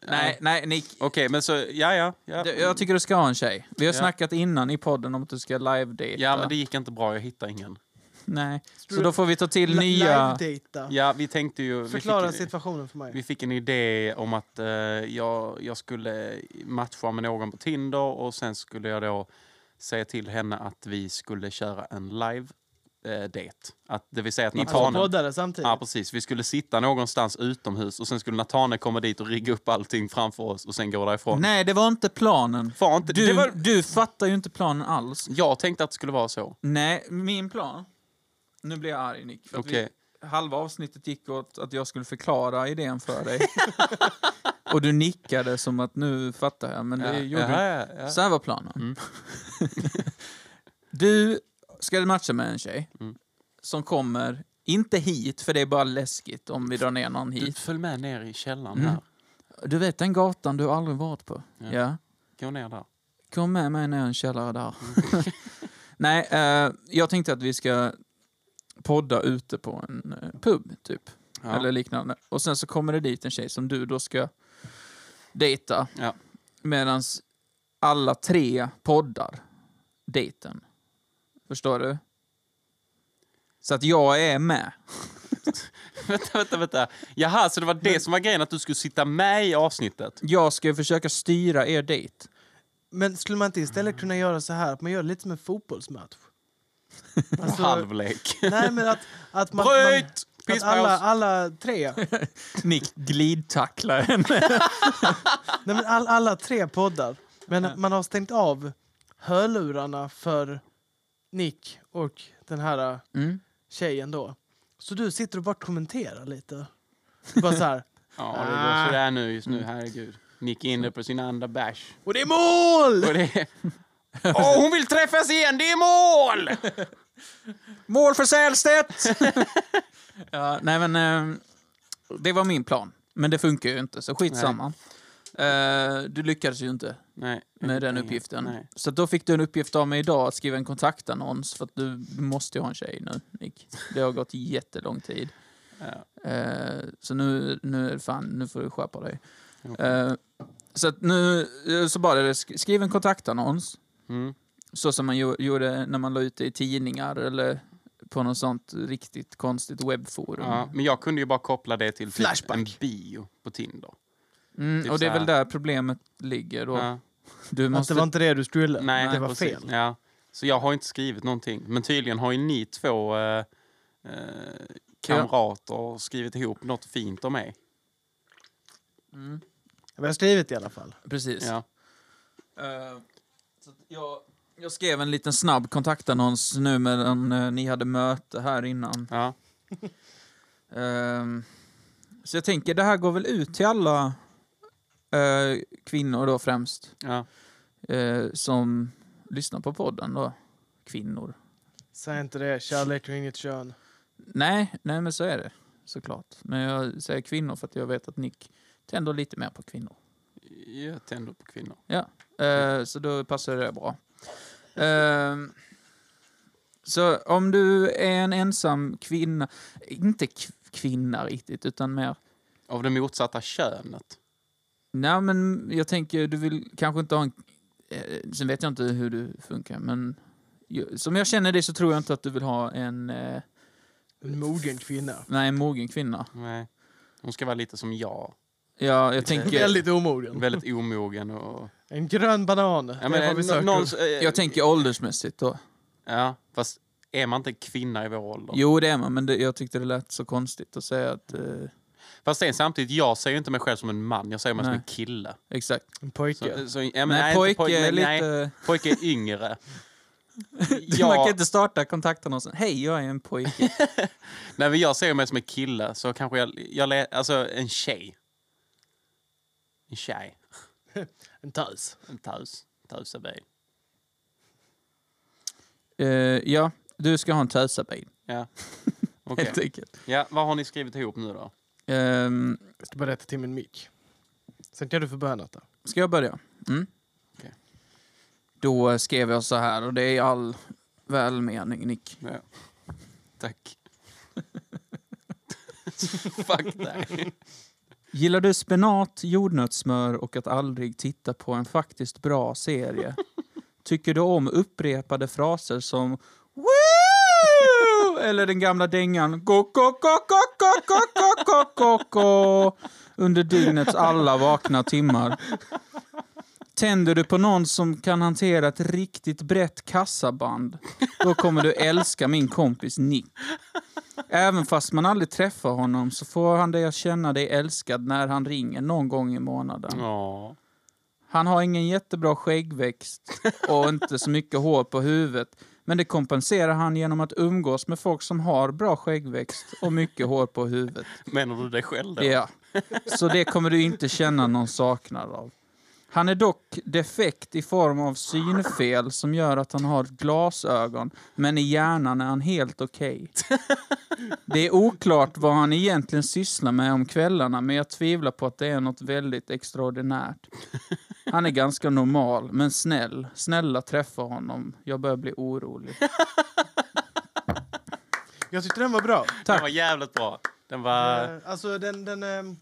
[SPEAKER 2] Nej, nej, Nick.
[SPEAKER 3] Okej, men så... Ja, ja. ja.
[SPEAKER 2] Det- Jag tycker du ska ha en tjej. Vi har
[SPEAKER 3] Ja.
[SPEAKER 2] snackat innan i podden om att du ska live-dejta.
[SPEAKER 3] ja, men det gick inte bra. Jag hittade ingen.
[SPEAKER 2] Nej. Så då får vi ta till nya...
[SPEAKER 4] Live-data.
[SPEAKER 3] Ja, vi tänkte ju... vi fick
[SPEAKER 4] Förklara
[SPEAKER 3] ju-
[SPEAKER 4] situationen för mig.
[SPEAKER 3] Vi fick en idé om att eh, jag, jag skulle matcha med någon på Tinder och sen skulle jag då säga till henne att vi skulle köra en live eh, date. Att, det vill säga att
[SPEAKER 4] Alltså
[SPEAKER 3] Natane...
[SPEAKER 2] typ.
[SPEAKER 4] poddare samtidigt.
[SPEAKER 3] Ja, precis. Vi skulle sitta någonstans utomhus och sen skulle Natane komma dit och rigga upp allting framför ooss och sen gå därifrån.
[SPEAKER 2] Nej, det var inte planen.
[SPEAKER 3] Fan, inte, det
[SPEAKER 2] Du,
[SPEAKER 3] var,
[SPEAKER 2] du fattar ju inte planen alls.
[SPEAKER 3] jag tänkte att det skulle vara så.
[SPEAKER 2] Nej, min plan... Nu blir jag arg, Nick. För att
[SPEAKER 3] Okej.
[SPEAKER 2] vi, halva avsnittet gick åt att jag skulle förklara idén för dig. Och du nickade som att nu fattar jag, men det gjorde du
[SPEAKER 3] ja, ja, Mm.
[SPEAKER 2] Så här var planen. du ska matcha med en tjej
[SPEAKER 3] Mm.
[SPEAKER 2] som kommer, inte hit, för det är bara läskigt om vi drar ner någon
[SPEAKER 3] Du,
[SPEAKER 2] hit.
[SPEAKER 3] följ med ner i källaren
[SPEAKER 2] Mm.
[SPEAKER 3] här.
[SPEAKER 2] Du vet den gatan du aldrig varit på?
[SPEAKER 3] Ja.
[SPEAKER 2] Ja.
[SPEAKER 3] Gå ner där.
[SPEAKER 2] Kom med mig ner i en källare där.
[SPEAKER 3] Mm.
[SPEAKER 2] Nej, eh, jag tänkte att vi ska podda ute på en eh, pub, typ.
[SPEAKER 3] Ja.
[SPEAKER 2] Eller liknande. Och sen så kommer det dit en tjej som du då ska dejta.
[SPEAKER 3] Ja.
[SPEAKER 2] Medan alla tre poddar dejten. Förstår du? Så att jag är med.
[SPEAKER 3] vänta, vänta, vänta. Jaha, så det var det som var grejen, att du skulle sitta med i avsnittet?
[SPEAKER 2] Jag ska ju försöka styra er dejt.
[SPEAKER 4] Men skulle man inte istället kunna göra så här, att man gör det lite som en fotbollsmatch? Alltså,
[SPEAKER 3] Halvlek.
[SPEAKER 4] nej men att, att man... man
[SPEAKER 3] Bryt!
[SPEAKER 4] att
[SPEAKER 3] Pisspaus!
[SPEAKER 4] alla, alla tre, nej
[SPEAKER 2] Nick glidtacklar henne.
[SPEAKER 4] men all, alla tre poddar. Men att man har stängt av hörlurarna för Nick och den här äh,
[SPEAKER 2] Mm.
[SPEAKER 4] tjejen då. Så du sitter och bara kommenterar lite. Bara så här.
[SPEAKER 3] Ja, det
[SPEAKER 4] Ah.
[SPEAKER 3] går sådär nu just
[SPEAKER 4] Mm.
[SPEAKER 3] nu, herregud. Nick är inne på sin andra bärs.
[SPEAKER 4] Och det är mål!
[SPEAKER 3] Och det... Åh, hon vill träffas igen! Det är mål!
[SPEAKER 2] Mål för Sälstedt! ja, nej men, eh, det var min plan. Men det funkar ju inte, så skitsamma. Eh, du lyckades ju inte
[SPEAKER 3] Nej.
[SPEAKER 2] med den
[SPEAKER 3] Mm, Nej,
[SPEAKER 2] uppgiften.
[SPEAKER 3] Nej.
[SPEAKER 2] Så då fick du en uppgift av mig idag att skriva en kontaktannons för att du måste ju ha en tjej nu, Nick. Det har gått jättelång tid. Eh, så nu, nu är det fan, nu får du skärpa dig. Eh, så att nu, eh, så bara det, sk- skriv en kontaktannons.
[SPEAKER 3] Mm.
[SPEAKER 2] Så som man gjo- gjorde när man la ut det i tidningar eller på något sånt riktigt konstigt webbforum.
[SPEAKER 3] Ja, men jag kunde ju bara koppla det till typ
[SPEAKER 4] Flashback.
[SPEAKER 3] en bio på Tinder.
[SPEAKER 2] mm,
[SPEAKER 3] typ
[SPEAKER 2] och det är
[SPEAKER 3] så här.
[SPEAKER 2] väl där problemet ligger då.
[SPEAKER 3] Ja.
[SPEAKER 2] Du
[SPEAKER 4] Att det
[SPEAKER 2] måste...
[SPEAKER 4] var inte det du skulle.
[SPEAKER 3] Nej,
[SPEAKER 4] det var
[SPEAKER 3] precis.
[SPEAKER 4] fel.
[SPEAKER 3] Ja. Så jag har inte skrivit någonting. Men tydligen har ju ni två eh, eh, kamrater skrivit ihop något fint om mig.
[SPEAKER 4] Men jag har skrivit i alla fall.
[SPEAKER 2] Mm. Precis.
[SPEAKER 3] Ja.
[SPEAKER 2] Eh, så att jag, jag skrev en liten snabb kontaktannons nu medan eh, ni hade möte här innan.
[SPEAKER 3] Ja.
[SPEAKER 2] Ehm, så jag tänker, det här går väl ut till alla eh, kvinnor då främst,
[SPEAKER 3] Ja.
[SPEAKER 2] eh, som lyssnar på podden då. Kvinnor.
[SPEAKER 4] Säg inte det, kärlek har inget kön.
[SPEAKER 2] Nej, nej men så är det såklart. Men jag säger kvinnor för att jag vet att Nick tänder lite mer på kvinnor.
[SPEAKER 3] Jag tänder på kvinnor.
[SPEAKER 2] Eh, så då passar det bra. Ehm, så om du är en ensam kvinna, inte kv- kvinna riktigt, utan mer...
[SPEAKER 3] Av det motsatta könet.
[SPEAKER 2] Nej, men jag tänker, du vill kanske inte ha en... eh, Sen vet jag inte hur du funkar, men... ju- Som jag känner dig så tror jag inte att du vill ha en... eh,
[SPEAKER 4] En mogen kvinna.
[SPEAKER 2] Nej, en mogen kvinna.
[SPEAKER 3] Nej. Hon ska vara lite som jag.
[SPEAKER 2] Ja, jag tänker...
[SPEAKER 4] Väldigt omogen.
[SPEAKER 3] Väldigt omogen och...
[SPEAKER 4] En grön banan.
[SPEAKER 3] Ja,
[SPEAKER 4] det är vad vi
[SPEAKER 3] nå-
[SPEAKER 4] söker.
[SPEAKER 3] någons, eh,
[SPEAKER 2] Jag tänker åldersmässigt då.
[SPEAKER 3] Ja, fast är man inte kvinna i vår ålder?
[SPEAKER 2] Jo, det är man, men det, jag tyckte det lät så konstigt att säga att... eh,
[SPEAKER 3] Fast sen, samtidigt, jag ser ju inte mig själv som en man. Jag ser mig som
[SPEAKER 2] Nej.
[SPEAKER 3] en kille.
[SPEAKER 2] exakt.
[SPEAKER 4] En pojke.
[SPEAKER 3] Så, så, ja, men,
[SPEAKER 2] nej,
[SPEAKER 3] inte
[SPEAKER 2] pojke är
[SPEAKER 3] men
[SPEAKER 2] lite...
[SPEAKER 3] Nej, pojke är yngre.
[SPEAKER 2] Man kan
[SPEAKER 3] jag,
[SPEAKER 2] inte starta kontakten och säga hej, jag är en pojke.
[SPEAKER 3] nej, men jag ser mig som en kille, så kanske jag... jag lä- alltså, en tjej. En tjej.
[SPEAKER 4] En tös.
[SPEAKER 3] En tös. Tösabil.
[SPEAKER 2] Eh, ja, du ska ha en tösabil,
[SPEAKER 3] Ja. Okej.
[SPEAKER 2] helt enkelt.
[SPEAKER 3] Ja, vad har ni skrivit ihop nu då?
[SPEAKER 2] Ehm,
[SPEAKER 4] Jag ska bara rätta till min mick. Sen kan du få börja något då.
[SPEAKER 2] ska jag börja? Mm.
[SPEAKER 3] Okej.
[SPEAKER 2] Då skrev jag så här, och det är i all välmening, Nick.
[SPEAKER 3] Ja. Tack. Fuck dig.
[SPEAKER 2] Gillar du spenat, jordnötssmör och att aldrig titta på en faktiskt bra serie? Tycker du om upprepade fraser som Woo! Eller den gamla dängan go, go, go, go, go, go, go, go, go, go, under dygnets alla vakna timmar? Tänder du på någon som kan hantera ett riktigt brett kassaband, då kommer du älska min kompis Nick. Även fast man aldrig träffar honom så får han dig att känna dig älskad när han ringer någon gång i månaden.
[SPEAKER 3] Ja.
[SPEAKER 2] Han har ingen jättebra skäggväxt och inte så mycket hår på huvudet. Men det kompenserar han genom att umgås med folk som har bra skäggväxt och mycket hår på huvudet.
[SPEAKER 3] Menar du dig själv då?
[SPEAKER 2] Ja. Så det kommer du inte känna någon saknad av. Han är dock defekt i form av synfel som gör att han har glasögon, men i hjärnan är han helt okej. Det är oklart vad han egentligen sysslar med om kvällarna, men jag tvivlar på att det är något väldigt extraordinärt. Han är ganska normal, men snäll. Snälla träffa honom. Jag börjar bli orolig.
[SPEAKER 4] Jag tyckte den var bra.
[SPEAKER 3] Den var jävligt bra. Den var...
[SPEAKER 4] Eh, Alltså den, den, ehm,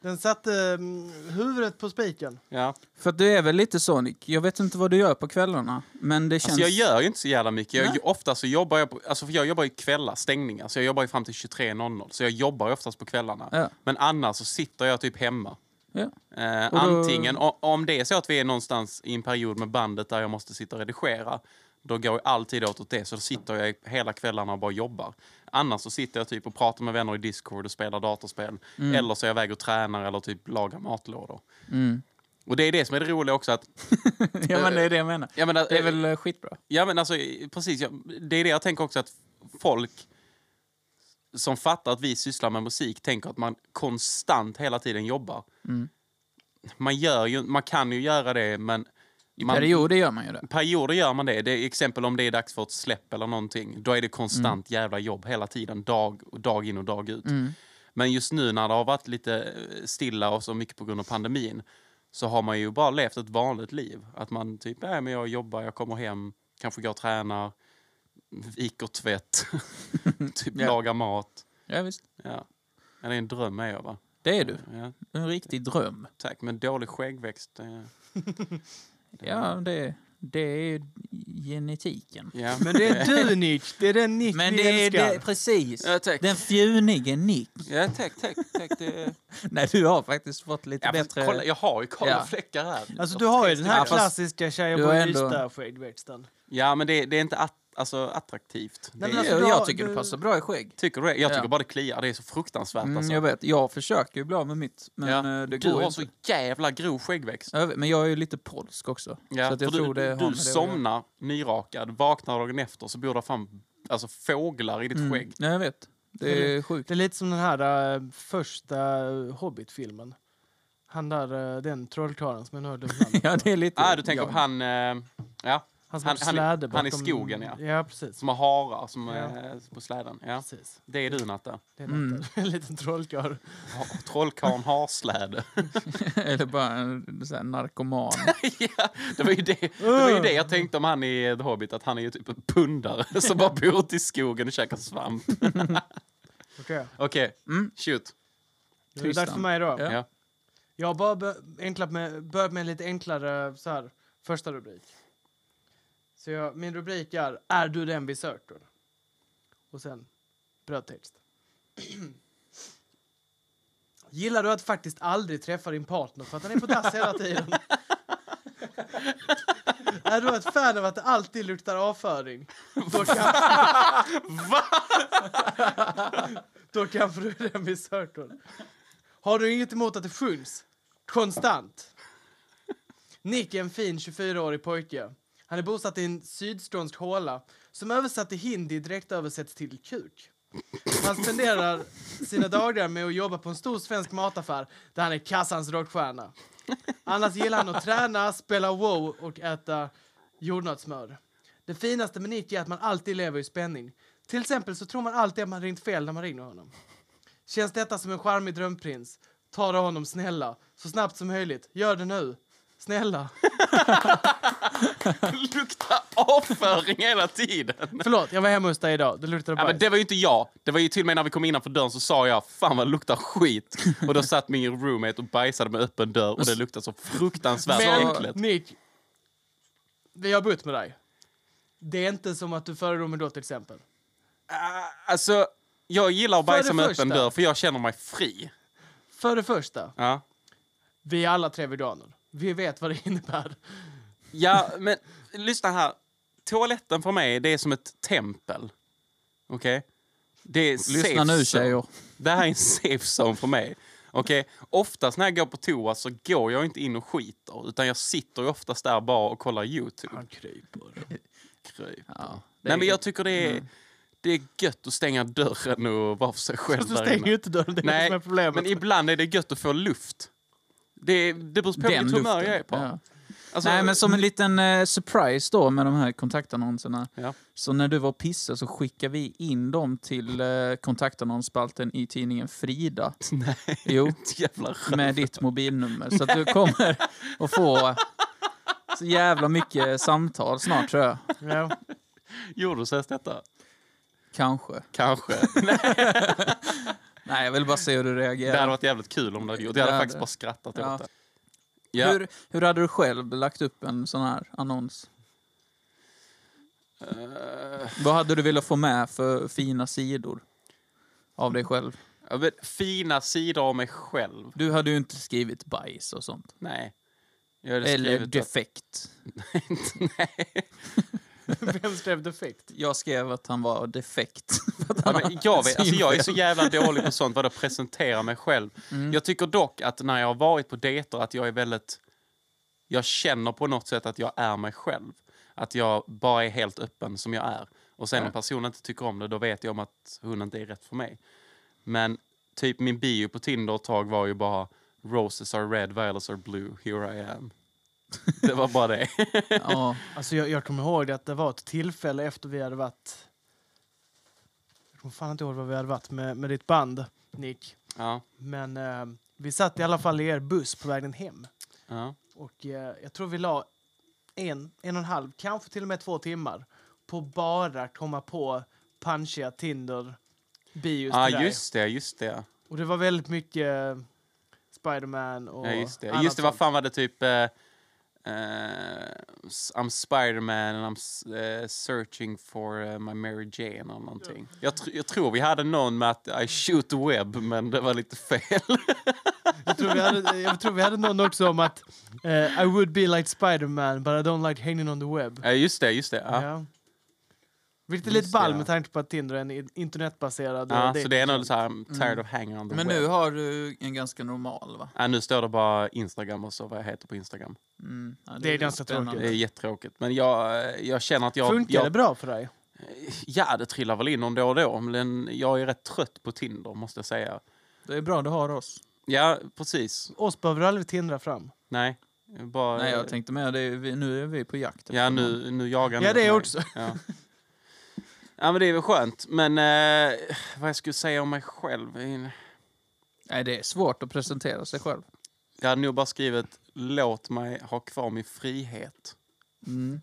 [SPEAKER 4] den satte ehm, huvudet på spiken.
[SPEAKER 3] Ja.
[SPEAKER 2] För att du är väl lite så, Nick? Jag vet inte vad du gör på kvällarna, men det känns...
[SPEAKER 3] Alltså jag gör ju inte så jävla mycket. Jag,
[SPEAKER 2] Nej.
[SPEAKER 3] ofta så jobbar jag på, alltså för jag jobbar ju kvällar, stängningar, så jag jobbar ju fram till 23.00. Så jag jobbar ju oftast på kvällarna.
[SPEAKER 2] Ja.
[SPEAKER 3] Men annars så sitter jag typ hemma.
[SPEAKER 2] Ja.
[SPEAKER 3] Eh,
[SPEAKER 2] då-
[SPEAKER 3] Antingen, o- om det är så att vi är någonstans i en period med bandet där jag måste sitta och redigera, då går ju alltid åt åt det. Så då sitter jag hela kvällarna och bara jobbar. Annars så sitter jag typ och pratar med vänner i Discord och spelar datorspel. Eller så är jag iväg och tränar eller typ lagar matlådor.
[SPEAKER 2] Mm.
[SPEAKER 3] Och det är det som är det roliga också att...
[SPEAKER 2] Ja, men det är det jag menar.
[SPEAKER 3] Jag menar,
[SPEAKER 2] Det är väl eh, skitbra?
[SPEAKER 3] Ja, men alltså, precis. Ja, det är det jag tänker också, att folk som fattar att vi sysslar med musik tänker att man konstant hela tiden jobbar.
[SPEAKER 2] Mm.
[SPEAKER 3] Man, gör ju, man kan ju göra det, men... man-
[SPEAKER 2] Perioder gör man ju det.
[SPEAKER 3] perioder gör man det. det är exempel om det är dags för ett släpp eller någonting. Då är det konstant
[SPEAKER 2] Mm.
[SPEAKER 3] jävla jobb hela tiden, dag, dag in och dag ut. Men just nu när det har varit lite eh, stilla och så mycket på grund av pandemin så har man ju bara levt ett vanligt liv. Att man typ, äh, men jag jobbar, jag kommer hem, kanske går och tränar, viker tvätt, typ
[SPEAKER 2] Ja.
[SPEAKER 3] lagar mat.
[SPEAKER 2] Ja, visst.
[SPEAKER 3] Ja. Ja, det är en dröm är jag va?
[SPEAKER 2] Det är du.
[SPEAKER 3] Ja,
[SPEAKER 2] En riktig dröm.
[SPEAKER 3] tack, men dålig skäggväxt. eh,
[SPEAKER 2] Ja, det, det är genetiken.
[SPEAKER 3] Ja.
[SPEAKER 4] Men det är du Nick, det är den Nick
[SPEAKER 2] Men
[SPEAKER 4] vi
[SPEAKER 2] det är
[SPEAKER 4] älskar.
[SPEAKER 2] det, precis.
[SPEAKER 3] Ja, tack.
[SPEAKER 2] Den fjunige Nick.
[SPEAKER 3] Ja, tack, tack, tack. Det är...
[SPEAKER 2] Nej, du har faktiskt fått lite
[SPEAKER 3] Ja, fast
[SPEAKER 2] bättre...
[SPEAKER 3] kolla, jag har ju kolla
[SPEAKER 2] Ja.
[SPEAKER 3] fläckar här.
[SPEAKER 4] Alltså du har ju den här
[SPEAKER 2] Ja, fast
[SPEAKER 4] klassiska tjejen
[SPEAKER 2] du
[SPEAKER 4] på
[SPEAKER 2] har ändå-
[SPEAKER 4] Ystad-skäggväxten.
[SPEAKER 3] Ja, men det, det är inte att, alltså, attraktivt.
[SPEAKER 4] Nej,
[SPEAKER 3] det,
[SPEAKER 4] men
[SPEAKER 2] jag,
[SPEAKER 4] alltså, du har-
[SPEAKER 2] jag tycker
[SPEAKER 4] du-
[SPEAKER 2] det passar bra i skägg.
[SPEAKER 3] tycker du det? Jag tycker
[SPEAKER 2] Ja.
[SPEAKER 3] bara det kliar. Det är så fruktansvärt.
[SPEAKER 2] Mm,
[SPEAKER 3] alltså.
[SPEAKER 2] jag vet, jag försöker ju bli av med mitt, men
[SPEAKER 3] ja.
[SPEAKER 2] eh,
[SPEAKER 3] du
[SPEAKER 2] det går
[SPEAKER 3] har
[SPEAKER 2] ju
[SPEAKER 3] så
[SPEAKER 2] inte.
[SPEAKER 3] jävla grov skäggväxt.
[SPEAKER 2] Jag vet, Men jag är ju lite polsk också.
[SPEAKER 3] Ja,
[SPEAKER 2] så att jag
[SPEAKER 3] för
[SPEAKER 2] tror
[SPEAKER 3] du
[SPEAKER 2] det har med
[SPEAKER 3] du
[SPEAKER 2] det att göra.
[SPEAKER 3] somnar nyrakad, vaknar dagen efter så bor det fan alltså, fåglar i ditt
[SPEAKER 2] Mm.
[SPEAKER 3] skägg.
[SPEAKER 2] Nej, jag vet. Det är sjukt.
[SPEAKER 4] Det är lite som den här eh, första Hobbit-filmen. Han där, eh, den trollkarlen som jag nu har glömt namnet
[SPEAKER 2] Ja,
[SPEAKER 4] på.
[SPEAKER 2] det är lite...
[SPEAKER 3] Ah, du tänker
[SPEAKER 2] jag-
[SPEAKER 3] på han... Eh, ja.
[SPEAKER 4] Han som
[SPEAKER 3] Han-
[SPEAKER 4] har
[SPEAKER 3] han är-
[SPEAKER 4] släde bakom...
[SPEAKER 3] han är i skogen, ja. Mm.
[SPEAKER 4] Ja, precis.
[SPEAKER 3] Som har harar som
[SPEAKER 4] Ja.
[SPEAKER 3] är på släden. Ja.
[SPEAKER 4] precis.
[SPEAKER 3] Det är du Natta.
[SPEAKER 4] Det är mm. en liten trollkarl.
[SPEAKER 3] Ha- Trollkarlen harsläde.
[SPEAKER 2] Eller bara en sån här narkoman.
[SPEAKER 3] ja, det var, ju det, det var ju det jag tänkte om han i The Hobbit, att han är ju typ en pundare som bara bor ute i skogen och käkar svamp.
[SPEAKER 4] Okej,
[SPEAKER 3] Okej, mm, shoot.
[SPEAKER 4] nu är det dags
[SPEAKER 2] Tristan.
[SPEAKER 4] för mig då.
[SPEAKER 2] Ja.
[SPEAKER 3] Ja.
[SPEAKER 4] Jag har bara bö- enklat med, börjat med en lite enklare så här, första rubrik. Så jag, min rubrik är Är du den vi sökt? då?" Och sen brödtext. Gillar du att faktiskt aldrig träffa din partner för att han är på dass hela tiden? är du ett fan av att det alltid luktar avföring? Då kan... Va? Då kanske du är den vi sökt. då. Har du inget emot att det sjungs? Konstant. Nick är en fin 24-årig pojke. Han är bosatt i en sydskånsk håla som översatt till hindi direkt översätts till kuk. Han spenderar sina dagar med att jobba på en stor svensk mataffär där han är kassans rockstjärna. Annars gillar han att träna, spela wow och äta jordnötssmör. Det finaste med Nick är att man alltid lever i spänning. Till exempel så tror man alltid att man ringt fel när man ringer honom. Känns detta som en charmig drömprins? Ta då honom snälla, så snabbt som möjligt. Gör det nu. Snälla.
[SPEAKER 3] Lukta avföring hela tiden.
[SPEAKER 4] Förlåt, jag var hemma hos dig idag. Det luktade
[SPEAKER 3] Ja,
[SPEAKER 4] bajs.
[SPEAKER 3] men det var ju inte jag. Det var ju till och med när vi kom innanför dörren så sa jag fan vad det luktar skit. Och då satt min roommate och bajsade med öppen dörr och det luktade så fruktansvärt
[SPEAKER 4] Men
[SPEAKER 3] äckligt.
[SPEAKER 4] Nick, vi har bott med dig. Det är inte som att du föredrar mig då till exempel.
[SPEAKER 3] Alltså, jag gillar att
[SPEAKER 4] För
[SPEAKER 3] bajsa
[SPEAKER 4] det
[SPEAKER 3] med
[SPEAKER 4] första-
[SPEAKER 3] öppen dörr för jag känner mig fri.
[SPEAKER 4] För det första,
[SPEAKER 3] Ja,
[SPEAKER 4] vi är alla tre veganer. Vi vet vad det innebär.
[SPEAKER 3] ja men lyssna här. Toaletten för mig, det är som ett tempel. Okej? Det är
[SPEAKER 2] Lyssna
[SPEAKER 3] safe
[SPEAKER 2] nu
[SPEAKER 3] zone.
[SPEAKER 2] tjejer.
[SPEAKER 3] Det här är en safe zone för mig. Okej, oftast när jag går på toa så går jag inte in och skiter utan jag sitter ju oftast där bara och kollar YouTube. Han kryper.
[SPEAKER 2] Ja, det
[SPEAKER 3] Nej men
[SPEAKER 2] är- Mm.
[SPEAKER 3] jag tycker det är, det är gött att stänga dörren och vara för sig själv
[SPEAKER 4] Du
[SPEAKER 3] där
[SPEAKER 4] stänger
[SPEAKER 3] inne.
[SPEAKER 4] ju inte dörren, det är det
[SPEAKER 3] Nej,
[SPEAKER 4] som är problemet.
[SPEAKER 3] men ibland är det gött att få luft. Det, det beror på
[SPEAKER 2] den
[SPEAKER 3] vilket humör
[SPEAKER 2] luften.
[SPEAKER 3] jag är på.
[SPEAKER 2] Ja.
[SPEAKER 3] Alltså,
[SPEAKER 2] Nej, men som en liten eh, surprise då med de här kontaktannonserna.
[SPEAKER 3] Ja.
[SPEAKER 2] Så när du var pissa så skickade vi in dem till eh, kontaktannonsspalten i tidningen Frida.
[SPEAKER 3] Nej,
[SPEAKER 2] Jo,
[SPEAKER 3] jävla skit.
[SPEAKER 2] med ditt mobilnummer. Så att du kommer att få så jävla mycket samtal snart tror jag.
[SPEAKER 4] Ja.
[SPEAKER 3] Gjorde du ens detta?
[SPEAKER 2] Kanske.
[SPEAKER 3] Kanske.
[SPEAKER 2] Nej, jag vill bara se hur du
[SPEAKER 3] Det hade
[SPEAKER 2] reagerar.
[SPEAKER 3] varit jävligt kul om du hade gjort det. Jag hade
[SPEAKER 2] Ja,
[SPEAKER 3] faktiskt
[SPEAKER 2] det-
[SPEAKER 3] bara skrattat
[SPEAKER 2] Ja.
[SPEAKER 3] åt det. Ja.
[SPEAKER 2] Hur, hur hade du själv lagt upp en sån här annons?
[SPEAKER 3] Eh,
[SPEAKER 2] Vad hade du velat få med för fina sidor av dig själv?
[SPEAKER 3] ja, men fina sidor av mig själv.
[SPEAKER 2] Du hade ju inte skrivit bajs och sånt.
[SPEAKER 3] Nej. Jag hade
[SPEAKER 2] Eller
[SPEAKER 3] skrivit att...
[SPEAKER 2] defekt.
[SPEAKER 3] Nej.
[SPEAKER 4] Vem skrev defekt?
[SPEAKER 2] Jag skrev att han var defekt.
[SPEAKER 3] Ja, men jag, vet, alltså jag är så jävla dålig på sånt, vad att presentera mig själv. Jag tycker dock att när jag har varit på dejter att jag är väldigt... Jag känner på något sätt att jag är mig själv. Att jag bara är helt öppen som jag är. Och sen om personen inte tycker om det, då vet jag om att hon inte är rätt för mig. Men typ min bio på Tinder ett tag var ju bara Roses are red, violets are blue, here I am. Det var bara det.
[SPEAKER 2] ja,
[SPEAKER 4] Alltså jag, jag kommer ihåg att det var ett tillfälle efter vi hade varit... Jag kommer fan inte ihåg vad vi hade varit med, med ditt band, Nick.
[SPEAKER 3] Ja,
[SPEAKER 4] Men eh, vi satt i alla fall i er buss på vägen hem.
[SPEAKER 3] ja.
[SPEAKER 4] Och eh, jag tror vi la en, en och en halv, kanske till och med två timmar på bara komma på punchiga Tinder bios
[SPEAKER 3] ah,
[SPEAKER 4] till dig.
[SPEAKER 3] just det, just det.
[SPEAKER 4] Och det var väldigt mycket eh, Spiderman och
[SPEAKER 3] Ja, just det.
[SPEAKER 4] annat
[SPEAKER 3] Just det, vad
[SPEAKER 4] sånt.
[SPEAKER 3] fan var det typ... eh, eh, s- I'm Spiderman and I'm s- eh, searching for eh, my Mary Jane eller någonting. Jag, tr- jag tror vi hade någon med att I shoot the web, men det var lite fel.
[SPEAKER 4] jag, tror vi hade, jag tror vi hade någon också om att eh, I would be like Spiderman but I don't like hanging on the web.
[SPEAKER 3] Ja, just det, just det. Ja.
[SPEAKER 4] Ja. Vilket är
[SPEAKER 3] Just
[SPEAKER 4] lite ball
[SPEAKER 3] det.
[SPEAKER 4] med tanke på att Tinder är en i- internetbaserad...
[SPEAKER 3] Ja,
[SPEAKER 4] eh,
[SPEAKER 3] så det är nog
[SPEAKER 4] dating-
[SPEAKER 3] så här, I'm tired of hanging on the
[SPEAKER 2] men
[SPEAKER 3] web.
[SPEAKER 2] nu har du en ganska normal va?
[SPEAKER 3] Ja, nu står det bara Instagram och så vad jag heter på Instagram.
[SPEAKER 2] Mm. Ja,
[SPEAKER 4] Det är ganska
[SPEAKER 2] spännande.
[SPEAKER 3] Det är jättetråkigt. Men jag, eh, jag känner att jag...
[SPEAKER 4] Funkar
[SPEAKER 3] jag,
[SPEAKER 4] det bra för dig?
[SPEAKER 3] Ja, det trillar väl in någon då och då. Men jag är rätt trött på Tinder, måste jag säga.
[SPEAKER 2] Det är bra, du har oss.
[SPEAKER 3] Ja, precis.
[SPEAKER 4] Oss behöver du aldrig tindra fram.
[SPEAKER 3] Nej. Bara,
[SPEAKER 2] Nej, jag tänkte med det. är vi- Nu är vi på jakt. efter
[SPEAKER 3] Ja,
[SPEAKER 2] någon.
[SPEAKER 3] nu, nu jagar ni
[SPEAKER 4] Ja, det
[SPEAKER 3] mig.
[SPEAKER 4] också.
[SPEAKER 3] Ja. ja, men det är väl skönt. Men eh, vad jag skulle säga om mig själv?
[SPEAKER 2] Nej, det är svårt att presentera sig själv.
[SPEAKER 3] Jag hade nog bara skrivit låt mig ha kvar min frihet.
[SPEAKER 2] Mm.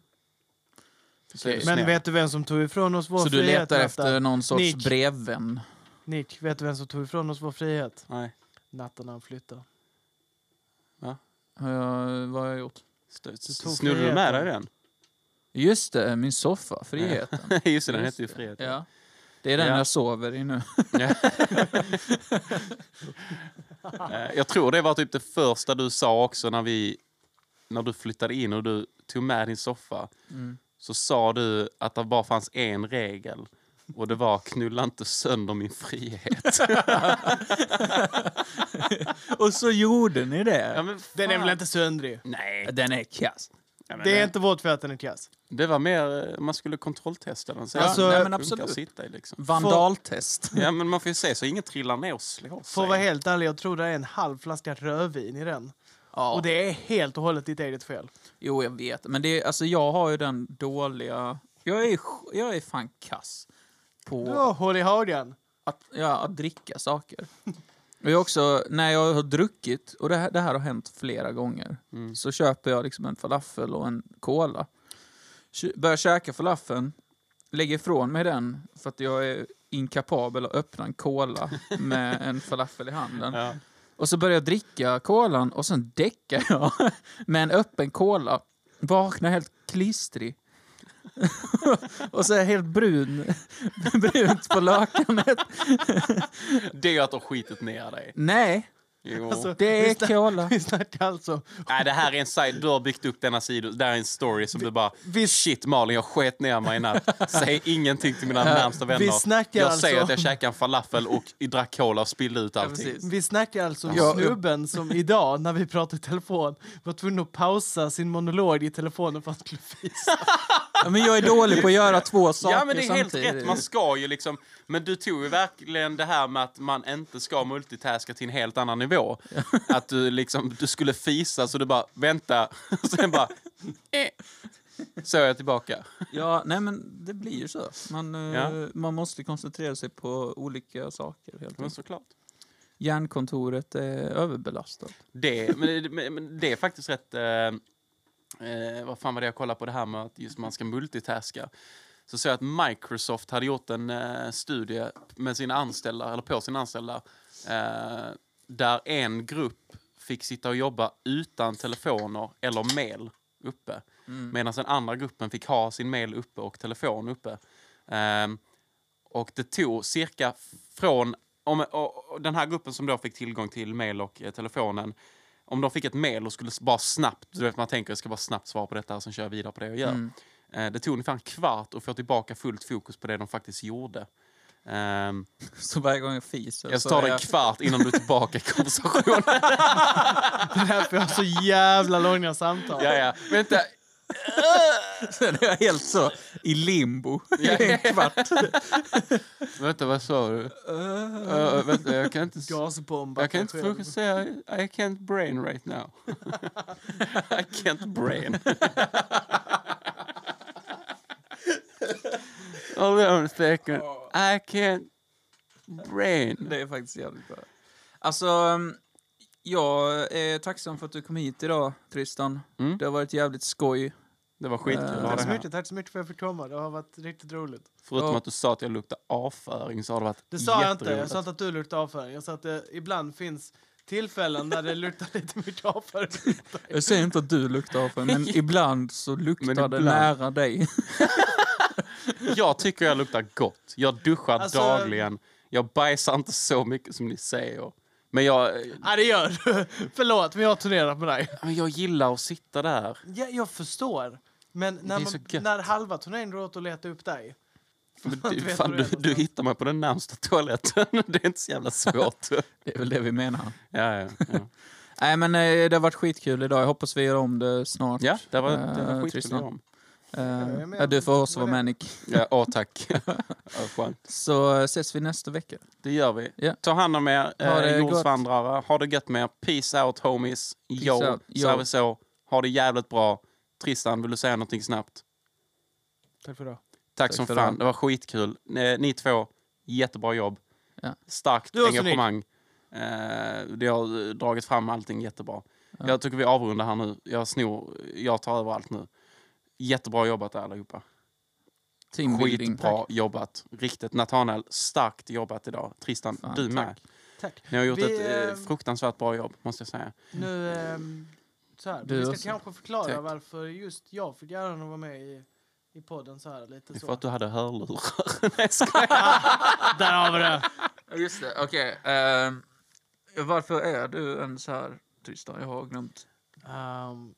[SPEAKER 3] Så är
[SPEAKER 2] Okej.
[SPEAKER 3] du
[SPEAKER 4] Men
[SPEAKER 3] snäll.
[SPEAKER 4] vet du vem som tog ifrån oss vår
[SPEAKER 2] Så du
[SPEAKER 4] frihet?
[SPEAKER 2] letar
[SPEAKER 4] Netta?
[SPEAKER 2] efter någon sorts
[SPEAKER 4] Nick.
[SPEAKER 2] brevvän?
[SPEAKER 4] Nick, vet du vem som tog ifrån oss vår frihet?
[SPEAKER 3] Nej,
[SPEAKER 4] Natten han flyttade.
[SPEAKER 2] Har jag, vad har jag gjort?
[SPEAKER 3] st-
[SPEAKER 4] tog
[SPEAKER 3] snodde du med dig den?
[SPEAKER 2] Just det, eh, min soffa. Friheten.
[SPEAKER 3] Just det, den
[SPEAKER 2] Just
[SPEAKER 3] heter ju Frihet.
[SPEAKER 2] Ja. Det är den
[SPEAKER 3] Ja.
[SPEAKER 2] jag sover i nu.
[SPEAKER 3] Eh, Jag tror det var typ det första du sa också när, vi, när du flyttade in och du tog med din soffa.
[SPEAKER 2] Mm.
[SPEAKER 3] Så sa du att det bara fanns en regel och det var knulla inte sönder min frihet.
[SPEAKER 8] Och så gjorde ni det.
[SPEAKER 3] Ja, men
[SPEAKER 4] Den är
[SPEAKER 3] fan.
[SPEAKER 4] väl inte söndrig?
[SPEAKER 3] Nej.
[SPEAKER 8] Den är kass.
[SPEAKER 4] Det är inte vårt fel att den är kass.
[SPEAKER 3] Det var mer, eh, man skulle kontrolltesta den. Se
[SPEAKER 4] Ja,
[SPEAKER 3] alltså,
[SPEAKER 4] nej,
[SPEAKER 3] nej,
[SPEAKER 2] men
[SPEAKER 3] men
[SPEAKER 2] absolut.
[SPEAKER 3] absolut. sitta i liksom.
[SPEAKER 2] Vandaltest.
[SPEAKER 3] Ja, men man får ju se så ingen trillar ner och slår
[SPEAKER 4] För att vara
[SPEAKER 3] sig.
[SPEAKER 4] helt ärlig, jag tror det är en halv flaska rödvin i den.
[SPEAKER 2] Ja.
[SPEAKER 4] Och det är helt och hållet ditt eget fel.
[SPEAKER 2] Jo, jag vet. Men det, är- alltså, jag har ju den dåliga... Jag är, sj- jag är fan kass på
[SPEAKER 4] Ja, håll i hagen.
[SPEAKER 2] att, ja, att dricka saker. Och jag också, när jag har druckit, och det här, det här har hänt flera gånger, så köper jag liksom en falafel och en cola. Kö- Börjar käka falafeln, lägger ifrån mig den för att jag är inkapabel att öppna en cola med en falafel i handen.
[SPEAKER 3] Ja.
[SPEAKER 2] Och så börjar jag dricka colan och sen däckar jag med en öppen cola. Vaknar helt klistrig. och så är jag helt brun. Brunt på lakanet.
[SPEAKER 3] Det är ju att de skitit ner dig.
[SPEAKER 2] Nej,
[SPEAKER 3] Jo.
[SPEAKER 4] Alltså-
[SPEAKER 2] det är
[SPEAKER 4] Visst-
[SPEAKER 2] cola.
[SPEAKER 4] Vi snackar alltså...
[SPEAKER 3] Nej, det här är en side, du har byggt upp denna sida. Det här är en story som du bara, shit Malin, jag sket ner mig i natt. Säg ingenting till mina närmsta vänner.
[SPEAKER 4] vi snackar
[SPEAKER 3] jag
[SPEAKER 4] alltså
[SPEAKER 3] säger att jag
[SPEAKER 4] om-
[SPEAKER 3] käkade en falafel och drack cola och spillde ut allting.
[SPEAKER 2] precis.
[SPEAKER 4] Vi snackar alltså om
[SPEAKER 2] Ja,
[SPEAKER 4] snubben som idag, när vi pratade i telefon, var tvungen att pausa sin monolog i telefonen för att han skulle fisa.
[SPEAKER 2] Ja, men jag är dålig på att göra två saker
[SPEAKER 3] Ja, men det är helt
[SPEAKER 2] samtidigt.
[SPEAKER 3] rätt. Man ska ju liksom... Men du tog ju verkligen det här med att man inte ska multitaska till en helt annan nivå. Att du liksom, du skulle fisa så du bara, vänta, och sen bara... Eh. Så är jag tillbaka.
[SPEAKER 2] Ja, nej men det blir ju så. Man, eh,
[SPEAKER 3] Ja.
[SPEAKER 2] man måste koncentrera sig på olika saker. Helt
[SPEAKER 3] Men
[SPEAKER 2] enkelt.
[SPEAKER 3] såklart.
[SPEAKER 2] Hjärnkontoret är överbelastat.
[SPEAKER 3] Det, men, men- men det är faktiskt rätt... Eh, eh, vad fan var det jag kollade på det här med att just man ska multitaska? Så såg jag att Microsoft hade gjort en eh, studie med sina anställda, eller på sina anställda, eh, där en grupp fick sitta och jobba utan telefoner eller mail uppe. Medan den andra gruppen fick ha sin mail uppe och telefon uppe. Ehm, och det tog cirka från... Om, och, och den här gruppen som då fick tillgång till mail och eh, telefonen. Om de fick ett mail och skulle s- bara snabbt... Du vet, man tänker jag ska bara snabbt svara på detta och sen kör jag vidare på det jag gör.
[SPEAKER 2] Mm.
[SPEAKER 3] Eh, det tog ungefär en kvart att få tillbaka fullt fokus på det de faktiskt gjorde. Ehm,
[SPEAKER 2] Så varje gång jag fiser
[SPEAKER 3] jag
[SPEAKER 2] så
[SPEAKER 3] tar
[SPEAKER 2] är
[SPEAKER 3] det en
[SPEAKER 2] jag-
[SPEAKER 3] kvart innan du är tillbaka i konversationen.
[SPEAKER 4] Det är därför jag har så jävla långa samtal.
[SPEAKER 3] ja, ja. Vänta.
[SPEAKER 2] Sen är jag helt så i limbo
[SPEAKER 3] Ja.
[SPEAKER 2] i en kvart.
[SPEAKER 3] vänta, vad sa du? Eh, vänta, jag kan inte... s-
[SPEAKER 4] Gasbombar.
[SPEAKER 3] Jag kan inte fokusera. I can't brain right now. I can't brain. Hold on a second. I can't brain.
[SPEAKER 2] Det är faktiskt jävligt bra. Alltså, um, jag är tacksam för att du kom hit idag, Tristan.
[SPEAKER 3] Mm.
[SPEAKER 2] Det har varit jävligt skoj.
[SPEAKER 3] Det var skitkul att ha
[SPEAKER 4] Tack
[SPEAKER 3] det
[SPEAKER 4] så
[SPEAKER 3] här.
[SPEAKER 4] mycket, tack så mycket för att jag fick komma. Det har varit riktigt roligt.
[SPEAKER 3] Förutom att du sa att jag luktar avföring så har det varit
[SPEAKER 4] Det sa jag inte.
[SPEAKER 3] jätteroligt.
[SPEAKER 4] Jag sa inte att du luktade avföring. Jag sa att det ibland finns tillfällen där det luktar lite mycket avföring.
[SPEAKER 2] Jag säger inte att du luktar avföring, men ibland så luktar
[SPEAKER 3] Men
[SPEAKER 2] det
[SPEAKER 3] ibland.
[SPEAKER 2] nära dig.
[SPEAKER 3] Jag tycker jag luktar gott. Jag duschar
[SPEAKER 4] Alltså-
[SPEAKER 3] dagligen. Jag bajsar inte så mycket som ni säger. Men jag,
[SPEAKER 4] Ja, det gör du. Förlåt, men jag har turnerat med dig.
[SPEAKER 3] men jag gillar att sitta där.
[SPEAKER 4] Ja, jag förstår. Men när,
[SPEAKER 3] är så
[SPEAKER 4] man,
[SPEAKER 3] gött.
[SPEAKER 4] när halva turnén går åt att leta upp dig.
[SPEAKER 3] Men
[SPEAKER 4] Fan,
[SPEAKER 3] du,
[SPEAKER 4] du vet
[SPEAKER 3] fan,
[SPEAKER 4] var du
[SPEAKER 3] du,
[SPEAKER 4] är
[SPEAKER 3] du hittar mig på den närmsta toaletten. Det är inte så jävla svårt.
[SPEAKER 2] Det är väl det vi menar.
[SPEAKER 3] ja, ja, ja.
[SPEAKER 2] Nej men eh, det har varit skitkul idag. Jag hoppas vi gör om det snart.
[SPEAKER 3] ja, det var,
[SPEAKER 2] Eh,
[SPEAKER 3] det var skitkul att
[SPEAKER 2] Tristan.
[SPEAKER 3] göra om.
[SPEAKER 2] Eh,
[SPEAKER 4] jag är med.
[SPEAKER 2] ja, du får också
[SPEAKER 4] Vad
[SPEAKER 2] vara
[SPEAKER 4] är
[SPEAKER 2] med Nick.
[SPEAKER 3] Ja, åh, tack. ja, skönt.
[SPEAKER 2] Så eh, ses vi nästa vecka.
[SPEAKER 3] Det gör vi.
[SPEAKER 2] Ja.
[SPEAKER 3] Ta hand om er,
[SPEAKER 2] Ha det
[SPEAKER 3] eh,
[SPEAKER 2] gott.
[SPEAKER 3] jordsvandrare. Ha det gött med er. Peace out homies. Yo,
[SPEAKER 2] out. Yo.
[SPEAKER 3] så är vi så. Ha det jävligt bra. Tristan, vill du säga någonting snabbt?
[SPEAKER 4] Tack för idag.
[SPEAKER 3] Tack, som
[SPEAKER 2] för
[SPEAKER 3] fan.
[SPEAKER 2] det.
[SPEAKER 3] Det var skitkul. Ni, ni två, jättebra jobb.
[SPEAKER 2] Ja.
[SPEAKER 3] Starkt
[SPEAKER 4] Du också,
[SPEAKER 3] engagemang. Eh, det har eh, dragit fram allting jättebra. Jag tycker vi avrundar här nu. Jag snor, jag tar över allt nu. Jättebra jobbat allihopa.
[SPEAKER 2] Teambuilding.
[SPEAKER 3] Skitbra jobbat. Riktigt. Nathanael, starkt jobbat idag. Tristan,
[SPEAKER 2] Fan,
[SPEAKER 3] du med.
[SPEAKER 4] Tack.
[SPEAKER 3] Ni har gjort
[SPEAKER 4] Vi,
[SPEAKER 3] ett eh,
[SPEAKER 4] ehm,
[SPEAKER 3] fruktansvärt bra jobb, måste jag säga.
[SPEAKER 4] Nu, ehm, så här.
[SPEAKER 2] Du
[SPEAKER 4] Vi ska
[SPEAKER 2] också.
[SPEAKER 4] kanske förklara
[SPEAKER 3] Tack.
[SPEAKER 4] varför just jag fick äran att vara med i, i podden så här lite
[SPEAKER 3] Det är
[SPEAKER 4] så.
[SPEAKER 3] för att du hade hörlurar.
[SPEAKER 4] Där har vi det!
[SPEAKER 2] Just det, okej. Ehm, varför är du en så här Tristan? Jag har glömt.
[SPEAKER 4] Um,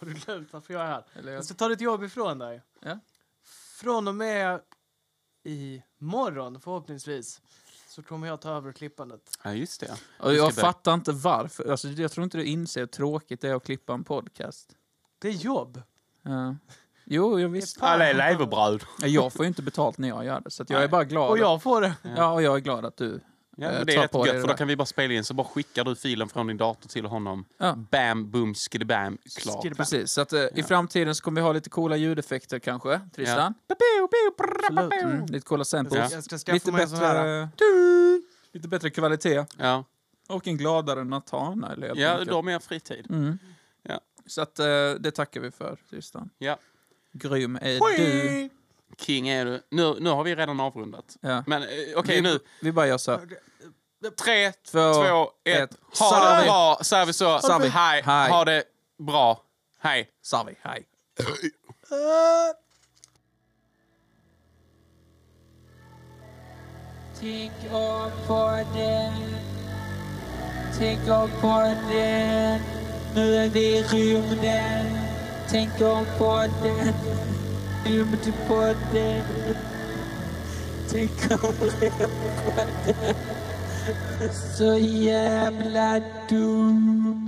[SPEAKER 4] har du glömt varför jag är här?
[SPEAKER 2] Eller jag...
[SPEAKER 4] Jag ska ta ditt jobb ifrån dig.
[SPEAKER 2] Ja.
[SPEAKER 4] Från och med i morgon förhoppningsvis så kommer jag ta över klippandet.
[SPEAKER 3] Ja, just det.
[SPEAKER 2] Och
[SPEAKER 3] ska
[SPEAKER 2] jag
[SPEAKER 3] börja.
[SPEAKER 2] fattar inte varför. Alltså, jag tror inte du inser hur tråkigt det är att klippa en podcast.
[SPEAKER 4] Det är jobb.
[SPEAKER 2] Ja. Jo, jag visst.
[SPEAKER 4] Fan.
[SPEAKER 3] Alla är leverbröd.
[SPEAKER 2] Jag får ju inte betalt när jag gör det, så att jag
[SPEAKER 3] Nej.
[SPEAKER 2] är bara glad.
[SPEAKER 4] Och jag får det.
[SPEAKER 2] att- Ja, och jag är glad att du...
[SPEAKER 3] Ja,
[SPEAKER 2] Eh,
[SPEAKER 3] men det
[SPEAKER 2] ta
[SPEAKER 3] är rätt
[SPEAKER 2] på dig
[SPEAKER 3] gött,
[SPEAKER 2] det
[SPEAKER 3] för då
[SPEAKER 2] där.
[SPEAKER 3] kan vi bara spela in. Så bara skickar du filen från din dator till honom.
[SPEAKER 2] Ja.
[SPEAKER 3] Bam, boom, skidibam, klar.
[SPEAKER 4] Skriva.
[SPEAKER 2] Precis, så att eh, i framtiden så kommer vi ha lite coola ljudeffekter kanske, Tristan.
[SPEAKER 4] Absolut.
[SPEAKER 2] Mm, lite coola
[SPEAKER 4] Jag
[SPEAKER 2] samples.
[SPEAKER 4] ska- jag ska skaffa
[SPEAKER 2] Lite
[SPEAKER 4] mig en sån här.
[SPEAKER 2] bättre... eh, Lite bättre kvalitet.
[SPEAKER 3] Ja,
[SPEAKER 2] Och en gladare Natana, eller
[SPEAKER 3] ja då har mer fritid.
[SPEAKER 2] typ. Mm.
[SPEAKER 3] Ja.
[SPEAKER 2] Så att eh, det tackar vi för, Tristan.
[SPEAKER 3] Ja.
[SPEAKER 2] Grym är du.
[SPEAKER 3] King är du. Nu, nu har vi redan avrundat.
[SPEAKER 2] Ja.
[SPEAKER 3] Men eh, okej
[SPEAKER 2] vi,
[SPEAKER 3] nu.
[SPEAKER 2] Vi bara gör så. här.
[SPEAKER 3] Tre,
[SPEAKER 2] Två,
[SPEAKER 3] två, ett.
[SPEAKER 2] ett.
[SPEAKER 3] Ha det
[SPEAKER 2] Savi.
[SPEAKER 3] bra, säger vi så.
[SPEAKER 2] Savi.
[SPEAKER 3] Hej.
[SPEAKER 2] Hej.
[SPEAKER 3] Ha det bra. Hej.
[SPEAKER 2] Savi, hej.
[SPEAKER 9] Tänk om podden. Tänk om podden. Nu är vi i rymden. Tänk om podden. Rymdpodden. Tänk om rymdpodden. Så jävla dumt.